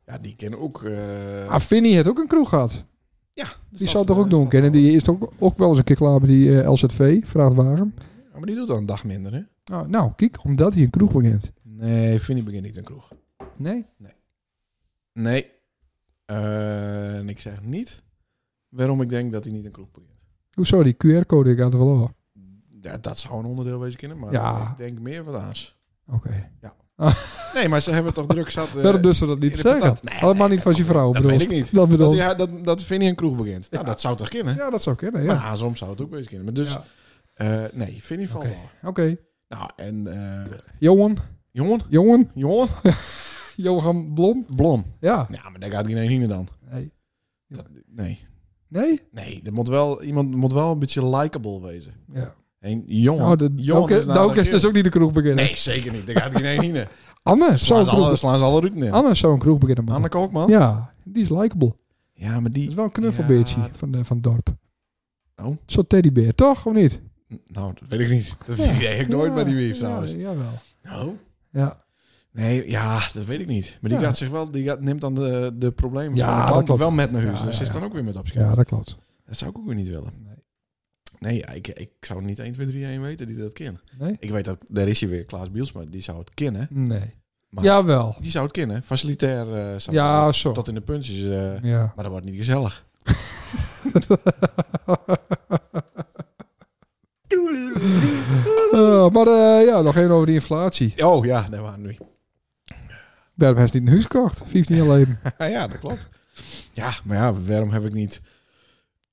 [SPEAKER 5] Ja, die kennen ook... eh,
[SPEAKER 2] Ah, Vinnie heeft ook een kroeg gehad.
[SPEAKER 5] ja,
[SPEAKER 2] Die zou het toch ook doen kennen. Die eh, is toch ook wel eens een keer klaar bij die eh, LZV, vrachtwagen.
[SPEAKER 5] Ja, maar die doet dan een dag minder, hè?
[SPEAKER 2] Nou, nou, kijk, omdat hij een kroeg begint.
[SPEAKER 5] Nee, Vinnie begint niet een kroeg.
[SPEAKER 2] Nee?
[SPEAKER 5] Nee. Eh, en ik zeg niet waarom ik denk dat hij niet een kroeg begint.
[SPEAKER 2] Hoezo, die QR-code, ik had er wel af.
[SPEAKER 5] Ja, dat zou een onderdeel wezen kunnen, maar
[SPEAKER 2] Ja.
[SPEAKER 5] ik denk meer wat aans.
[SPEAKER 2] Oké.
[SPEAKER 5] Nee, maar ze hebben het toch druk zat... eh,
[SPEAKER 2] Verder dus ze [LAUGHS] dat niet
[SPEAKER 5] in de
[SPEAKER 2] zeggen.
[SPEAKER 5] patat. Nee,
[SPEAKER 2] Allemaal
[SPEAKER 5] nee,
[SPEAKER 2] niet van
[SPEAKER 5] dat-
[SPEAKER 2] zijn vrouw,
[SPEAKER 5] dat
[SPEAKER 2] bedoel
[SPEAKER 5] weet ik niet.
[SPEAKER 2] Dat bedoel
[SPEAKER 5] dat, ja, dat, dat Vinnie een kroeg begint. Nou, dat zou toch kunnen?
[SPEAKER 2] Ja, dat zou kunnen,
[SPEAKER 5] Ja.
[SPEAKER 2] ja.
[SPEAKER 5] Maar Azom zou het ook wezen kunnen. Maar dus,
[SPEAKER 2] Ja.
[SPEAKER 5] eh, nee, Vinnie valt
[SPEAKER 2] Oké.
[SPEAKER 5] al.
[SPEAKER 2] Oké.
[SPEAKER 5] Nou, en eh,
[SPEAKER 2] Johan,
[SPEAKER 5] jongen,
[SPEAKER 2] Johan,
[SPEAKER 5] jongen,
[SPEAKER 2] Johan Blom.
[SPEAKER 5] Blom.
[SPEAKER 2] Ja.
[SPEAKER 5] Ja, maar daar gaat geen ene dan.
[SPEAKER 2] Nee?
[SPEAKER 5] Dat- nee,
[SPEAKER 2] Nee?
[SPEAKER 5] nee, er moet wel, iemand moet wel een beetje likable wezen.
[SPEAKER 2] Ja.
[SPEAKER 5] En jongen,
[SPEAKER 2] Oh, de,
[SPEAKER 5] jongen
[SPEAKER 2] Dauke-
[SPEAKER 5] is nou
[SPEAKER 2] Dauke
[SPEAKER 5] een
[SPEAKER 2] is dus
[SPEAKER 5] keer-
[SPEAKER 2] ook niet de kroeg beginnen.
[SPEAKER 5] Nee, zeker niet. Daar gaat geen
[SPEAKER 2] [LAUGHS]
[SPEAKER 5] ene.
[SPEAKER 2] Anne zou
[SPEAKER 5] Slaan
[SPEAKER 2] een
[SPEAKER 5] ze alle,
[SPEAKER 2] kroeg,
[SPEAKER 5] slaan ze alle routen in.
[SPEAKER 2] Anne zou een kroeg beginnen, man.
[SPEAKER 5] Anne Kookman? Ja.
[SPEAKER 2] Ja, die is likable.
[SPEAKER 5] maar
[SPEAKER 2] Dat is
[SPEAKER 5] die...
[SPEAKER 2] wel een knuffelbeertje
[SPEAKER 5] Ja.
[SPEAKER 2] van, de- van het dorp.
[SPEAKER 5] Oh.
[SPEAKER 2] Zo'n teddybeer, toch? Of niet?
[SPEAKER 5] Nou, dat weet ik niet. Dat
[SPEAKER 2] Ja.
[SPEAKER 5] deed ik nooit
[SPEAKER 2] Ja,
[SPEAKER 5] bij die wief
[SPEAKER 2] ja,
[SPEAKER 5] trouwens.
[SPEAKER 2] jawel.
[SPEAKER 5] Nou,
[SPEAKER 2] Ja.
[SPEAKER 5] nee, ja, dat weet ik niet. Maar die
[SPEAKER 2] Ja.
[SPEAKER 5] gaat zich wel, die gaat, neemt dan de, de problemen
[SPEAKER 2] Ja,
[SPEAKER 5] van de
[SPEAKER 2] dat
[SPEAKER 5] klant
[SPEAKER 2] klopt.
[SPEAKER 5] wel met naar huis.
[SPEAKER 2] Ja,
[SPEAKER 5] dus
[SPEAKER 2] ja,
[SPEAKER 5] is
[SPEAKER 2] ja.
[SPEAKER 5] dan ook weer met opschermen.
[SPEAKER 2] ja, dat klopt.
[SPEAKER 5] Dat zou ik ook weer niet willen.
[SPEAKER 2] Nee.
[SPEAKER 5] Nee, ja, ik, ik zou niet 1, 2, 3, 1 weten die dat kennen.
[SPEAKER 2] Nee?
[SPEAKER 5] Ik weet dat, daar is hij weer, Klaas Bielsma, die zou het kennen.
[SPEAKER 2] Nee.
[SPEAKER 5] Maar-
[SPEAKER 2] Jawel.
[SPEAKER 5] Die zou het kennen. Facilitair eh, zou
[SPEAKER 2] Ja,
[SPEAKER 5] het-
[SPEAKER 2] zo.
[SPEAKER 5] tot in de puntjes. eh,
[SPEAKER 2] Ja. [LAUGHS]
[SPEAKER 5] maar dat wordt niet gezellig.
[SPEAKER 2] Eh, maar eh, ja, nog één over die inflatie.
[SPEAKER 5] Oh ja, daar waren we nu. [LAUGHS]
[SPEAKER 2] Daarom heeft hij niet een huis gekocht, 15 jaar geleden.
[SPEAKER 5] ja, dat klopt. Ja, maar ja, waarom heb ik niet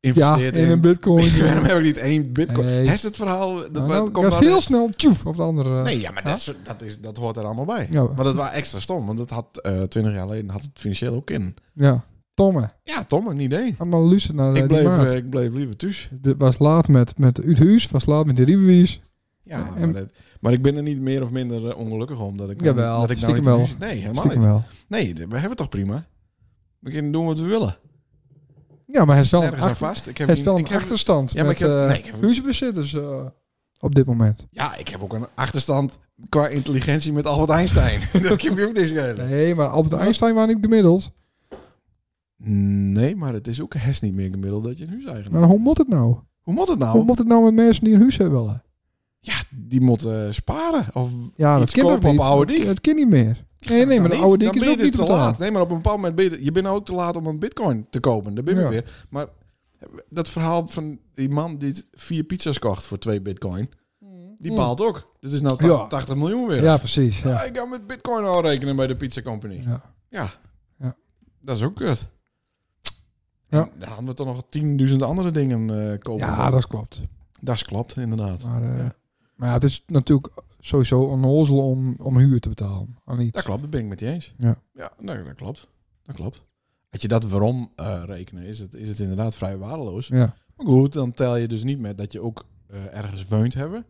[SPEAKER 2] Ja,
[SPEAKER 5] investeerd
[SPEAKER 2] in een
[SPEAKER 5] bitcoin? [LAUGHS]
[SPEAKER 2] bitcoin.
[SPEAKER 5] waarom heb ik niet één bitcoin?
[SPEAKER 2] Nee.
[SPEAKER 5] Hij Is het verhaal... Dat,
[SPEAKER 2] Nou,
[SPEAKER 5] wa-
[SPEAKER 2] nou,
[SPEAKER 5] komt
[SPEAKER 2] dat is
[SPEAKER 5] wel-
[SPEAKER 2] heel snel, tjoef, of de andere. eh,
[SPEAKER 5] Nee, ja, maar dat, is, dat, is, dat hoort er allemaal bij.
[SPEAKER 2] Ja.
[SPEAKER 5] Maar dat was extra stom, want dat had eh, twintig jaar geleden had het financieel ook in.
[SPEAKER 2] Ja, Tomme.
[SPEAKER 5] Ja, Tom, een idee.
[SPEAKER 2] Allemaal luisteren naar eh,
[SPEAKER 5] Ik
[SPEAKER 2] die
[SPEAKER 5] bleef,
[SPEAKER 2] maat.
[SPEAKER 5] eh, ik bleef liever thuis.
[SPEAKER 2] Het was laat met, met het huis, was laat met de reviews.
[SPEAKER 5] Ja,
[SPEAKER 2] En-
[SPEAKER 5] maar, dat- maar ik ben er niet meer of minder eh, ongelukkig om dat ik nou,
[SPEAKER 2] Jawel,
[SPEAKER 5] dat ik nou
[SPEAKER 2] stiekem
[SPEAKER 5] niet
[SPEAKER 2] wel.
[SPEAKER 5] muziek- Nee, helemaal
[SPEAKER 2] Stiekem
[SPEAKER 5] niet.
[SPEAKER 2] wel.
[SPEAKER 5] Nee, d- we hebben het toch prima. We kunnen doen wat we willen.
[SPEAKER 2] Ja, maar hij is wel een,
[SPEAKER 5] Nergens aan
[SPEAKER 2] achter,
[SPEAKER 5] vast. Ik heb,
[SPEAKER 2] hij is wel
[SPEAKER 5] niet-
[SPEAKER 2] een
[SPEAKER 5] ik heb-
[SPEAKER 2] achterstand
[SPEAKER 5] Ja, maar
[SPEAKER 2] met
[SPEAKER 5] ik heb-
[SPEAKER 2] eh,
[SPEAKER 5] nee, ik heb-
[SPEAKER 2] huisbezitters eh, op dit moment.
[SPEAKER 5] ja, ik heb ook een achterstand qua intelligentie met Albert Einstein. [LAUGHS] dat kan je ook niet schelen.
[SPEAKER 2] Nee, maar Albert Einstein was niet gemiddeld.
[SPEAKER 5] Nee, maar het is ook hest niet meer gemiddeld dat je een huiseigenaar
[SPEAKER 2] Maar hoe moet het nou?
[SPEAKER 5] Hoe moet het
[SPEAKER 2] Hoe
[SPEAKER 5] nou?
[SPEAKER 2] moet het nou met mensen die een huis hebben willen?
[SPEAKER 5] Ja, die moet eh, sparen. Of
[SPEAKER 2] Ja, dat
[SPEAKER 5] Iets
[SPEAKER 2] kan
[SPEAKER 5] kopen
[SPEAKER 2] toch
[SPEAKER 5] op
[SPEAKER 2] niet?
[SPEAKER 5] oude dik.
[SPEAKER 2] Het kan niet meer. Nee, nee,
[SPEAKER 5] Dan
[SPEAKER 2] maar de
[SPEAKER 5] niet.
[SPEAKER 2] oude
[SPEAKER 5] Dan
[SPEAKER 2] dik is
[SPEAKER 5] ben
[SPEAKER 2] ook
[SPEAKER 5] je dus
[SPEAKER 2] niet
[SPEAKER 5] te
[SPEAKER 2] te
[SPEAKER 5] laat.
[SPEAKER 2] laat.
[SPEAKER 5] Nee, maar op een bepaald moment ben je, je bent ook te laat om een bitcoin te kopen. Daar ben je
[SPEAKER 2] Ja.
[SPEAKER 5] weer. Maar eh, dat verhaal van die man die het vier pizza's kocht voor twee bitcoin, die
[SPEAKER 2] Mm.
[SPEAKER 5] baalt ook. Dit is nou ta-
[SPEAKER 2] Ja.
[SPEAKER 5] 80 miljoen weer.
[SPEAKER 2] Ja, precies.
[SPEAKER 5] Ja,
[SPEAKER 2] Ja.
[SPEAKER 5] ik ga met bitcoin al rekenen bij de pizza company.
[SPEAKER 2] Ja.
[SPEAKER 5] Ja.
[SPEAKER 2] Ja.
[SPEAKER 5] Dat is ook kut.
[SPEAKER 2] Ja.
[SPEAKER 5] En Daar hadden we toch nog tienduizend andere dingen eh, kopen.
[SPEAKER 2] Ja, dat klopt.
[SPEAKER 5] Dat is klopt, inderdaad.
[SPEAKER 2] Maar, eh,
[SPEAKER 5] Ja.
[SPEAKER 2] maar ja, het is natuurlijk sowieso onnozel om, om huur te betalen. Aan iets.
[SPEAKER 5] Dat klopt, dat ben ik met je eens.
[SPEAKER 2] Ja.
[SPEAKER 5] ja nou, dat klopt. Dat klopt. Als je dat waarom eh, rekenen, is het, is het inderdaad vrij waardeloos.
[SPEAKER 2] Ja,
[SPEAKER 5] Maar goed, dan tel je dus niet met dat je ook eh, ergens woont hebben.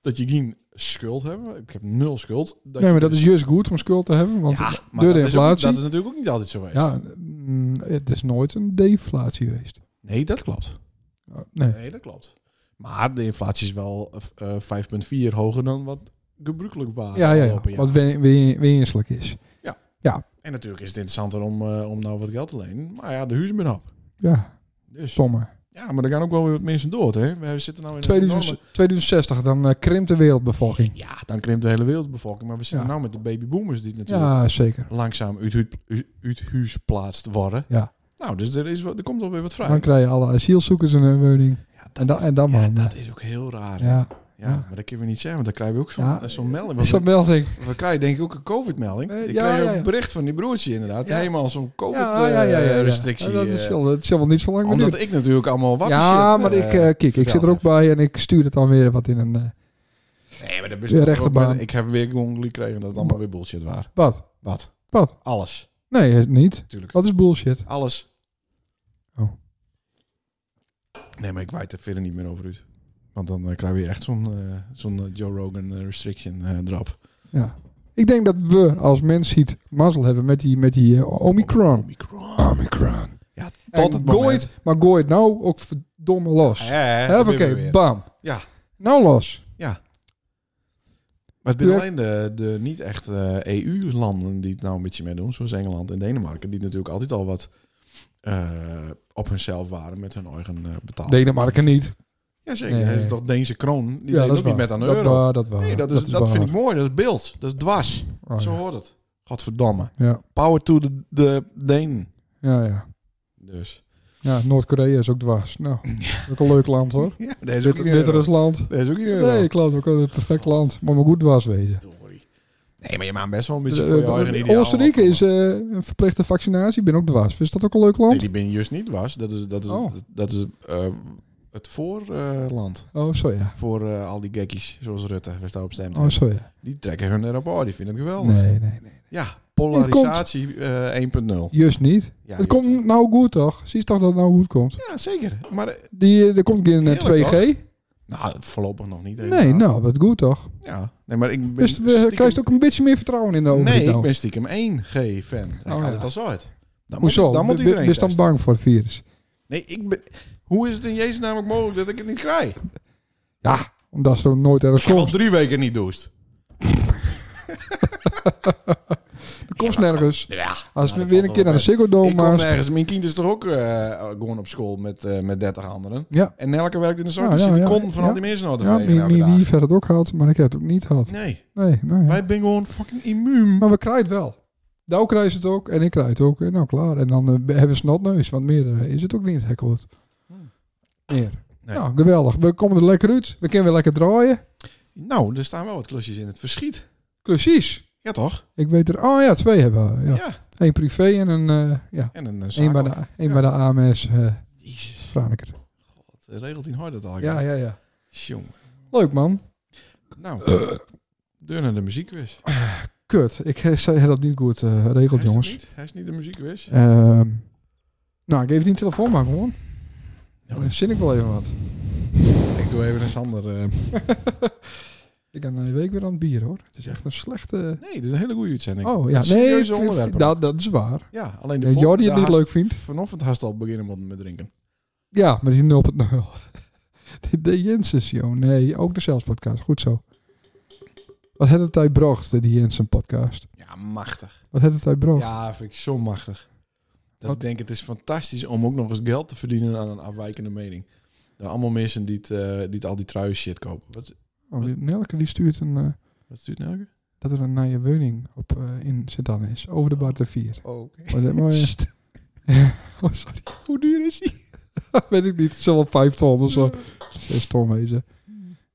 [SPEAKER 5] Dat je geen schuld hebt. Ik heb nul schuld. Dat
[SPEAKER 2] nee,
[SPEAKER 5] je
[SPEAKER 2] maar dat
[SPEAKER 5] dus-
[SPEAKER 2] is juist goed om schuld te hebben. Want
[SPEAKER 5] Ja, maar
[SPEAKER 2] door de
[SPEAKER 5] dat is ook-
[SPEAKER 2] inflatie-
[SPEAKER 5] dat is natuurlijk ook niet altijd zo geweest.
[SPEAKER 2] ja, mm, het is nooit een deflatie geweest.
[SPEAKER 5] Nee, dat klopt.
[SPEAKER 2] Ja, Nee.
[SPEAKER 5] [LAUGHS] Nee, dat klopt. Maar de inflatie is wel eh, eh, 5,4 hoger dan wat gebruikelijk was
[SPEAKER 2] Ja, ja, ja.
[SPEAKER 5] afgelopen jaar.
[SPEAKER 2] Wat wen- wen- wenselijk is.
[SPEAKER 5] En natuurlijk is het interessanter om, eh, om nou wat geld te lenen. Maar ja, de huizen ben op.
[SPEAKER 2] Ja,
[SPEAKER 5] Dus
[SPEAKER 2] stomme.
[SPEAKER 5] ja, maar er gaan ook wel weer wat mensen dood, hè? We zitten nou in een
[SPEAKER 2] 2000,
[SPEAKER 5] enorme-
[SPEAKER 2] 2060, dan eh, krimpt de wereldbevolking.
[SPEAKER 5] Ja, dan krimpt de hele wereldbevolking. Maar we zitten
[SPEAKER 2] Ja.
[SPEAKER 5] nou met de babyboomers die natuurlijk
[SPEAKER 2] Ja, zeker.
[SPEAKER 5] langzaam uit, uit, uit, uit huis plaatst worden.
[SPEAKER 2] Ja.
[SPEAKER 5] Nou, dus er, is, wat- er komt alweer wat vrij.
[SPEAKER 2] Dan krijg je alle asielzoekers in hun woning.
[SPEAKER 5] Ja, dat,
[SPEAKER 2] En, dan en dan
[SPEAKER 5] ja,
[SPEAKER 2] man.
[SPEAKER 5] dat is ook heel raar. hè? Ja.
[SPEAKER 2] Ja. ja.
[SPEAKER 5] maar dat kunnen we niet zeggen, want dan krijgen we ook zo'n
[SPEAKER 2] Ja.
[SPEAKER 5] zo'n melding.
[SPEAKER 2] Is
[SPEAKER 5] Want
[SPEAKER 2] dat melding?
[SPEAKER 5] we, we krijgen denk ik ook een COVID-melding.
[SPEAKER 2] Eh,
[SPEAKER 5] ik
[SPEAKER 2] ja,
[SPEAKER 5] kreeg
[SPEAKER 2] ja, ja.
[SPEAKER 5] een bericht van die broertje inderdaad.
[SPEAKER 2] Ja.
[SPEAKER 5] Helemaal zo'n
[SPEAKER 2] Ja, ja, ja, ja, ja.
[SPEAKER 5] COVID-restrictie.
[SPEAKER 2] dat, is wel, dat is wel niet zo lang meer
[SPEAKER 5] eh, omdat
[SPEAKER 2] duren.
[SPEAKER 5] ik natuurlijk allemaal wat
[SPEAKER 2] Ja,
[SPEAKER 5] shit,
[SPEAKER 2] maar
[SPEAKER 5] eh,
[SPEAKER 2] ik, eh, kijk, ik zit
[SPEAKER 5] verteld
[SPEAKER 2] er ook
[SPEAKER 5] heb.
[SPEAKER 2] bij en ik stuur het dan weer wat in een... eh,
[SPEAKER 5] Nee, maar dat
[SPEAKER 2] De
[SPEAKER 5] bestaat er ook
[SPEAKER 2] rechterbaan.
[SPEAKER 5] bij. Ik heb weer gongli gekregen dat het allemaal weer bullshit was.
[SPEAKER 2] wat?
[SPEAKER 5] Wat?
[SPEAKER 2] Wat?
[SPEAKER 5] Alles,
[SPEAKER 2] Nee, het niet.
[SPEAKER 5] natuurlijk.
[SPEAKER 2] Wat is bullshit?
[SPEAKER 5] Alles.
[SPEAKER 2] Oh.
[SPEAKER 5] Nee, maar ik wijd er verder niet meer over uit. Want dan eh, krijg je echt zo'n eh, zo'n eh, Joe Rogan eh, restriction eh drop.
[SPEAKER 2] Ja. Ik denk dat we als mens ziet mazzel hebben met die, met die eh, Omicron.
[SPEAKER 5] Omicron.
[SPEAKER 2] Omicron.
[SPEAKER 5] Ja, tot
[SPEAKER 2] En
[SPEAKER 5] het
[SPEAKER 2] gooit,
[SPEAKER 5] moment.
[SPEAKER 2] maar gooit nou ook verdomme los.
[SPEAKER 5] Ja, ja, ja,
[SPEAKER 2] Hè,
[SPEAKER 5] dat
[SPEAKER 2] Oké,
[SPEAKER 5] weer weer.
[SPEAKER 2] bam.
[SPEAKER 5] Ja.
[SPEAKER 2] Nou los.
[SPEAKER 5] Maar het zijn
[SPEAKER 2] Ja.
[SPEAKER 5] alleen de, de niet echt eh, EU-landen die het nou een beetje mee doen. Zoals Engeland en Denemarken. Die natuurlijk altijd al wat eh, op hunzelf waren met hun eigen eh betaling.
[SPEAKER 2] Denemarken niet.
[SPEAKER 5] Jazeker.
[SPEAKER 2] Nee.
[SPEAKER 5] Dat is toch Deense kroon. Die
[SPEAKER 2] ja,
[SPEAKER 5] deed
[SPEAKER 2] dat
[SPEAKER 5] ook
[SPEAKER 2] is
[SPEAKER 5] niet
[SPEAKER 2] waar.
[SPEAKER 5] met aan de
[SPEAKER 2] dat
[SPEAKER 5] euro.
[SPEAKER 2] Waar, dat waar.
[SPEAKER 5] nee, dat, is, dat,
[SPEAKER 2] waar.
[SPEAKER 5] vind ik mooi. Dat is beeld. Dat is dwars.
[SPEAKER 2] Oh,
[SPEAKER 5] Zo
[SPEAKER 2] ja.
[SPEAKER 5] hoort het. Godverdamme.
[SPEAKER 2] Ja,
[SPEAKER 5] Power to de, de Deen.
[SPEAKER 2] ja, ja.
[SPEAKER 5] Dus.
[SPEAKER 2] ja Noord-Korea is ook
[SPEAKER 5] [LAUGHS]
[SPEAKER 2] dwars. Nou, ook een leuk land hoor.
[SPEAKER 5] Ja, dat is ook
[SPEAKER 2] Wit-
[SPEAKER 5] niet eh, euro.
[SPEAKER 2] Wit-Rusland.
[SPEAKER 5] Dat is ook niet euro.
[SPEAKER 2] Nee, klopt. Ook een perfect land. Maar maar goed dwars wezen.
[SPEAKER 5] Sorry. Nee, maar je maakt best wel een beetje voor je eigen
[SPEAKER 2] Eh,
[SPEAKER 5] ideaal.
[SPEAKER 2] Oostenrijk is eh, een verplichte vaccinatie. Ik ben ook dwars. Is dat ook een leuk
[SPEAKER 5] Nee,
[SPEAKER 2] land?
[SPEAKER 5] die ben juist niet was. Dat is, dat is,
[SPEAKER 2] Oh.
[SPEAKER 5] dat is eh, het voorland
[SPEAKER 2] Oh, zo ja.
[SPEAKER 5] voor eh, al die gekkies zoals Rutte, waar daarop stemt.
[SPEAKER 2] Oh, zo ja.
[SPEAKER 5] Die trekken hun erop aan, die vinden het geweldig.
[SPEAKER 2] Nee, nee, nee.
[SPEAKER 5] Ja, polarisatie eh, 1.0.
[SPEAKER 2] Juist niet.
[SPEAKER 5] Ja,
[SPEAKER 2] het
[SPEAKER 5] juist.
[SPEAKER 2] komt nou goed toch? Zie je toch dat het nou goed komt?
[SPEAKER 5] Ja, zeker. Maar eh,
[SPEAKER 2] Die, eh, er komt geen eh,
[SPEAKER 5] Heerlijk,
[SPEAKER 2] 2G.
[SPEAKER 5] nou, voorlopig nog niet.
[SPEAKER 2] Nee,
[SPEAKER 5] inderdaad.
[SPEAKER 2] nou, wat goed toch?
[SPEAKER 5] Ja, nee, maar ik ben
[SPEAKER 2] Dus we
[SPEAKER 5] stiekem-
[SPEAKER 2] krijgen ook een beetje meer vertrouwen in de overheid.
[SPEAKER 5] Nee,
[SPEAKER 2] nou.
[SPEAKER 5] ik ben stiekem 1G-fan. Ik
[SPEAKER 2] Oh,
[SPEAKER 5] had
[SPEAKER 2] ja.
[SPEAKER 5] het al zo uit. Dan
[SPEAKER 2] Hoezo?
[SPEAKER 5] Moet, dan moet
[SPEAKER 2] Ben- ben-
[SPEAKER 5] iedereen
[SPEAKER 2] ben je dan
[SPEAKER 5] testen.
[SPEAKER 2] bang voor het virus?
[SPEAKER 5] Nee, ik ben... Hoe is het in Jezus namelijk mogelijk dat ik het niet krijg? Ik
[SPEAKER 2] Ja, omdat ze er nooit ergens
[SPEAKER 5] heb al
[SPEAKER 2] komt.
[SPEAKER 5] drie weken niet
[SPEAKER 2] [LAUGHS]
[SPEAKER 5] doest.
[SPEAKER 2] Er komt nergens. Oh,
[SPEAKER 5] Ja,
[SPEAKER 2] Als
[SPEAKER 5] nou,
[SPEAKER 2] we
[SPEAKER 5] dat
[SPEAKER 2] weer
[SPEAKER 5] valt
[SPEAKER 2] een keer
[SPEAKER 5] wel
[SPEAKER 2] naar de Ziggo Dome
[SPEAKER 5] Ik kom
[SPEAKER 2] maast.
[SPEAKER 5] ergens. Mijn kind is toch ook eh, gewoon op school met, eh met 30 anderen.
[SPEAKER 2] Ja.
[SPEAKER 5] En elke werkt in de zorg.
[SPEAKER 2] Ja,
[SPEAKER 5] dus
[SPEAKER 2] ja,
[SPEAKER 5] die
[SPEAKER 2] ja.
[SPEAKER 5] kon van
[SPEAKER 2] Ja.
[SPEAKER 5] al die mensen nog te
[SPEAKER 2] Ja,
[SPEAKER 5] vegen
[SPEAKER 2] die,
[SPEAKER 5] elke
[SPEAKER 2] die,
[SPEAKER 5] dag.
[SPEAKER 2] die verder het ook gehad, maar ik heb het ook niet gehad.
[SPEAKER 5] Nee,
[SPEAKER 2] Nee, nou ja.
[SPEAKER 5] wij zijn gewoon fucking immuun.
[SPEAKER 2] Maar we krijgen het wel. Douw krijgt het ook en ik krijg het ook. En nou klaar. En dan eh, hebben ze snotneus, want meer eh, is het ook niet, gek hoort. Meer.
[SPEAKER 5] Hm. Nee.
[SPEAKER 2] Nou, geweldig. We komen er lekker uit. We kunnen weer lekker draaien.
[SPEAKER 5] Nou, er staan wel wat klusjes in het verschiet.
[SPEAKER 2] Precies.
[SPEAKER 5] Ja, toch?
[SPEAKER 2] Ik weet er, oh ja, twee hebben we.
[SPEAKER 5] Ja.
[SPEAKER 2] Ja. Eén privé en een, eh, ja,
[SPEAKER 5] En een, een
[SPEAKER 2] één bij de, één bij de AMS eh
[SPEAKER 5] Jezus,
[SPEAKER 2] Franeker.
[SPEAKER 5] wat eh, regelt hij hard dat al?
[SPEAKER 2] Ja, ja, ja.
[SPEAKER 5] Tjonge.
[SPEAKER 2] Leuk man.
[SPEAKER 5] Nou, deur naar de muziekquiz.
[SPEAKER 2] Kut. Ik eh, zei dat niet goed eh regeld,
[SPEAKER 5] Hij is het
[SPEAKER 2] jongens.
[SPEAKER 5] niet? Hij is niet de muziekquiz.
[SPEAKER 2] Ehm, nou, ik geef die een telefoon maar gewoon.
[SPEAKER 5] Ja.
[SPEAKER 2] Dan verzin ik wel even wat.
[SPEAKER 5] Nou, Ik doe even een Sander. eh.
[SPEAKER 2] [LAUGHS] Ik ben een week weer aan het bier hoor. Het is echt een slechte.
[SPEAKER 5] Nee, dit is een hele goede uitzending.
[SPEAKER 2] Oh ja, nee,
[SPEAKER 5] serieuze
[SPEAKER 2] ik- ik-
[SPEAKER 5] onderwerpen.
[SPEAKER 2] dat, dat is waar.
[SPEAKER 5] Ja, alleen de
[SPEAKER 2] Ja,
[SPEAKER 5] vol-
[SPEAKER 2] Jordi het
[SPEAKER 5] daar
[SPEAKER 2] niet
[SPEAKER 5] haast-
[SPEAKER 2] leuk vindt.
[SPEAKER 5] Vanochtend haast al beginnen met- met drinken.
[SPEAKER 2] Ja, met die [LAUGHS] 0.0. De, de Jensen's, joh. Nee, ook de Zelfs podcast. Goed zo. Wat had het hij bracht, die Jensen podcast?
[SPEAKER 5] Ja, machtig.
[SPEAKER 2] Wat had het hij bracht?
[SPEAKER 5] Ja, vind ik zo machtig. Dat
[SPEAKER 2] Wat?
[SPEAKER 5] ik denk, het is fantastisch om ook nog eens geld te verdienen aan een afwijkende mening. Er allemaal mensen die, het, eh, die het al die trui shit kopen. Wat,
[SPEAKER 2] Oh, die- Nelke die stuurt een, eh,
[SPEAKER 5] wat stuurt nou?
[SPEAKER 2] dat er een nieuwe woning op, eh, in Sedan is. Over de Barte 4.
[SPEAKER 5] Oh,
[SPEAKER 2] Maar dat-
[SPEAKER 5] [LAUGHS]
[SPEAKER 2] maar, eh, oh, sorry.
[SPEAKER 5] Hoe duur is die?
[SPEAKER 2] Weet ik niet. Het zal wel 5 ton of zo. 6 ton wezen.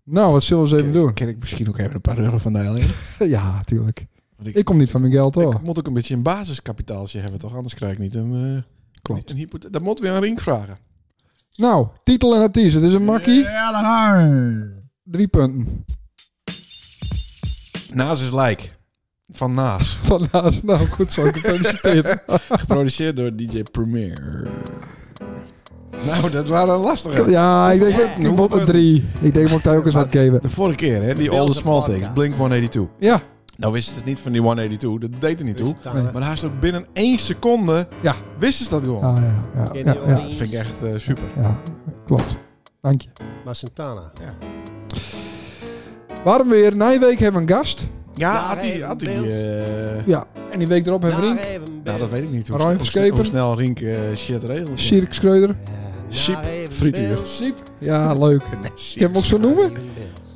[SPEAKER 2] Nou, wat zullen we eens even
[SPEAKER 5] Ken,
[SPEAKER 2] doen?
[SPEAKER 5] ken ik misschien ook even een paar euro van de
[SPEAKER 2] [LAUGHS]
[SPEAKER 5] alleen.
[SPEAKER 2] Ja, tuurlijk.
[SPEAKER 5] Want
[SPEAKER 2] Ik kom niet van mijn geld hoor.
[SPEAKER 5] Ik moet ook een beetje een basiskapitaaltje hebben, toch? Anders krijg ik niet een... eh,
[SPEAKER 2] Klopt.
[SPEAKER 5] Een hypothe- dat moet weer aan Rink vragen.
[SPEAKER 2] Nou, titel en artiest. Het is een makkie.
[SPEAKER 1] Ja, dan haar.
[SPEAKER 2] Drie punten. [LAUGHS]
[SPEAKER 5] Naas is Lijk. Van Naas.
[SPEAKER 2] Van naast. Nou, goed zo. Gefeliciteerd.
[SPEAKER 5] Geproduceerd door DJ Premier. Nou, dat waren lastige.
[SPEAKER 2] Ja, ik denk dat ik
[SPEAKER 5] Hoeveel
[SPEAKER 2] word een
[SPEAKER 5] punten?
[SPEAKER 2] drie. Ik denk dat ik daar ook eens aan geven.
[SPEAKER 5] De vorige keer, hè, die
[SPEAKER 3] Beelze
[SPEAKER 5] All the Small
[SPEAKER 3] podcast.
[SPEAKER 5] Things, Blink 182.
[SPEAKER 2] Ja,
[SPEAKER 5] Nou wisten ze het niet van die 182, dat deed er niet toe.
[SPEAKER 2] Nee.
[SPEAKER 5] Maar haast ook binnen één seconde
[SPEAKER 2] Ja.
[SPEAKER 5] wisten ze dat gewoon.
[SPEAKER 2] ah, ja, ja,
[SPEAKER 3] Kenny
[SPEAKER 2] ja, ja,
[SPEAKER 5] Dat vind ik echt eh, super.
[SPEAKER 2] ja. Klopt. Dank je.
[SPEAKER 3] Maar Santana.
[SPEAKER 2] Waarom weer? Na een week hebben we een gast.
[SPEAKER 5] Ja,
[SPEAKER 3] Daar
[SPEAKER 5] had hij...
[SPEAKER 3] even
[SPEAKER 5] Had hij
[SPEAKER 3] Beelze.
[SPEAKER 5] eh,
[SPEAKER 2] Ja. En die week erop hebben we Rink.
[SPEAKER 5] nou, dat weet ik niet. Hoe,
[SPEAKER 2] Ryan
[SPEAKER 5] hoe,
[SPEAKER 2] Verskepen.
[SPEAKER 5] hoe snel Rink eh, shit regelt.
[SPEAKER 2] Sirk Schreuder.
[SPEAKER 3] Eh,
[SPEAKER 5] Siep Frituur. [LAUGHS]
[SPEAKER 2] Siep. Ja, leuk. Je hem ook zo noemen?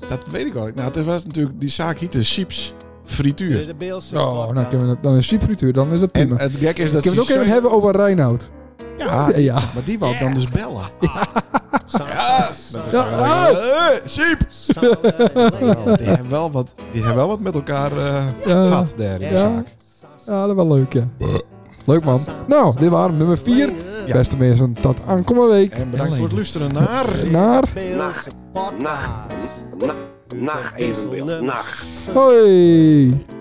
[SPEAKER 5] Dat weet ik wel. Nou, het was natuurlijk... Die zaak heette Sieps Frituur.
[SPEAKER 3] De Beelse
[SPEAKER 2] Oh, nou, kunnen we dat- dan is Siep frituur. Dan is dat
[SPEAKER 5] En
[SPEAKER 2] prima.
[SPEAKER 5] het gek is dat
[SPEAKER 2] Kunnen we het ook even hebben over Reinoud?
[SPEAKER 5] Ja,
[SPEAKER 2] Ja.
[SPEAKER 5] maar die wou ik dan dus bellen.
[SPEAKER 3] Ja,
[SPEAKER 2] Ja, oh.
[SPEAKER 5] Eh, Siep! Die hebben wel wat, die hebben wel wat met elkaar eh
[SPEAKER 2] Ja.
[SPEAKER 5] gehad daar in de
[SPEAKER 2] Ja.
[SPEAKER 5] zaak.
[SPEAKER 2] Ja, dat was leuk, ja. Leuk, man. Nou, dit waren nummer 4.
[SPEAKER 5] Ja.
[SPEAKER 2] Beste mensen, tot aankomende week.
[SPEAKER 5] En bedankt voor het luisteren naar...
[SPEAKER 2] Naar.
[SPEAKER 3] Beelse podcast.
[SPEAKER 4] Nacht. Nacht evenbeeld. Nacht.
[SPEAKER 2] Hoi.